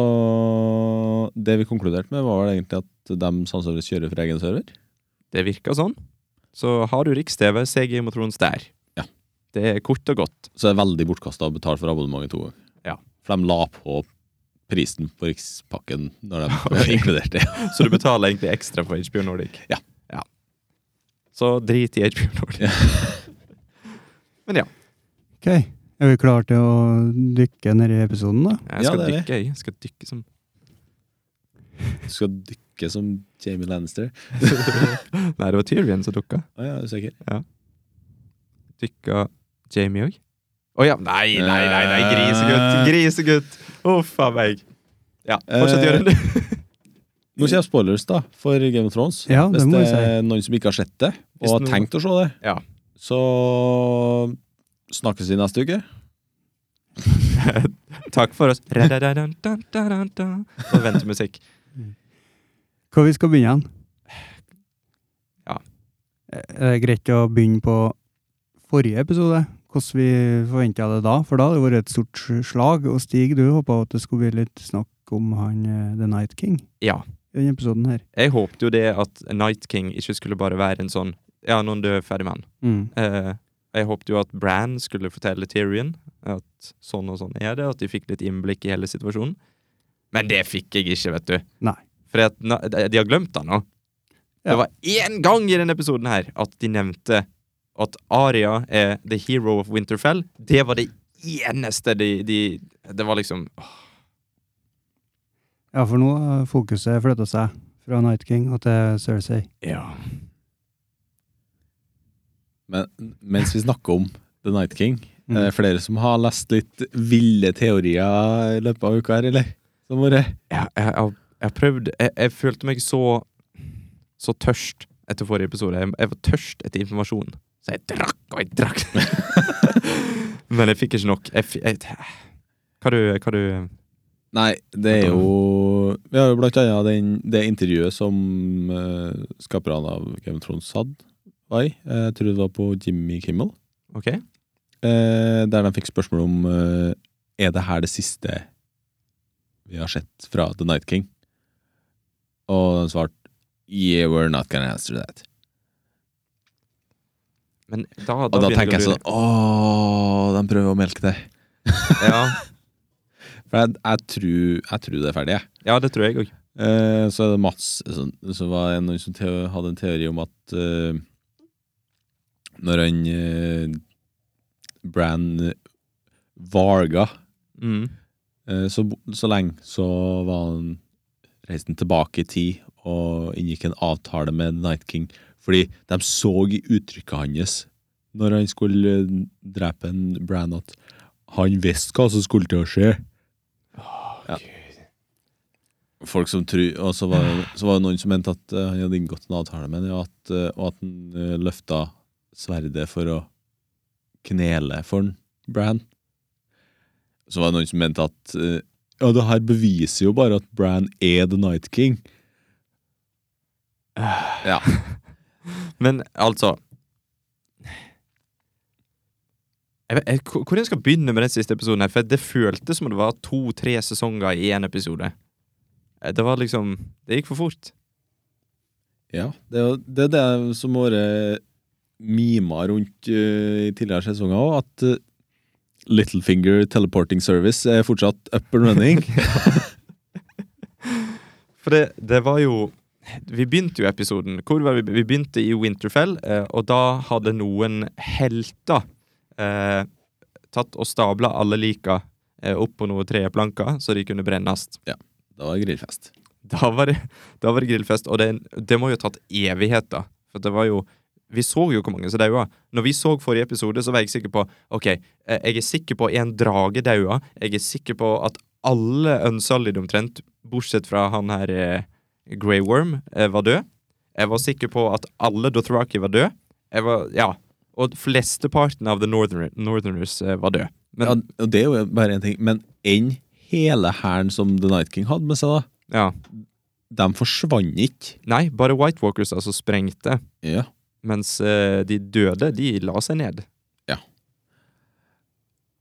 det vi konkluderte med, var vel egentlig at de sannsynligvis kjører fra egen server.
Det virka sånn. Så har du Riks-TV, se Game of Thrones der.
Ja.
Det er kort og godt.
Så det er veldig bortkasta å betale for abonnementet to ganger.
Ja.
For de la på prisen på rikspakken når de inkluderte det.
Så du betaler egentlig ekstra for HBO Nordic.
Ja.
Så drit i HBO Nordic. Men ja.
Ok, Er vi klare til å dykke ned i episoden, da?
Jeg
Ja,
skal
det er vi.
dykke, jeg. jeg. Skal dykke som
Du skal dykke som Jamie Lannister.
Nei, det var Tyrion som dukka.
Å ja, er du sikker?
Dykka Jamie òg? Å ja. Nei, nei, nei, nei,
Eh.
grisegutt! Grisegutt! Huff a meg. Ja, fortsett,
Eh,
Jørund.
Nå kommer spoilers, da, for Game of Thrones.
Ja, det
Hvis
må
det
vi si.
er noen som ikke har sett det, og
Hvis
har
noen-
tenkt å se det,
Ja.
så snakkes vi neste uke.
Takk for oss. Ra-ra-ra-dun-dun-dun-dun-dun. Og ventemusikk.
Hvor vi skal begynne? hen?
Ja.
Er det greit å begynne på forrige episode? Hvordan vi forventa det da? For da hadde det vært et stort slag. Og Stig, du håpa at det skulle bli litt snakk om han eh, The Night King
Ja.
i denne episoden her.
Jeg håpte jo det at Night King ikke skulle bare være en sånn Ja, noen død, ferdig mann.
Mm.
Eh, jeg håpte jo at Bran skulle fortelle Tyrion at sånn og sånn er det, at de fikk litt innblikk i hele situasjonen. Men det fikk jeg ikke, vet du.
Nei.
For at, na- de de har glemt det nå.
Ja.
Det var én gang i denne episoden her at de nevnte at Aria er the hero of Winterfell. Det var det eneste de, de Det var liksom
Ja, for nå har fokuset flytta seg fra Night King og til Cersei.
Ja.
Men, mens vi snakker om The Night King,
Mm.
er det flere som har lest litt ville teorier i løpet av uka her, eller? Som bare
Jeg, jeg, jeg, jeg prøvde jeg, jeg følte meg så Så tørst etter forrige episode. Jeg, jeg var tørst etter informasjon. Så jeg drakk og jeg drakk. Men jeg fikk ikke nok. Jeg, fi- jeg, hva du, hva du
Nei, det er jo Vi har jo blant annet den, det intervjuet som uh, skaperne av Game of Thrones hadde. Var i. Eh, Jeg tror det var på Jimmy Kimmel.
OK?
eh, der de fikk spørsmål om eh, Er det her det siste vi har sett fra The Night King? Og de svarte Yeah, we're not gonna answer that.
Men da,
Og da
begynner
tenker jeg
du-
sånn Åh, de prøver å melke det.
ja,
For jeg, jeg, tror, jeg tror det er ferdig, jeg.
ja, det tror jeg òg.
Eh, så er det Mats som, som var en, noen som teo, hadde en teori om at eh, når han eh, Bran eh, Varga
Mm.
Eh, Så, bo- så lenge så var han reiste han tilbake i tid og inngikk en avtale med Night King. Fordi de så i uttrykket hans når han skulle eh, drepe en Bran, at han visste hva som skulle til å skje. Ja. Folk som tror, og så var, så var det noen som mente at eh, han hadde inngått en avtale med ham, og at, eh, og at han eh, løfta sverdet for å knele for han, Bran. Så var det noen som mente at eh, Ja, det her beviser jo bare at Bran er The Night King. Ja.
Men altså jeg vet, jeg, hvor- Hvor jeg skal begynne med den siste episoden? her For Det føltes som det var to-tre sesonger i én episode. Eh, Det var liksom Det gikk for fort.
Ja, det er jo- det, er det som har vært mima rundt eh, i tidligere sesonger òg, at eh, Littlefinger Teleporting Service er fortsatt up and running.
For det, det var jo Vi begynte jo episoden hvor var vi, vi begynte i Winterfell, eh, og da hadde noen helter eh, tatt og stabla alle lika eh, opp på noen treplanker, så de kunne brennes.
da var det grillfest.
Da var det, da var det grillfest, og det, det må jo ha tatt evigheter. For det var jo Vi så jo hvor mange som daua. Når vi så forrige episode, så var jeg sikker på OK, eh, jeg er sikker på en drage daua. Jeg er sikker på at alle unsolid omtrent, bortsett fra han her eh, Grey Worm, eh, var død. Jeg var sikker på at alle Dothraki var død. Jeg var, ja, Og flesteparten av The Northerner, Northerners eh, var død. Men
Ja, og det er jo bare én ting. Men enn hele hæren som The Night King hadde med seg, da?
ja.
De forsvant ikke.
Nei, bare White Walkers altså sprengte.
Ja.
Mens eh, de døde, de la seg ned.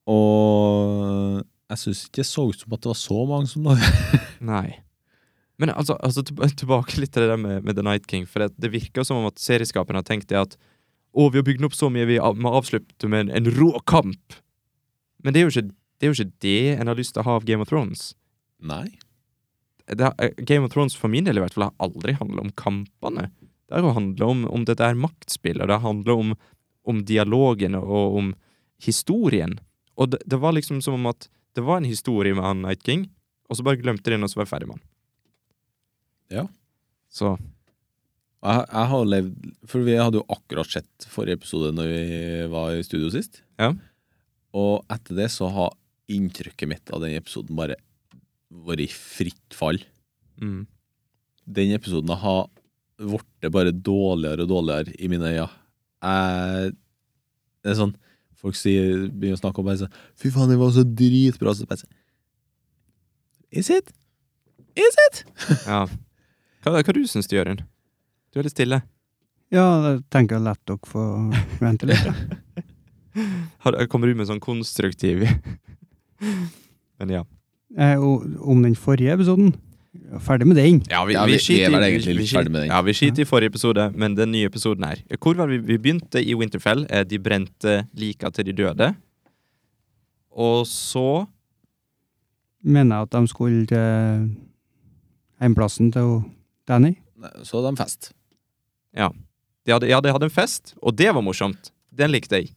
Og jeg syns ikke det så ut som at det var så mange som da
Nei. Men altså, altså tilb- tilbake litt til det der med, med The Night King. For det, det virker som om at serieskaperen har tenkt det at å, vi har bygd den opp så mye, vi av- må avslutte med en, en rå kamp. Men det er, jo ikke, det er jo ikke det en har lyst til å ha av Game of Thrones.
Nei.
Det, har- eh, Game of Thrones for min del i hvert fall har aldri handla om kampene. Det har jo handla om, om dette er maktspill, og det handler om, om dialogen og om historien. Og det, det var liksom som om at det var en historie med han Night King, og så bare glemte de den, og så var jeg ferdig med han.
Ja.
Så
Jeg, jeg har levd For vi hadde jo akkurat sett forrige episode når vi var i studio sist.
Ja.
Og etter det så har inntrykket mitt av den episoden bare vært i fritt fall.
mm.
Den episoden har blitt bare dårligere og dårligere i mine øyne. Jeg, det er sånn Folk sier, begynner å snakke om bare sånn 'Fy faen, det var så dritbra.' Så bare sånn Is it? Is it?
Ja. Hva, hva du syns du, Jørund? Du er litt stille.
Ja, da tenker jeg lett dere få vente litt. da.
Har, kommer du med sånn konstruktiv Men ja.
Eh, og om den forrige episoden. Ferdig med den.
Ja, vi,
Ja,
vi,
vi- vi
skiter
er vel
i-
egentlig litt
skiter-
ferdig med den.
Ja, vi skiter i forrige episode, men den nye episoden her Hvor var vi? Vi begynte i Winterfell. eh, De brente lika til de døde. Og så
Mener jeg at de skulle til heimplassen til hun Danny.
Nei, Så hadde de fest.
de hadde, Ja, de hadde en fest, og det var morsomt. Den likte jeg.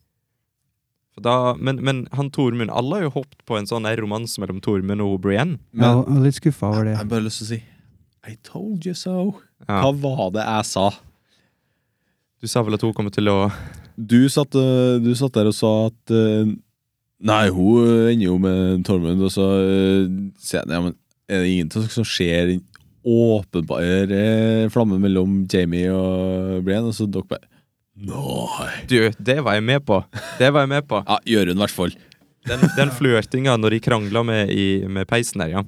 For da, men, men han Tormund Alle har jo hoppet på en sånn der romanse mellom Tormund og Brienne.
Ja, jeg var litt skuffa over det.
Jeg har bare lyst til å si I told you so.
Ja.
Hva var det jeg sa?
Du sa vel at hun kommer til å
Du satt, øh, du satt der og sa at øh, Nei, hun øh, ender jo med Tormund, og så øh, sier jeg ja, men er det ingenting som skjer en åpenbar øh, flamme mellom Jamie og Brian? Og så dere bare Nei.
Du, det var jeg med på. Det var jeg med på.
Ja, gjør hun i hvert fall.
Den, den flørtinga når de krangla med, i- med peisen der, ja.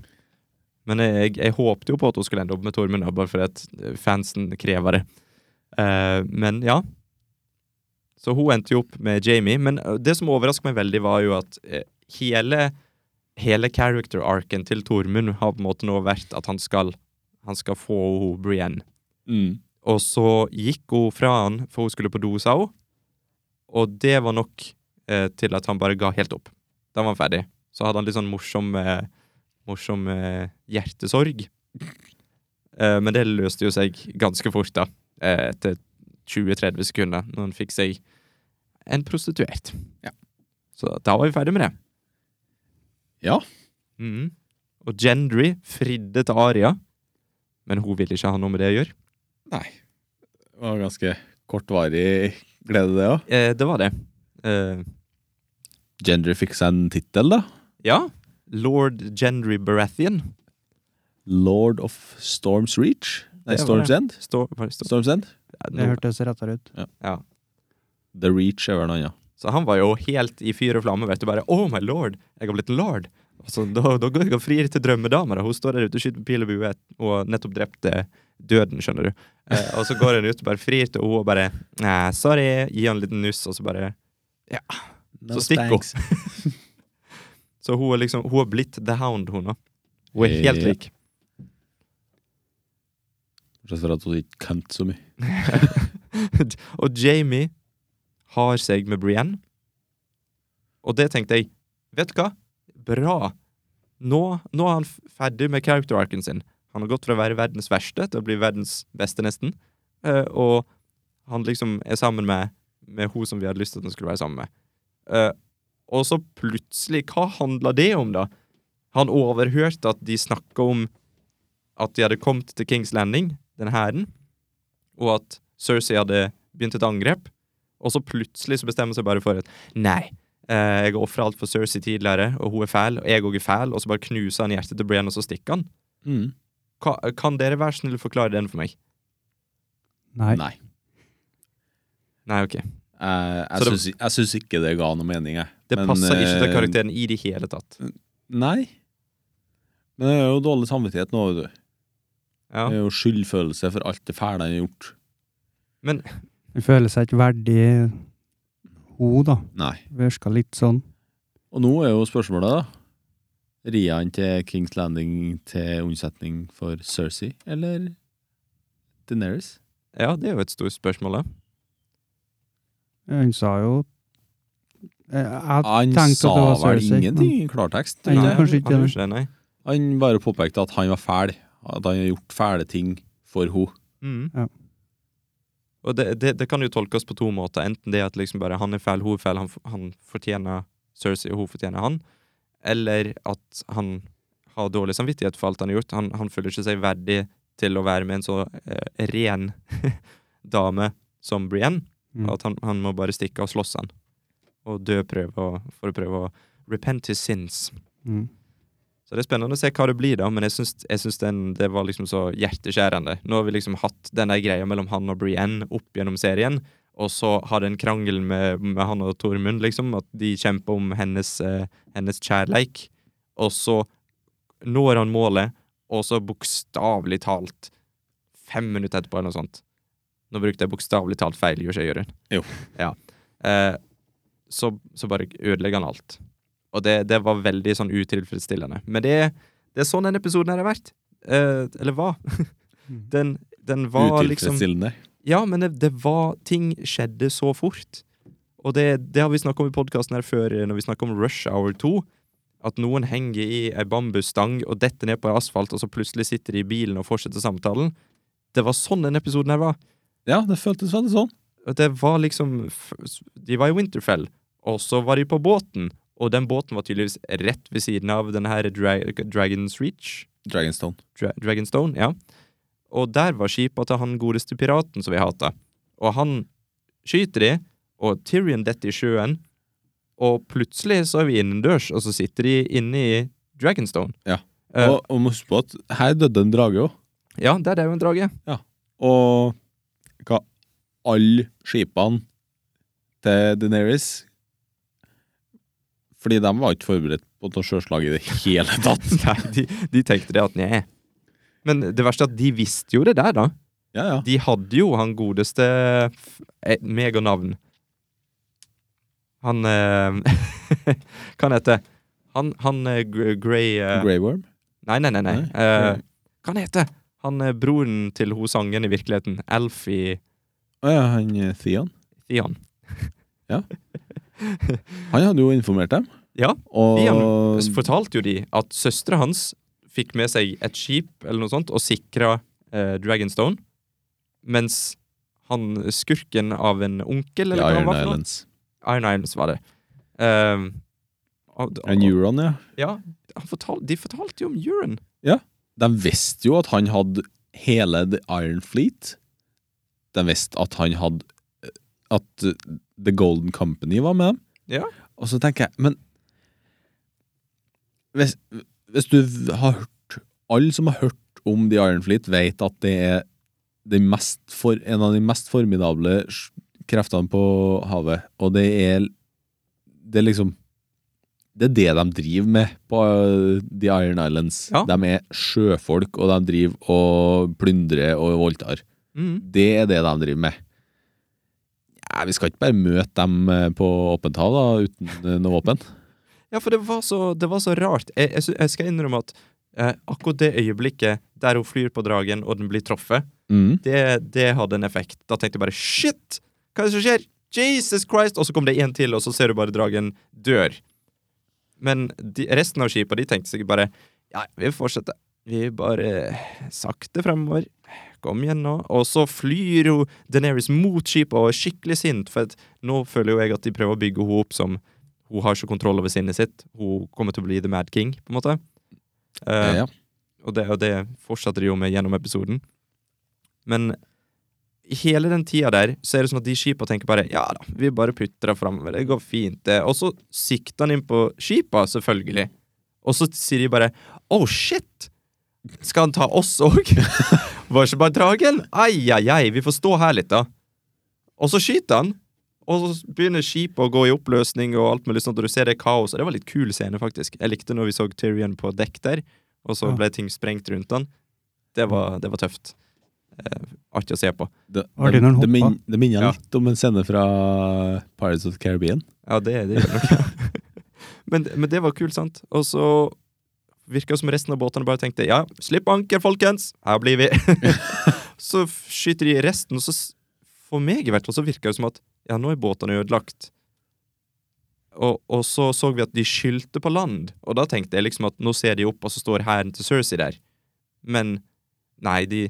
Men jeg, jeg håpte jo på at hun skulle ende opp med Tormund, da, bare fordi at eh, fansen krever det. Eh, men ja. Så hun endte jo opp med Jamie. Men eh, det som overrasket meg veldig, var jo at eh, hele, hele character-arken til Tormund har på en måte nå vært at han skal, han skal få ho- Brienne.
Mm.
Og så gikk hun fra han, for hun skulle på do, sa hun. Og det var nok eh, til at han bare ga helt opp. Da var han ferdig. Så hadde han litt sånn morsom, eh, morsom eh, hjertesorg. Eh, men det løste jo seg ganske fort, da. Eh, etter 20-30 sekunder, når han fikk seg en prostituert.
Ja.
Så da var vi ferdig med det.
Ja.
Mhm. Og Gendry fridde til Aria, men hun ville ikke ha noe med det å gjøre.
Nei. Det var ganske kortvarig glede, det òg.
Eh, det var det. Eh,
Gendry fikk seg en tittel, da.
ja. Lord Gendry Baratheon.
Lord of Storms Reach. Nei,
Det var
Storms
det.
End.
Står, hva det står?
Storms End.
Ja,
Det
nå-
hørtes rettere ut.
The Reach er vel noe annet.
Så han var jo helt i fyr og flamme. Vet du, bare Oh my lord, jeg har blitt en lord. Og Så da, da går jeg og frir til drømmedama. da. Hun står der ute og skyter med pil og bue og nettopp drepte døden, skjønner du. Eh, og så går han ut og bare frir til henne og bare Nei, sorry. Gi han en liten nuss, og så bare
No
Så stikk
thanks.
Så hun er liksom Hun har
Eh,
blitt The Hound, hun nå. Hun er helt
Ja.
lik.
Bortsett fra at hun ikke kømte så mye.
Og Jamie har seg med Brienne. Og det tenkte jeg Vet du hva? Bra! Nå, nå er han f- ferdig med character arcen sin. Han har gått fra å være verdens verste til å bli verdens beste, nesten. Eh, og han liksom er sammen med, med hun som vi hadde lyst til at han skulle være sammen med. Eh, og så plutselig Hva handla det om, da? Han overhørte at de snakka om at de hadde kommet til Kings Landing, den hæren, og at Cersei hadde begynt et angrep, og så plutselig så bestemmer hun seg bare for at nei, eh, jeg har ofra alt for Cersei tidligere, og hun er fæl, og jeg òg er fæl, og så bare knuser han hjertet til Brienne, og så stikker han.
Mm.
Ka, kan dere være snill å forklare den for meg?
Nei.
Nei.
Nei, ok.
Jeg,
Så
Eh, jeg,
det-
syns, jeg syns ikke det ga noe mening, jeg.
Det
Men,
passer ikke til
eh,
karakteren i det hele tatt.
Nei. Men jeg har jo dårlig samvittighet nå, vet du.
Ja.
Det er jo skyldfølelse for alt det fæle han har gjort.
Hun føler seg ikke verdig, hun, da.
Nei.
Virka litt sånn.
Og nå er jo spørsmålet, da. Rir han til Kings Landing til unnsetning for Cersei, eller Deneris?
ja, det er jo et stort spørsmål, da.
Hun sa jo Jeg, jeg
Han
tenkte at
sa
det var
vel
Cersei,
ingenting i klartekst. tror
Nei,
jeg.
kanskje ikke det.
Han gjør ikke det, nei.
Han bare påpekte at han var fæl. At han har gjort fæle ting for henne.
Mm.
Ja.
Og det, det, det kan jo tolkes på to måter. Enten det at liksom bare han er feil, hun er feil, han, f- han fortjener Cersei, og hun fortjener han. Eller at han har dårlig samvittighet for alt han har gjort. Han, han føler ikke seg verdig til å være med en så eh, ren dame som Brienne.
Mm.
At han, han må bare stikke av og slåss han. Og dø prøve å, for å prøve å repent his sins.
mm.
Så det er spennende å se hva det blir, da, men jeg syns, jeg syns den, det var liksom så hjerteskjærende. Nå har vi liksom hatt den der greia mellom han og Brienne opp gjennom serien, og så har den krangelen med, med han og Tormund, liksom, at de kjemper om hennes, eh, hennes kjærleik, og så når han målet, og så bokstavelig talt fem minutter etterpå eller noe sånt. Nå brukte jeg bokstavelig talt feil, gjorde ikke jeg, Jørund?
Jo.
Ja. Eh, så, så bare ødelegger han alt. Og det, det var veldig sånn utilfredsstillende. Men det, det er sånn denne episoden her har vært. Eh, eller hva? Den, den var liksom
Utilfredsstillende.
Ja, men det, det var Ting skjedde så fort. Og det, det har vi snakka om i podkasten her før, eh, når vi snakka om Rush Hour 2. At noen henger i ei bambusstang og detter ned på asfalt, og så plutselig sitter de i bilen og fortsetter samtalen. Det var sånn denne episoden her var.
Ja, det føltes veldig sånn.
Og det var liksom f- s- De var i Winterfell, og så var de på båten. Og den båten var tydeligvis rett ved siden av den her dra Dragon's Reach.
Dragonstone.
Dra Dragonstone, ja. Og der var skipet til han godeste piraten som vi hata. Og han skyter de, og Tyrion detter i sjøen. Og plutselig så er vi innendørs, og så sitter de inne i Dragonstone.
Ja.
Eh,
og og må huske på at her døde en drage òg.
ja, der er jo en drage.
Og hva alle skipene til Deneris Fordi de var ikke forberedt på noe sjøslag i det hele tatt.
Nei, de, de tenkte det at nei. Men det verste er at de visste jo det der, da.
Ja, ja.
De hadde jo han godeste f- eh, et meganavn. Han eh, Hva han heter han? Han eh, Gr- Grey eh,
Grey Worm.
Nei, nei, nei. nei. Eh,
Nei, Grey.
hva han heter han? eh, broren til hun sangen i virkeligheten. Alfie
Å ja, han eh, Theon.
Theon.
Han hadde jo informert dem.
Ja,
og
Theon fortalte jo de at søstera hans fikk med seg et skip eller noe sånt og sikra eh, Dragonstone, mens han skurken av en onkel eller
ja,
hva han
Iron
var for noe
Islands.
Iron Islands var det. Ehm, og- og-
En Euron, ja.
ja, han fortal, de fortalte jo om Euron.
De visste jo at han hadde hele The Iron Fleet. De visste at han hadde eh, At The Golden Company var med dem.
Ja.
Og så tenker jeg, men hvis, hvis du har hørt Alle som har hørt om The Iron Fleet, vet at det er den mest for, en av de mest formidable sj- kreftene på havet. Og det er Det er liksom det er det de driver med på uh, The Iron Islands.
Ja.
De er sjøfolk, og de driver og plyndrer og voldtar.
Mm.
Det er det de driver med. Ja, vi skal ikke bare møte dem eh, på åpent hav da, uten eh, noe våpen.
Ja, for det var så, det var så rart. Jeg, jeg, sy- jeg skal innrømme at eh, akkurat det øyeblikket der hun flyr på dragen og den blir truffet,
Mm.
Det, det hadde en effekt. Da tenkte jeg bare shit! Hva er det som skjer? Jesus Christ! Og så kom det en til, og så ser du bare dragen dør. Men de, resten av skipa de tenkte sikkert bare ja, vi fortsetter. Vi bare sakte fremover. Kom igjen nå. Og så flyr jo Deneris mot skipet og er skikkelig sint, for at nå føler jo jeg at de prøver å bygge henne opp som Hun har ikke kontroll over sinnet sitt. Hun kommer til å bli The Mad King, på en måte. Eh,
Ja.
og det, og det fortsatte de jo med gjennom episoden. Men i hele den tida der, så er det sånn at de skipa tenker bare Ja da, vi bare putter det framover. Det går fint, det. Og så sikter han inn på skipa, selvfølgelig. Og så sier de bare Oh shit! Skal han ta oss òg? Var ikke bare dragen? Ai, ai, ai. Vi får stå her litt, da. Og så skyter han. Og så begynner skipet å gå i oppløsning og alt mulig sånt, og du ser det kaoset. Det var litt kul scene, faktisk. Jeg likte når vi så Tyrion på dekk der, og så
Ja.
ble ting sprengt rundt han. Det var, det var tøft. Eh, artig å se på.
Det,
Var det
det,
når han
det, min,
hoppa?
det minner
Ja.
litt om en scene fra Pirates of the Caribbean.
Ja, det, det gjør det nok. men, men det var kult, sant? Og så virka det som resten av båtene bare tenkte ja, slipp anker, folkens! Her blir vi! så f- skyter de resten, og så s- For meg i hvert fall så virka det som at ja, nå er båtene ødelagt. Og, og så så vi at de skyldte på land, og da tenkte jeg liksom at nå ser de opp, og så står hæren til Cersei der. Men nei, de,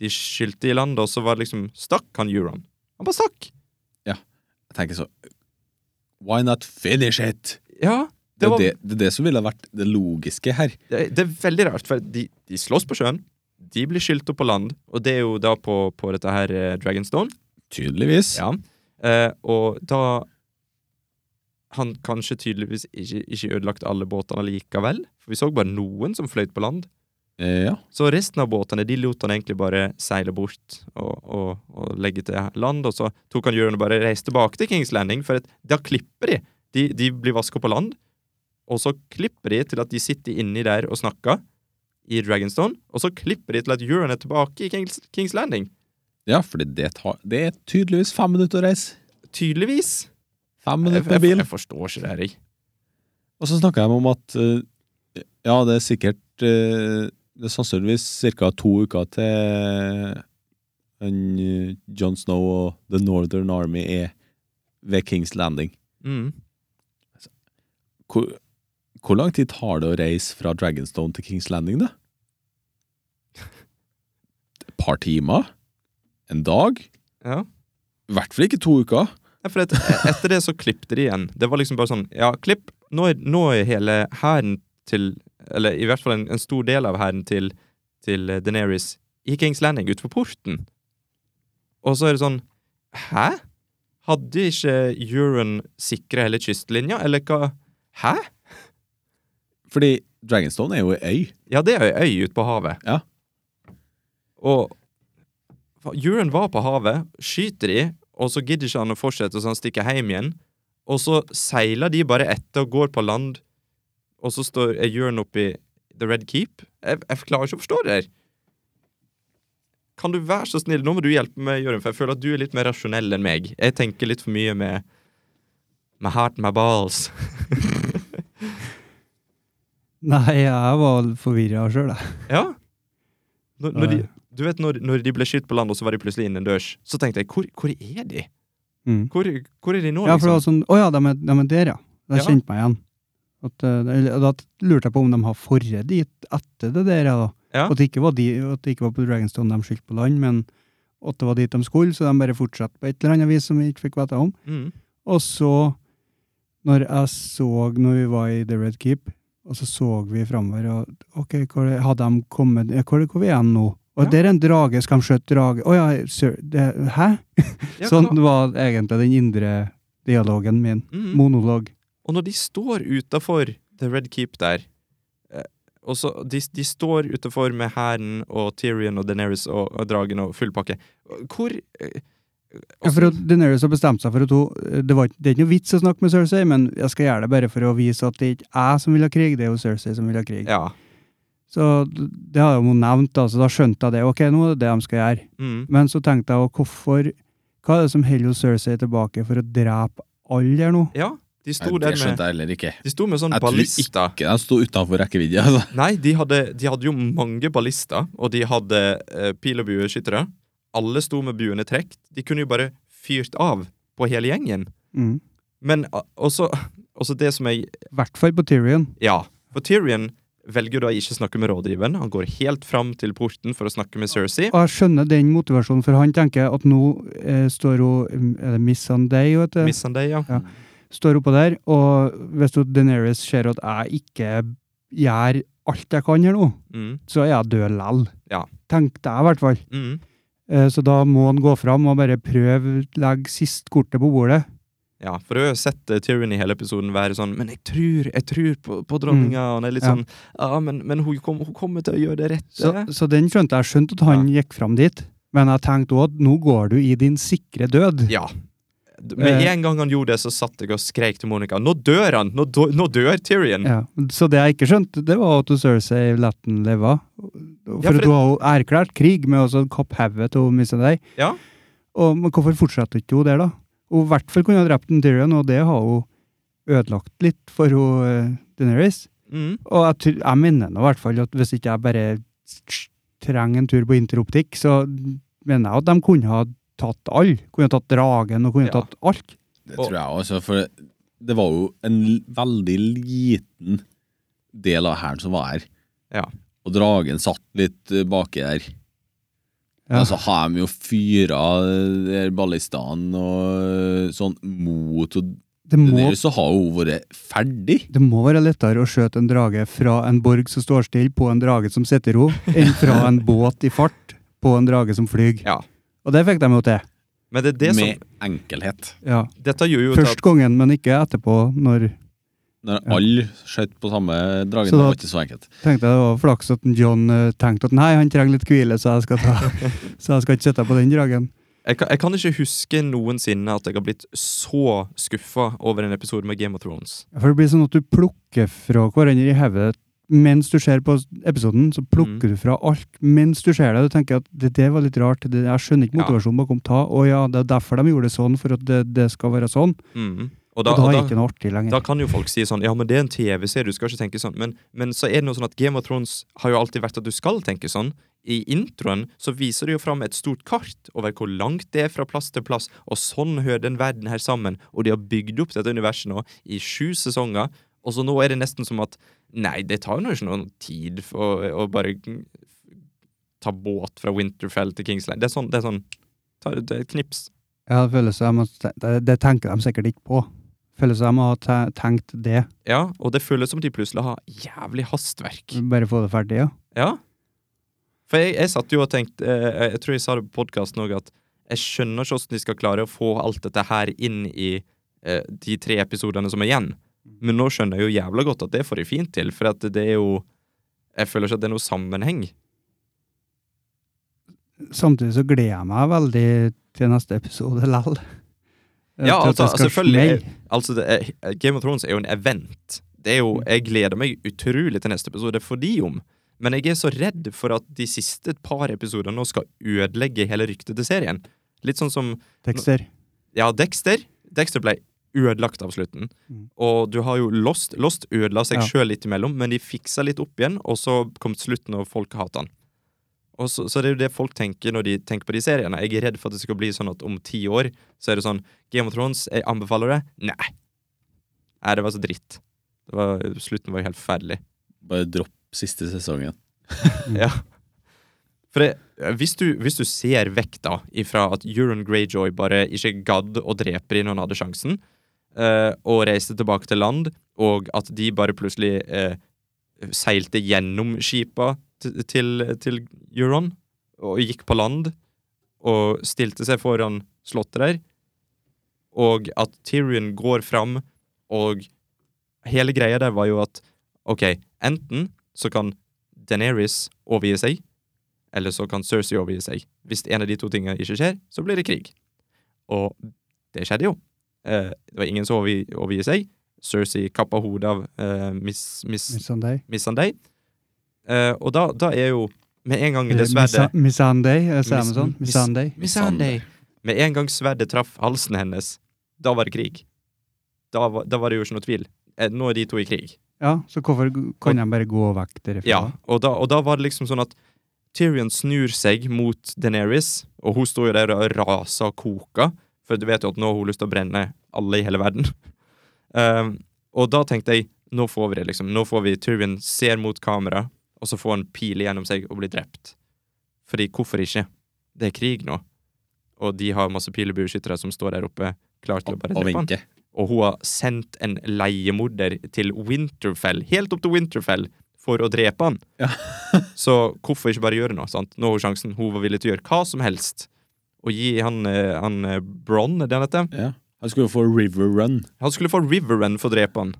de skyldte i land, og så var det liksom Stakk han Euron? Han bare stakk!
Jeg tenker så Why not finish it?
Ja,
Det,
det
er
var
det, det er det som ville vært det logiske her.
Det, det er veldig rart, for de, de slåss på sjøen. De blir skylt opp på land, og det er jo da på, på dette her eh, Dragonstone.
Tydeligvis.
Ja. Eh, og da Han kanskje tydeligvis ikke, ikke ødelagte alle båtene likevel, for vi så bare noen som fløyt på land.
Eh, ja.
Så resten av båtene de lot han egentlig bare seile bort og, og, og legge til land, og så tok han Jørn og bare reiste tilbake til Kings Landing, for at, da klipper de. De, de blir vaska på land, og så klipper de til at de sitter inni der og snakker i Dragonstone, og så klipper de til at Jørn er tilbake i Kings, Kings Landing.
ja, fordi det, tar, det er tydeligvis fem minutter å reise.
Tydeligvis.
Fem
Jeg, jeg,
minutter med bil.
jeg forstår ikke det her, jeg.
Eh, Og så snakka de om at eh, ja, det er sikkert eh, Det er sannsynligvis ca. to uker til han, eh, John Snow og The Northern Army er ved Kings Landing.
Mm.
Hvor, hvor lang tid tar det å reise fra Dragonstone til Kings Landing, da? Et par timer? En dag?
Ja.
I hvert fall ikke to uker.
Nei, for et, etter det så klippte de igjen. Det var liksom bare sånn Ja, klipp. Nå er, nå er hele hæren til Eller i hvert fall en, en stor del av hæren til, til eh, Daenerys i Kings Landing utenfor porten. Og så er det sånn Hæ? Hadde ikke Euron sikra hele kystlinja, eller hva? Hæ?
Fordi Dragonstone er jo ei øy.
Ja, det er ei øy ute på havet.
Ja.
Og fa- Euron var på havet, skyter de, og så gidder ikke han å fortsette, så han stikker hjem igjen. Og så seiler de bare etter og går på land, og så står er Euron oppe i The Red Keep. Jeg, jeg klarer ikke å forstå det her. Kan du være så snill, nå må du hjelpe meg, Jørgen, for jeg føler at du er litt mer rasjonell enn meg. Jeg tenker litt for mye med My heart, my balls.
Nei, jeg var forvirra sjøl, jeg.
Ja. Når, når de,
Nei.
du vet når, når de ble skylt på land, og så var de plutselig innendørs, så tenkte jeg hvor, hvor er de?
Mm.
Hvor, hvor er de nå,
Ja, for det
liksom?
var sånn Å ja, de er, de er der, ja. De
Ja.
kjente meg igjen. At, eh, eller, da lurte jeg på om de har forret dit etter det der, ja da.
Ja.
At, det ikke var de, at det ikke var på Dragonstone de skyldte på land, men at det var dit de skulle, så de bare fortsatte på et eller annet vis som vi ikke fikk vite om.
Mm.
Og så, når jeg så når vi var i The Red Keep, og så så vi framover, og ok, hvor er- hadde de kommet ja, Hvor, hvor er vi igjen nå? Og
Ja.
der er en drage, skal de skjøte drage? Å ja, sir, det, hæ?
Ja,
sånn
klar.
var egentlig den indre dialogen min.
Mm.
Monolog.
Og når de står utafor The Red Keep der eh, og så, de, de står utafor med hæren og Tyrion og Daenerys og, og dragen og full pakke. Hvor eh,
Ja, for at Daenerys har bestemt seg for at hun eh, Det, var, ikke- det er ikke noe vits å snakke med Cersei, men jeg skal gjøre det bare for å vise at det ikke er jeg som vil ha krig, det er jo Cersei som vil ha krig.
Ja.
Så d- det har hun nevnt, da, så da skjønte jeg det. Ok, nå er det det de skal gjøre.
Mm.
Men så tenkte jeg også, hvorfor Hva er det som holder hun Cersei tilbake for å drepe alle her nå?
Ja. De sto
Nei,
der
det
med,
skjønte jeg heller ikke.
de sto med sånn
Jeg tror
ballister.
ikke de sto utenfor rekkevidde. Altså.
Nei, de hadde, de hadde jo mange ballister, og de hadde eh, pil- og bueskyttere. Alle sto med buene trekt. De kunne jo bare fyrt av på hele gjengen.
Mm.
Men ah, også, også det som jeg
I hvert fall på Tyrion.
Ja, for Tyrion velger da ikke å snakke med rådgiveren. Han går helt fram til porten for å snakke med Cersei.
Og jeg skjønner den motivasjonen, for han tenker at nå eh, står hun Er det Miss Sunday, vet du?
Missandei, ja.
Ja. Står oppå der, og hvis hun Daenerys ser at jeg ikke gjør alt jeg kan her nå,
Mm,
så er jeg død lell.
Ja.
Tenkte jeg, i hvert fall.
mm.
Eh, Så da må han gå fram og bare prøve, legge sist kortet på bordet.
Ja, for du har jo sett eh, Tyrion i hele episoden være sånn Men jeg tror, jeg tror på, på dronninga. Og han er litt
Mm. Ja.
sånn Ja, men, men hun, kom, hun kommer til å gjøre det
Så,
rette.
så den skjønte jeg. Skjønte at han gikk fram dit. Men jeg tenkte òg at nå går du i din sikre død.
Ja. D- Med
Eh.
en gang han gjorde det, så satt jeg og skreik til Monica. Nå dør han! Nå, dø- nå dør Tyrion!
Ja, Så det jeg ikke skjønte, det var at Cersei lot han leve. For,
Ja, for
at hun har jo erklært krig med å kappe hodet til missa deg.
Ja.
Og, men hvorfor fortsetter ikke hun der, da? Hun i hvert fall kunne ha drept en Tyrion, og det har hun ødelagt litt for hun, eh, Daenerys.
Mm.
Og jeg, tror- jeg mener nå i hvert fall at hvis ikke jeg bare trenger en tur på interoptikk, så mener jeg at de kunne ha tatt alle. Kunne ha tatt dragen og kunne ha
Ja.
tatt alt.
Det
Og-
tror jeg også, for det var jo en l- veldig liten del av hæren som var her.
Ja.
Og dragen satt litt eh, baki der.
Ja.
Altså,
Og så har de jo fyra eh, der ballistene og eh, sånn mot og
Det må,
Daenerys, så har jo hun vært ferdig.
det må være lettere å skjøte en drage fra en borg som står stille, på en drage som sitter i ro, enn fra en båt i fart på en drage som flyr.
Ja.
Og det fikk de jo til.
Men det er det
med enkelhet.
Ja.
som Dette gjør jo
Først
at
gangen, men ikke etterpå, når
Når
Ja.
alle skjøt på samme dragen,
Så
det
da-
var ikke så enkelt.
tenkte jeg det var flaks at en John eh, tenkte at nei, han trenger litt hvile, så jeg skal, ta, så jeg skal ikke sitte på den dragen.
jeg kan, jeg kan ikke huske noensinne at jeg har blitt så skuffa over en episode med Game of Thrones.
For det blir sånn at du plukker fra hverandre i hodet mens du ser på episoden, så
Mm.
plukker du fra alt mens du ser det. Du tenker at det, det var litt rart, det, jeg skjønner ikke
Ja.
motivasjonen bakom ta. Å ja, det er derfor de gjorde det sånn, for at det, det skal være sånn.
Mm.
Og da, er det ikke noe artig lenger.
Da kan jo folk si sånn Ja, men det er en TV-serie, du skal ikke tenke sånn. Men, men så er det noe sånn at Game of Thrones har jo alltid vært at du skal tenke sånn. I introen så viser de jo fram et stort kart over hvor langt det er fra plass til plass, og sånn hører den verden her sammen. Og de har bygd opp dette universet nå i sju sesonger, og så nå er det nesten som at Nei, det tar jo ikke noen tid for å, å bare ta båt fra Winterfell til Kingsland. Det er sånn, det er sånn ta, det er et knips.
Ja, det, føles som at det, det tenker de sikkert ikke på. Føles som å ha te- tenkt det,
Ja, og det føles som de plutselig har jævlig hastverk.
bare få det ferdig, ja.
Ja. For jeg, jeg satt jo og tenkte eh, jeg, jeg tror jeg sa det på podkasten òg, at jeg skjønner ikke hvordan de skal klare å få alt dette her inn i eh, de tre episodene som er igjen. Men nå skjønner jeg jo jævla godt at det får de fint til, for at det er jo Jeg føler ikke at det er noe sammenheng.
Samtidig så gleder jeg meg veldig til neste episode lell.
Ja,
Til at
altså,
det skal
selvfølgelig.
smelle.
Altså, det er, Game of Thrones er jo en event. Det er jo, Jeg gleder meg utrolig til neste episode fordi om. Men jeg er så redd for at de siste par episodene nå skal ødelegge hele ryktet til serien. Litt sånn som
Tekster.
Ja, Dexter Dexter ble ødelagt av slutten.
Mm.
Og du har jo Lost. Lost ødela seg
Ja.
sjøl litt imellom, men de fiksa litt opp igjen, og så kom slutten, og folk hata han. Og så, så det er jo det folk tenker når de tenker på de seriene. Jeg er redd for at det skal bli sånn at om ti år så er det sånn Game of Thrones, jeg anbefaler det. Nei. Nei, det var så dritt. Det var, slutten var jo helt forferdelig.
Bare dropp siste sesongen.
Ja. For det, eh, hvis, du, hvis du ser vekk da ifra at Euron Greyjoy bare ikke gadd å drepe dem når han hadde sjansen, eh, og reiste tilbake til land, og at de bare plutselig eh, seilte gjennom skipa til, til, til Euron, og gikk på land, og stilte seg foran slottet der, og at Tyrion går fram, og hele greia der var jo at OK, enten så kan Daenerys overgir seg, eller så kan Cersei overgi seg. Hvis en av de to tingene ikke skjer, så blir det krig. Og det skjedde jo. Eh, det var ingen som overgi, overgir seg. Cersei kappa hodet av eh, Miss, miss,
Missandei.
Missandei. Eh, og da, da er jo Med en gang det
Missa-
sverdet
Missandei, eh, sier
Eh, Miss-
de sånn?
miss-
Missandei.
Med en gang sverdet traff halsen hennes, da var det krig. da, var- da var det jo ikke noe tvil. Eh, Nå er de to i krig.
Ja, så hvorfor g- kan de bare gå vekk derifra?
Ja, og da, og da var det liksom sånn at Tyrion snur seg mot Daenerys, og hun står jo der og raser og koker, for du vet jo at nå har hun lyst til å brenne alle i hele verden. Ehm, og da tenkte jeg, nå får vi det liksom. Nå får vi Tyrion ser mot kamera, og så får han pil gjennom seg og blir drept. Fordi hvorfor ikke? Det er krig nå. Og de har masse pilebueskyttere som står der oppe, klar til å bare
Og
drepe han
vente.
og hun har sendt en leiemorder til Winterfell, helt opp til Winterfell, for å drepe han.
Ja.
Så hvorfor ikke bare gjøre noe? sant? Nå har hun sjansen. Hun var villig til å gjøre hva som helst. Og gi han, eh, han eh, Bronn, er det han heter?
Ja. Han skulle jo få River Run.
Han skulle få Riverrun for å drepe han.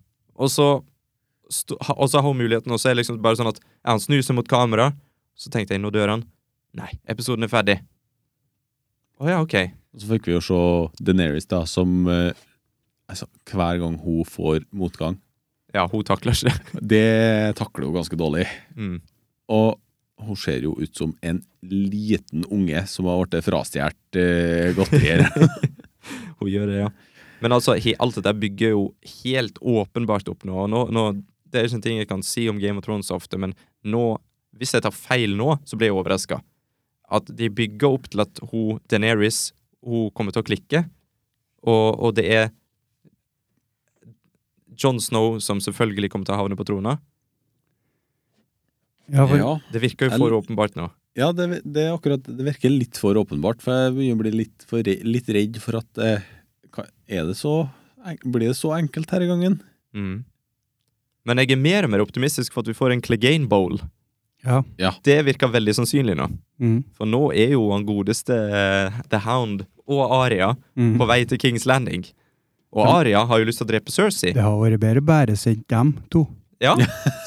Og så, sto- ha- og så har hun muligheten, og så er det liksom bare sånn at ja, han snur seg mot kamera, så tenkte jeg, nå dør han. Nei, episoden er ferdig. Å ja, ok.
Og så fikk vi jo se Daenerys da, som eh, altså, hver gang hun får motgang
Ja, hun takler ikke det.
Det takler hun ganske dårlig.
Mm.
Og hun ser jo ut som en liten unge som har blitt frastjålet eh, godterier.
Hun gjør det, ja. Men altså, he, alt dette bygger jo helt åpenbart opp nå. og nå, nå det er ikke en ting jeg kan si om Game of Thrones så ofte, men nå, hvis jeg tar feil nå, så blir jeg overraska. At de bygger opp til at hun, Daenerys, hun kommer til å klikke, og, og det er John Snow som selvfølgelig kommer til å havne på trona.
Ja, for,
ja,
Det virker jo for åpenbart nå.
ja det, det er akkurat Det virker litt for åpenbart, for jeg begynner å bli litt, for, re- litt redd for at eh, hva- er det så, en- Blir det så enkelt denne gangen?
Mm. Men jeg er mer og mer optimistisk for at vi får en Clegane Bowl.
ja.
Det virker veldig sannsynlig nå.
Mm,
For nå er jo han godeste eh, The Hound og Aria
mm.
på vei til Kings Landing. Og Aria har jo lyst til å drepe Cersei.
Det har vært bedre bare sendt dem to.
Ja,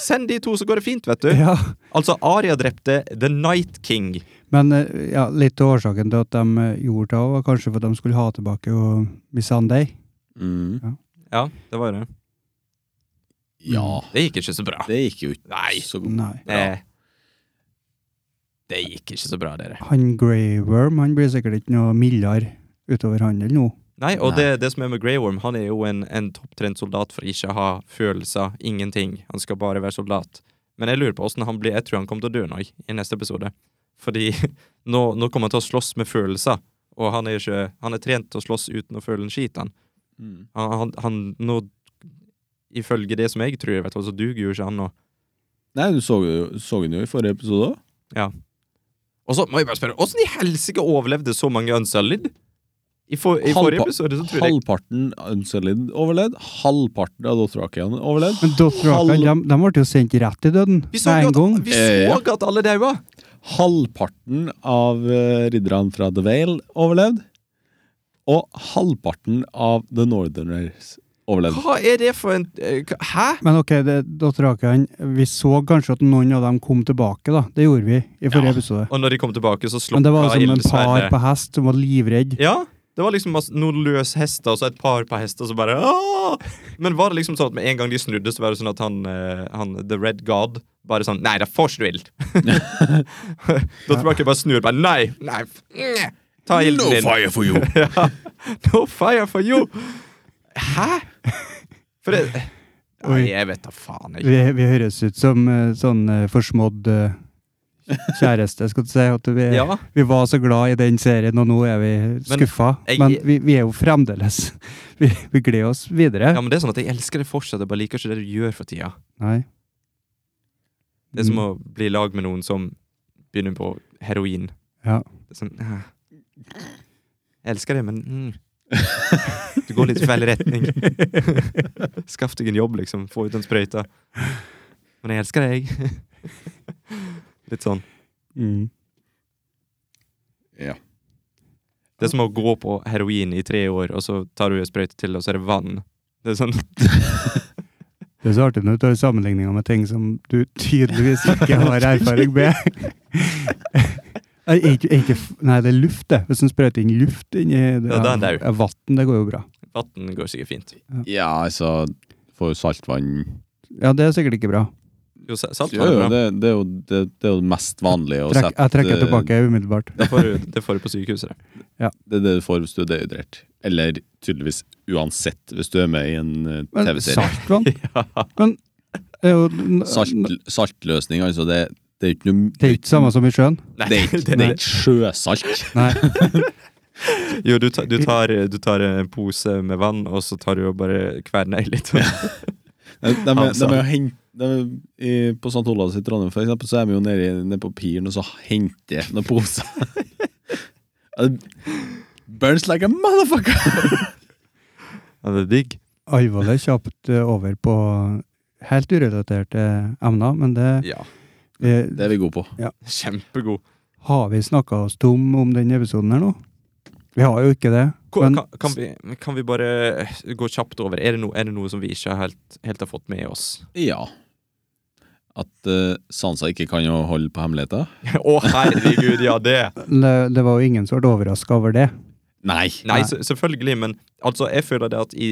Send de to, så går det fint, vet du.
Ja.
Altså, Aria drepte The Night King.
Men eh, ja, litt av årsaken til at de eh, gjorde det, var kanskje for at de skulle ha tilbake jo Miss Sunday.
Mm.
Ja, det var det.
Ja.
Det gikk ikke så bra.
Det gikk jo ikke
Nei.
så godt.
Nei.
Eh, Det gikk ikke så bra, dere.
Han Grey Worm han blir sikkert ikke noe mildere utover handel nå.
Nei, og det, det som er med Grey Worm, han er jo en, en topptrent soldat for ikke å ha følelser, ingenting. Han skal bare være soldat. Men jeg lurer på hvordan han blir Jeg tror han kommer til å dø nå, i neste episode. Fordi nå, nå kommer han til å slåss med følelser, og han er, ikke, han er trent til å slåss uten å føle en skit, han.
Mm.
Han, han, han nå Ifølge det som jeg tror, vet du, så duger jo ikke han nå.
Nei, du så, jo- så den jo i forrige episode òg.
Og så må jeg bare spørre, åssen i helsike overlevde så mange Unsullied? I, for, i forrige
Halvpa-
episode så tror jeg
Halvparten Unsullied overlevd. Halvparten av Dothrakian overlevd.
Men Dothrakan, de, de ble jo sendt rett til døden
Vi
med
så jo
en gang.
at, vi så
Ja.
at alle daua!
Halvparten av eh, ridderne fra The Vale overlevd. Og halvparten av The Northerners overlevd.
Hva er det for en eh, hva- Hæ?
Men ok, det, Dothrakan, vi så kanskje at noen av dem kom tilbake, da. Det gjorde vi i forrige episode.
Og når de kom tilbake, så
Men
slokka
det var som en par
ildsverdet.
på hest som var livredd.
Ja, det var liksom masse, noen løse hester og så et par på hester, og så bare Åh! Men var det liksom sånn at med en gang de snudde, så var det sånn at han, eh, han The Red God bare sånn Nei, det får ikke du ild. da tror jeg ikke bare snur bare Nei! nei f- nye, Ta ilden din.
fire for you!
ja. No fire for you! Hæ? For det
Oi.
Nei, jeg vet da faen. Jeg.
Vi, vi høres ut som eh, sånn eh, forsmådd eh, kjæreste, skal du si. At vi,
Ja.
vi var så glad i den serien, og nå er vi skuffa.
jeg-
Men, vi, vi er jo fremdeles Vi, vi gleder oss videre.
ja, men det er sånn at jeg elsker det fortsatt. Jeg bare liker ikke det du gjør for tida.
Nei.
Det er som
Mm.
å bli i lag med noen som begynner på heroin.
Mm. Ja.
Det er sånn ah. Jeg elsker det, men mm. Du går litt i feil retning. Skaff deg en jobb, liksom. Få ut den sprøyta. Men jeg elsker deg. Litt sånn.
Mm.
Ja.
Det er som å gå på heroin i tre år, og så tar du en sprøyte til, og så er det vann. Det er sånn
Det er så artig når du tar sammenligninger med ting som du tydeligvis ikke har erfaring med. Nei, ikke, ikke, f- nei, det er luft, det. Hvis du sprøyter inn luft inni det,
Ja, da er det
Vann, det går jo bra.
Vann går sikkert fint.
ja, altså For saltvann
Ja, det er sikkert ikke bra.
Jo, sa-
Jo,
saltvann
jo,
er bra.
det, det, er jo, det, det er jo det mest vanlige å
Trekk,
sette
jeg trekker
eh,
tilbake umiddelbart.
Det får, du- det får du på sykehuset. det.
eh, Det er det du får hvis du er dehydrert. Eller tydeligvis uansett hvis du er med i en eh,
Men
TV-serie.
saltvann
Ja.
er jo n-
Salt,
n-
saltløsning, altså. Det, det er ikke noe
Det er ikke samme som i sjøen.
Nei,
Det er ikke, det er ikke sjøsalt.
Nei.
Jo, du, ta, du, tar, du tar en pose med vann, og så tar du og bare kverner i litt.
De, de, de,
Altså.
er jo hent- de, i, på St. Olavs i Trondheim for eksempel, så er vi jo nede, i- nede på piren og så henter jeg noen poser. Ja, det- Burns like a motherfucker!
Ja, det er digg.
Alvorlig kjapt eh, over på helt urelaterte emner, men det,
Ja,
eh,
Det er vi gode på.
kjempegod.
Har vi snakka oss tom om den episoden her nå? Vi har jo ikke det.
Ko-
Men-
kan, kan, vi, kan vi bare eh, gå kjapt over? Er det, no, er det noe som vi ikke helt, helt har fått med oss?
Ja. At eh, Sansa ikke kan jo holde på hemmeligheter?
Å, herregud, ja, det!
Det, det var jo ingen som ble overraska over det.
Nei!
Nei,
Nei.
se- selvfølgelig, men altså, jeg føler det at i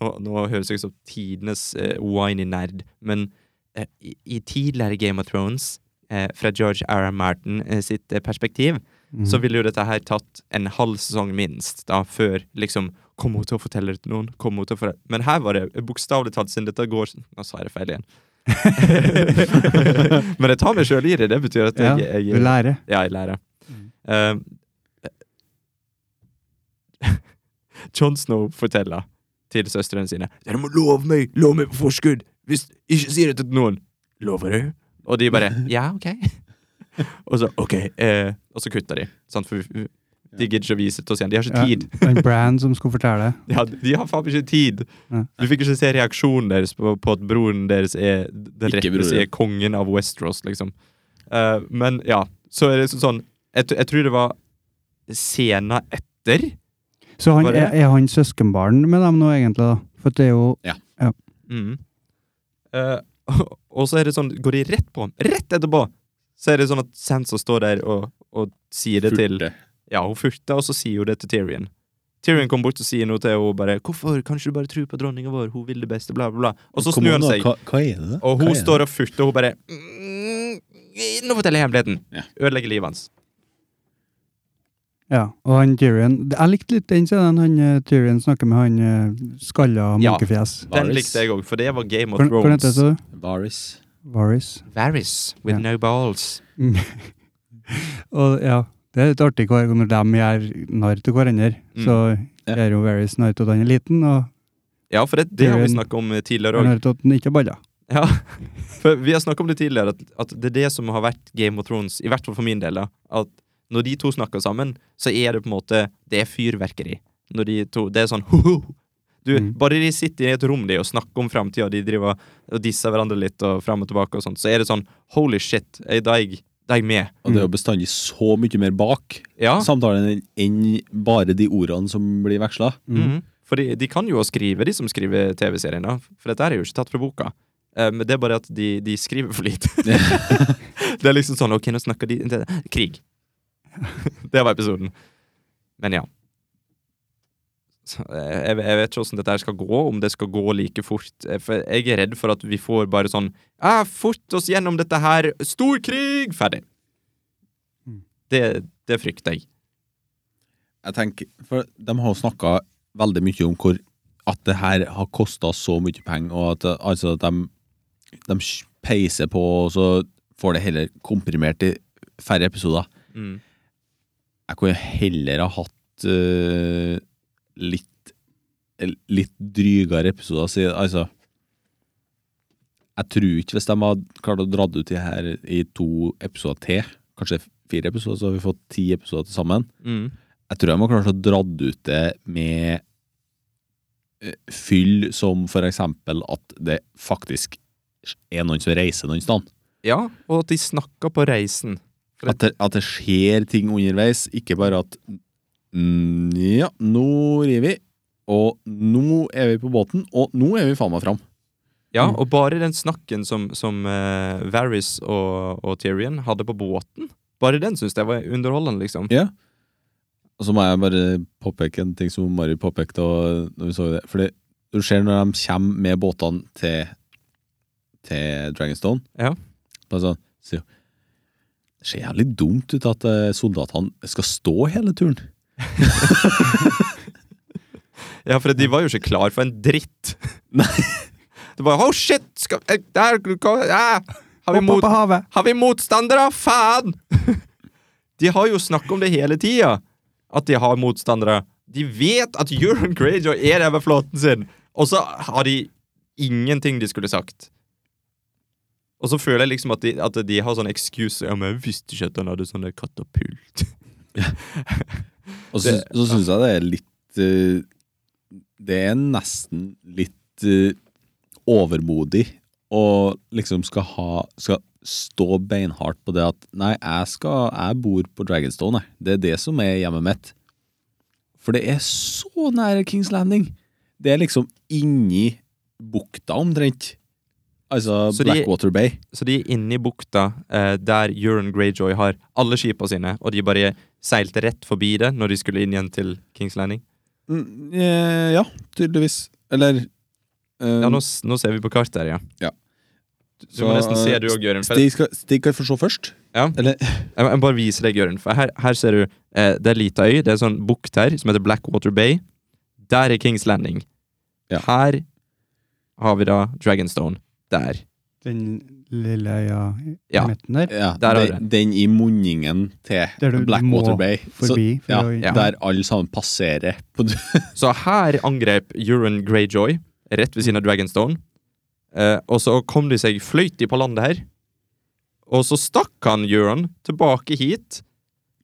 Nå, nå høres jeg ut som tidenes eh, whiny nerd, men eh, i, i tidligere Game of Thrones, eh, fra George R. R. Martin eh, sitt eh, perspektiv,
Mm.
så ville jo dette her tatt en halv sesong minst, da, før liksom Kom hun til å fortelle det til noen? Kom hun til å fortelle Men her var det eh, bokstavelig talt, siden dette går Nå sa jeg det feil igjen. Men jeg tar meg sjøl i det. Det betyr at
ja,
jeg, jeg,
Du lærer.
ja, jeg lærer.
Mm.
Eh, Jon Snow forteller til søstrene sine Dere må love meg! Lov meg på forskudd! Hvis ikke sier det til noen! Lover du? Og de bare Ja, OK. og så OK. eh, og så kutter de. Sant? For vi- de gidder ikke å vise det til oss igjen. De har ikke tid.
Ja, en brand som skulle fortelle.
De har, de har faen ikke tid!
Ja.
Du fikk ikke se reaksjonen deres på, på at broren deres er den
Ikke broren.
rettmessige kongen av Westeros, liksom. Eh, men ja, så er det så- sånn Jeg, t- jeg tror det var scena etter.
Så han,
Var det?
er, er han søskenbarn med dem nå, egentlig? da? For det er jo
Mm. Eh, og- og så er det sånn, går de rett på ham. Rett etterpå! Så er det sånn at Sansa står der og, og sier det til
Furte.
Ja, hun furter, og så sier hun det til Tyrion. Tyrion kommer bort og sier noe til henne bare 'Hvorfor kan ikke du bare tro på dronninga vår? Hun vil det beste', bla, bla, bla. Og så
Kom
snur
an,
han seg.
Hva, hva er det?
Og
Hva
hun
er det?
står og furter, og hun bare «Mm, Nå forteller jeg hemmeligheten!
Ja.
Ødelegger livet hans.
Ja, og han Tyrion Jeg likte litt den scenen han eh, Tyrion snakker med han eh, skalla
Ja.
munkefjes.
Den
Varys.
likte jeg òg, for det var Game of
Hvordan hvordan heter det?
Thrones.
så?
Varys.
Varys.
Varys with
Ja.
no balls.
Og ja, det er litt artig hver gang når de gjør narr til hverandre.
Mm.
Så
Ja.
gjør jo Varys narr til at han er liten, og
Ja, for det, det har vi
Tyrion.
snakka om eh, tidligere
han
òg.
narr til at han ikke har baller.
Ja. For vi har snakka om det tidligere, at, at det er det som har vært Game of Thrones, i hvert fall for min del. da, At når de to snakker sammen, så er det på en måte Det er fyrverkeri. Når de to Det er sånn ho-ho! Du,
Mm.
Bare de sitter i et rom de, og snakker om framtida, de driver og disser hverandre litt, og fram og tilbake, og sånt, så er det sånn Holy shit, er da er jeg, da er jeg med.
Og det er jo bestandig så mye mer bak
Ja.
samtalen enn bare de ordene som blir veksla.
Mhm. For de, de kan jo å skrive, de som skriver TV-serien. da. For dette er jo ikke tatt fra boka. Eh, Men det er bare at de, de skriver for lite. det er liksom sånn Ok, nå snakker de det, Krig. det var episoden. Men ja. Så, eh, Jeg, jeg vet ikke åssen dette her skal gå, om det skal gå like fort. Eh, For jeg er redd for at vi får bare sånn ah, Fort oss gjennom dette her! Stor krig! Ferdig.
Mm.
Det, det frykter jeg.
Jeg tenker, for De har jo snakka veldig mye om hvor at det her har kosta så mye penger, og at, altså, at de, de peiser på, og så får det heller komprimert i færre episoder.
Mm.
Jeg kunne heller ha hatt eh, litt eh, Litt drygere episoder. Så, jeg- altså Jeg tror ikke hvis de hadde klart å dra ut de her i to episoder til, kanskje fire episoder, så har vi fått ti episoder til sammen.
Mm.
Jeg tror jeg må klare å dratt ut det med eh, fyll som for eksempel at det faktisk er noen som reiser noen sted.
Ja, og at de snakker på reisen.
At, det- at det skjer ting underveis, ikke bare at mm, ja, nå rir vi, og nå er vi på båten, og nå er vi faen meg fram.
Ja,
Mm.
og bare den snakken som, som eh, Varys og, og Tyrion hadde på båten, bare den syns jeg var underholdende, liksom.
Ja. Og så må jeg bare påpeke en ting som Mari påpekte og når vi så det. Fordi du ser når de kommer med båtene til, til Dragonstone.
Ja.
Bare sånn, så, det ser jævlig dumt ut at eh, soldatene skal stå hele turen.
Ja, for de var jo ikke klar for en dritt.
Nei.
Det var, oh shit! Skal, eh, der, ja. har, vi
Opp
mot,
på havet.
har vi motstandere? Faen! De har jo snakk om det hele tida, at de har motstandere. De vet at Euron Greyjoy er der med flåten sin, og så har de ingenting de skulle sagt. Og så føler jeg liksom at de, at de har sånn excuse. Ja, men jeg visste ikke at han hadde sånn der katapult.
Og så,
Det-
så syns jeg det er litt eh, Det er nesten litt eh, overmodig å liksom skal ha Skal stå beinhardt på det at Nei, jeg skal Jeg bor på Dragonstone, jeg. Det er det som er hjemmet mitt. For det er så nære Kings Landing. Det er liksom inni bukta, omtrent. Altså
Så de-
Blackwater Bay.
Så de er inne i bukta eh, der Euron Greyjoy har alle skipene sine, og de bare seilte rett forbi det når de skulle inn igjen til Kings Landing.
Mm, eh, ja, tydeligvis. Eller eh,
Ja, nå, s- nå ser vi på kartet her, ja. Du
så,
må nesten se
eh,
du òg, Jørund. For jeg,
Stig, skal, Stig kan få se først.
Ja.
Eller,
jeg må bare viser deg, Jørund. For her, her ser du eh, Det er lita øy. Det er en sånn bukt her som heter Blackwater Bay. Der er Kings Landing.
Ja.
Her har vi da Dragonstone. Der.
Den lille øya i
Ja. Eh,
midten der.
ja,
Der har du
den, den i munningen til
Der du- du
Blackwater
må
Bay. Så,
Forbi. For
ja,
å,
ja.
Der alle sammen passerer. På, d-
Så her angrep Euron Greyjoy rett ved siden av Dragonstone. Eh, og så kom de seg fløytig på landet her. Og så stakk han Euron tilbake hit.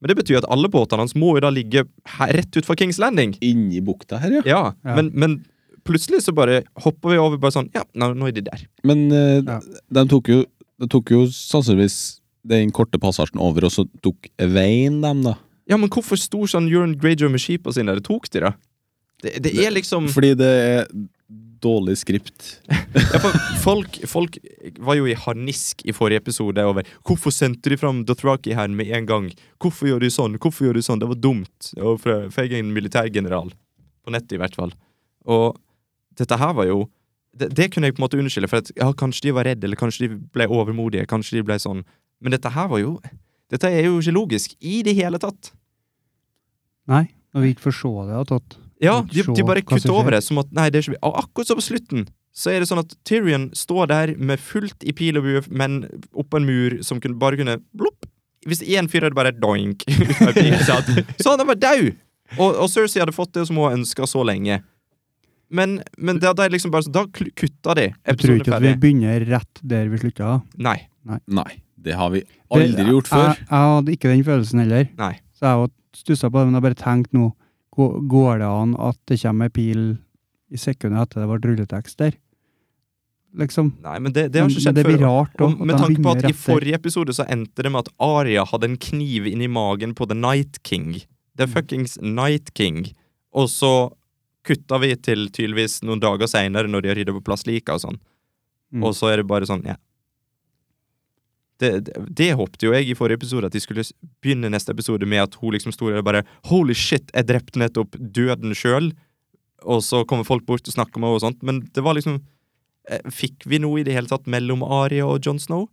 Men det betyr at alle båtene hans må jo da ligge her, rett utfor Kings Landing.
inni bukta her, ja.
Ja,
Ja.
Men, men plutselig så bare hopper vi over bare sånn Ja, nå, nå er de der.
Men eh,
Ja.
de tok jo, de tok jo sannsynligvis den korte passasjen over, og så tok veien dem, da.
Ja, men hvorfor sto sånn Euron Greyjoy med skipene sine? Det tok de, da. Det, det er liksom
Mm.
Fordi det er dårlig skript.
Ja, for folk, folk var jo i harnisk i forrige episode over Hvorfor sendte de fram Dothraki her med en gang? Hvorfor gjør de sånn? Hvorfor gjør de sånn? Det var dumt. Og fra, for jeg er en militærgeneral. På nettet, i hvert fall. Og dette her var jo Det, det kunne jeg på en måte unnskylde, for at, ja, kanskje de var redde, eller kanskje de ble overmodige. Kanskje de ble sånn. Men dette her var jo Dette er jo ikke logisk i det hele tatt.
Nei, når vi ikke får se det. At, at,
Ja, de,
Se
de bare
hva som
kutter
skjer.
over det som at Nei, det er ikke vi. Og akkurat som på slutten, så er det sånn at Tyrion står der med fullt i pil og bue, men oppå en mur som kunne, bare kunne blopp. Hvis én fyr hadde bare doink ut av pilen, så hadde- så hadde han vært daud! Og, og Cersei hadde fått det som hun ønska så lenge. Men, men da, da, er det liksom bare, så- da kl- kutta de.
jeg tror
Episoden
ikke
er
at vi
ferdig.
begynner rett der vi slutta.
Nei.
Nei, det har vi aldri gjort før.
Jeg, jeg hadde ikke den følelsen heller.
Nei.
Så jeg var- stussa på det, men jeg bare tenkte nå gå- Går det an at det kommer ei pil i sekundet etter det ble rulletekst der? Liksom.
Nei, men det, det har
Men-
ikke
men
skjedd
det blir
før.
rart da,
Og med
at de
tanke på
begynner
at i
rett der.
forrige episode så endte det med at Aria hadde en kniv inni magen på The Night King. The
Mm.
fuckings Night King. Og så kutta vi til tydeligvis noen dager seinere, når de har rydda på plass lika og sånn.
Mm.
Og så er det bare sånn, ja. Det, det, det håpte jo jeg i forrige episode, at de skulle s- begynne neste episode med at hun liksom sto der og bare Holy shit, jeg drepte nettopp døden sjøl. Og så kommer folk bort og snakker med henne og sånt. Men det var liksom eh, Fikk vi noe i det hele tatt mellom Aria og Jon Snow?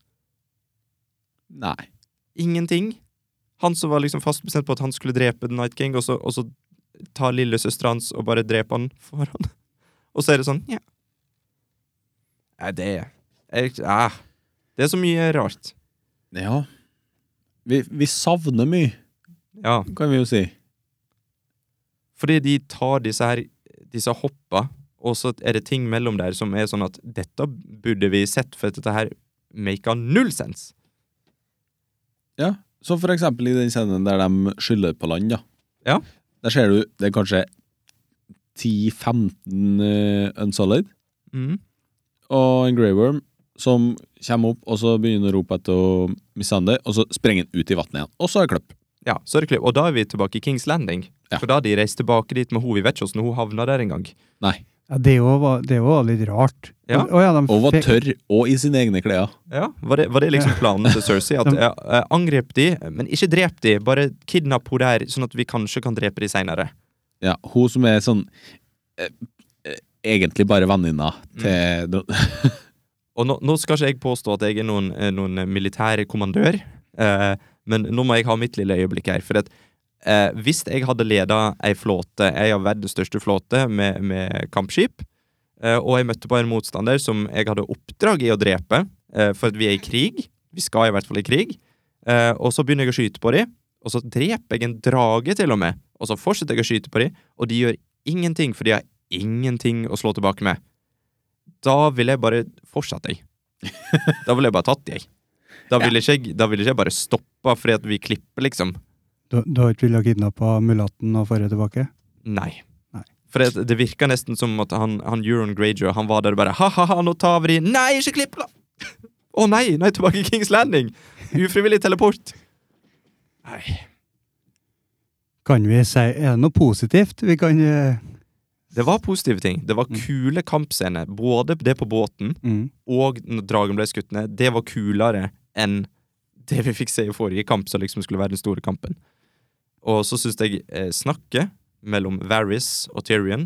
Nei.
Ingenting. Han som var liksom fast bestemt på at han skulle drepe The Night King, og så, og så tar lillesøstera hans og bare dreper han for han. Og så er det sånn, ja. Nei, det er ja. Det er så mye rart.
Ja. Vi, vi savner mye,
Ja.
kan vi jo si.
Fordi de tar disse her Disse hoppa, og så er det ting mellom der som er sånn at dette burde vi sett, for dette her maker null sens.
Ja, så for eksempel i den scenen der de skyller på land, da.
Ja.
Der ser du det er kanskje 10-15 eh, unsolid
Mm.
og en grey worm som kommer opp, og så begynner å rope etter å mishandle, og så sprenger han ut i vannet igjen. Og så er det klipp.
Ja, så er det klipp. Og da er vi tilbake i Kings Landing.
Ja.
For da har de reist tilbake dit med henne. Vi vet ikke hvordan hun havna der engang.
Nei.
Ja, det òg var, det var litt rart.
Ja.
Å, ja, de
Og var
fikk-
tørr, og i sine egne klær.
Ja, var det, var det liksom planen til Cersei? At
De-
ja, eh, Angrep de, men ikke drep de. Bare kidnapp henne der, sånn at vi kanskje kan drepe de seinere.
Ja, hun som er sånn eh, eh, Egentlig bare venninna til dron-
Og nå, nå skal ikke jeg påstå at jeg er noen, eh, noen militær kommandør, eh, men nå må jeg ha mitt lille øyeblikk her. For at, eh, hvis jeg hadde leda ei flåte, ei av verdens største flåte, med, med kampskip, eh, og jeg møtte på en motstander som jeg hadde oppdrag i å drepe, eh, for at vi er i krig, vi skal i hvert fall i krig, eh, og så begynner jeg å skyte på dem, og så dreper jeg en drage til og med, og så fortsetter jeg å skyte på dem, og de gjør ingenting, for de har ingenting å slå tilbake med da ville jeg bare fortsatt, jeg. Da ville jeg bare tatt, jeg. Da ville ikke jeg, da ville ikke jeg bare stoppa fordi at vi klipper, liksom.
Du, du har ikke villet kidnappe mulatten og få det tilbake?
Nei.
Nei.
For det, det virka nesten som at han, han Euron Greyjoy han var der og bare ha-ha-ha, nå tar vi de. Nei, ikke klipp! da!» Å nei, nei, tilbake i Kings Landing! Ufrivillig teleport. Nei.
Kan vi si Er det noe positivt vi kan eh,
Det var positive ting. Det var
Mm.
kule kampscener. Både det på båten
mm.
og når dragen ble skutt ned, det var kulere enn det vi fikk se i forrige kamp, som liksom skulle være den store kampen. Og så syns jeg eh, snakket mellom Varys og Tyrion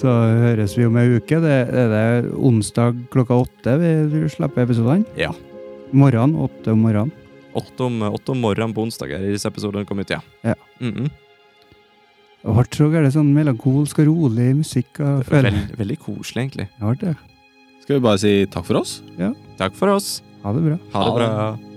Så høres vi om ei uke. Det er det er onsdag klokka åtte vi slipper episodene.
Ja.
Morgen, åtte om morgenen.
Åtte om, åtte om morgenen på onsdag er disse episodene kom ut, ja.
Ja.
Mhm.
Det ble så gærent sånn melankolsk og rolig musikk. Og
Det var
føler.
veld, veldig koselig, egentlig.
Det ble det.
Skal vi bare si takk for oss?
Takk for oss.
Ha det bra.
Ha det
Ha det.
bra.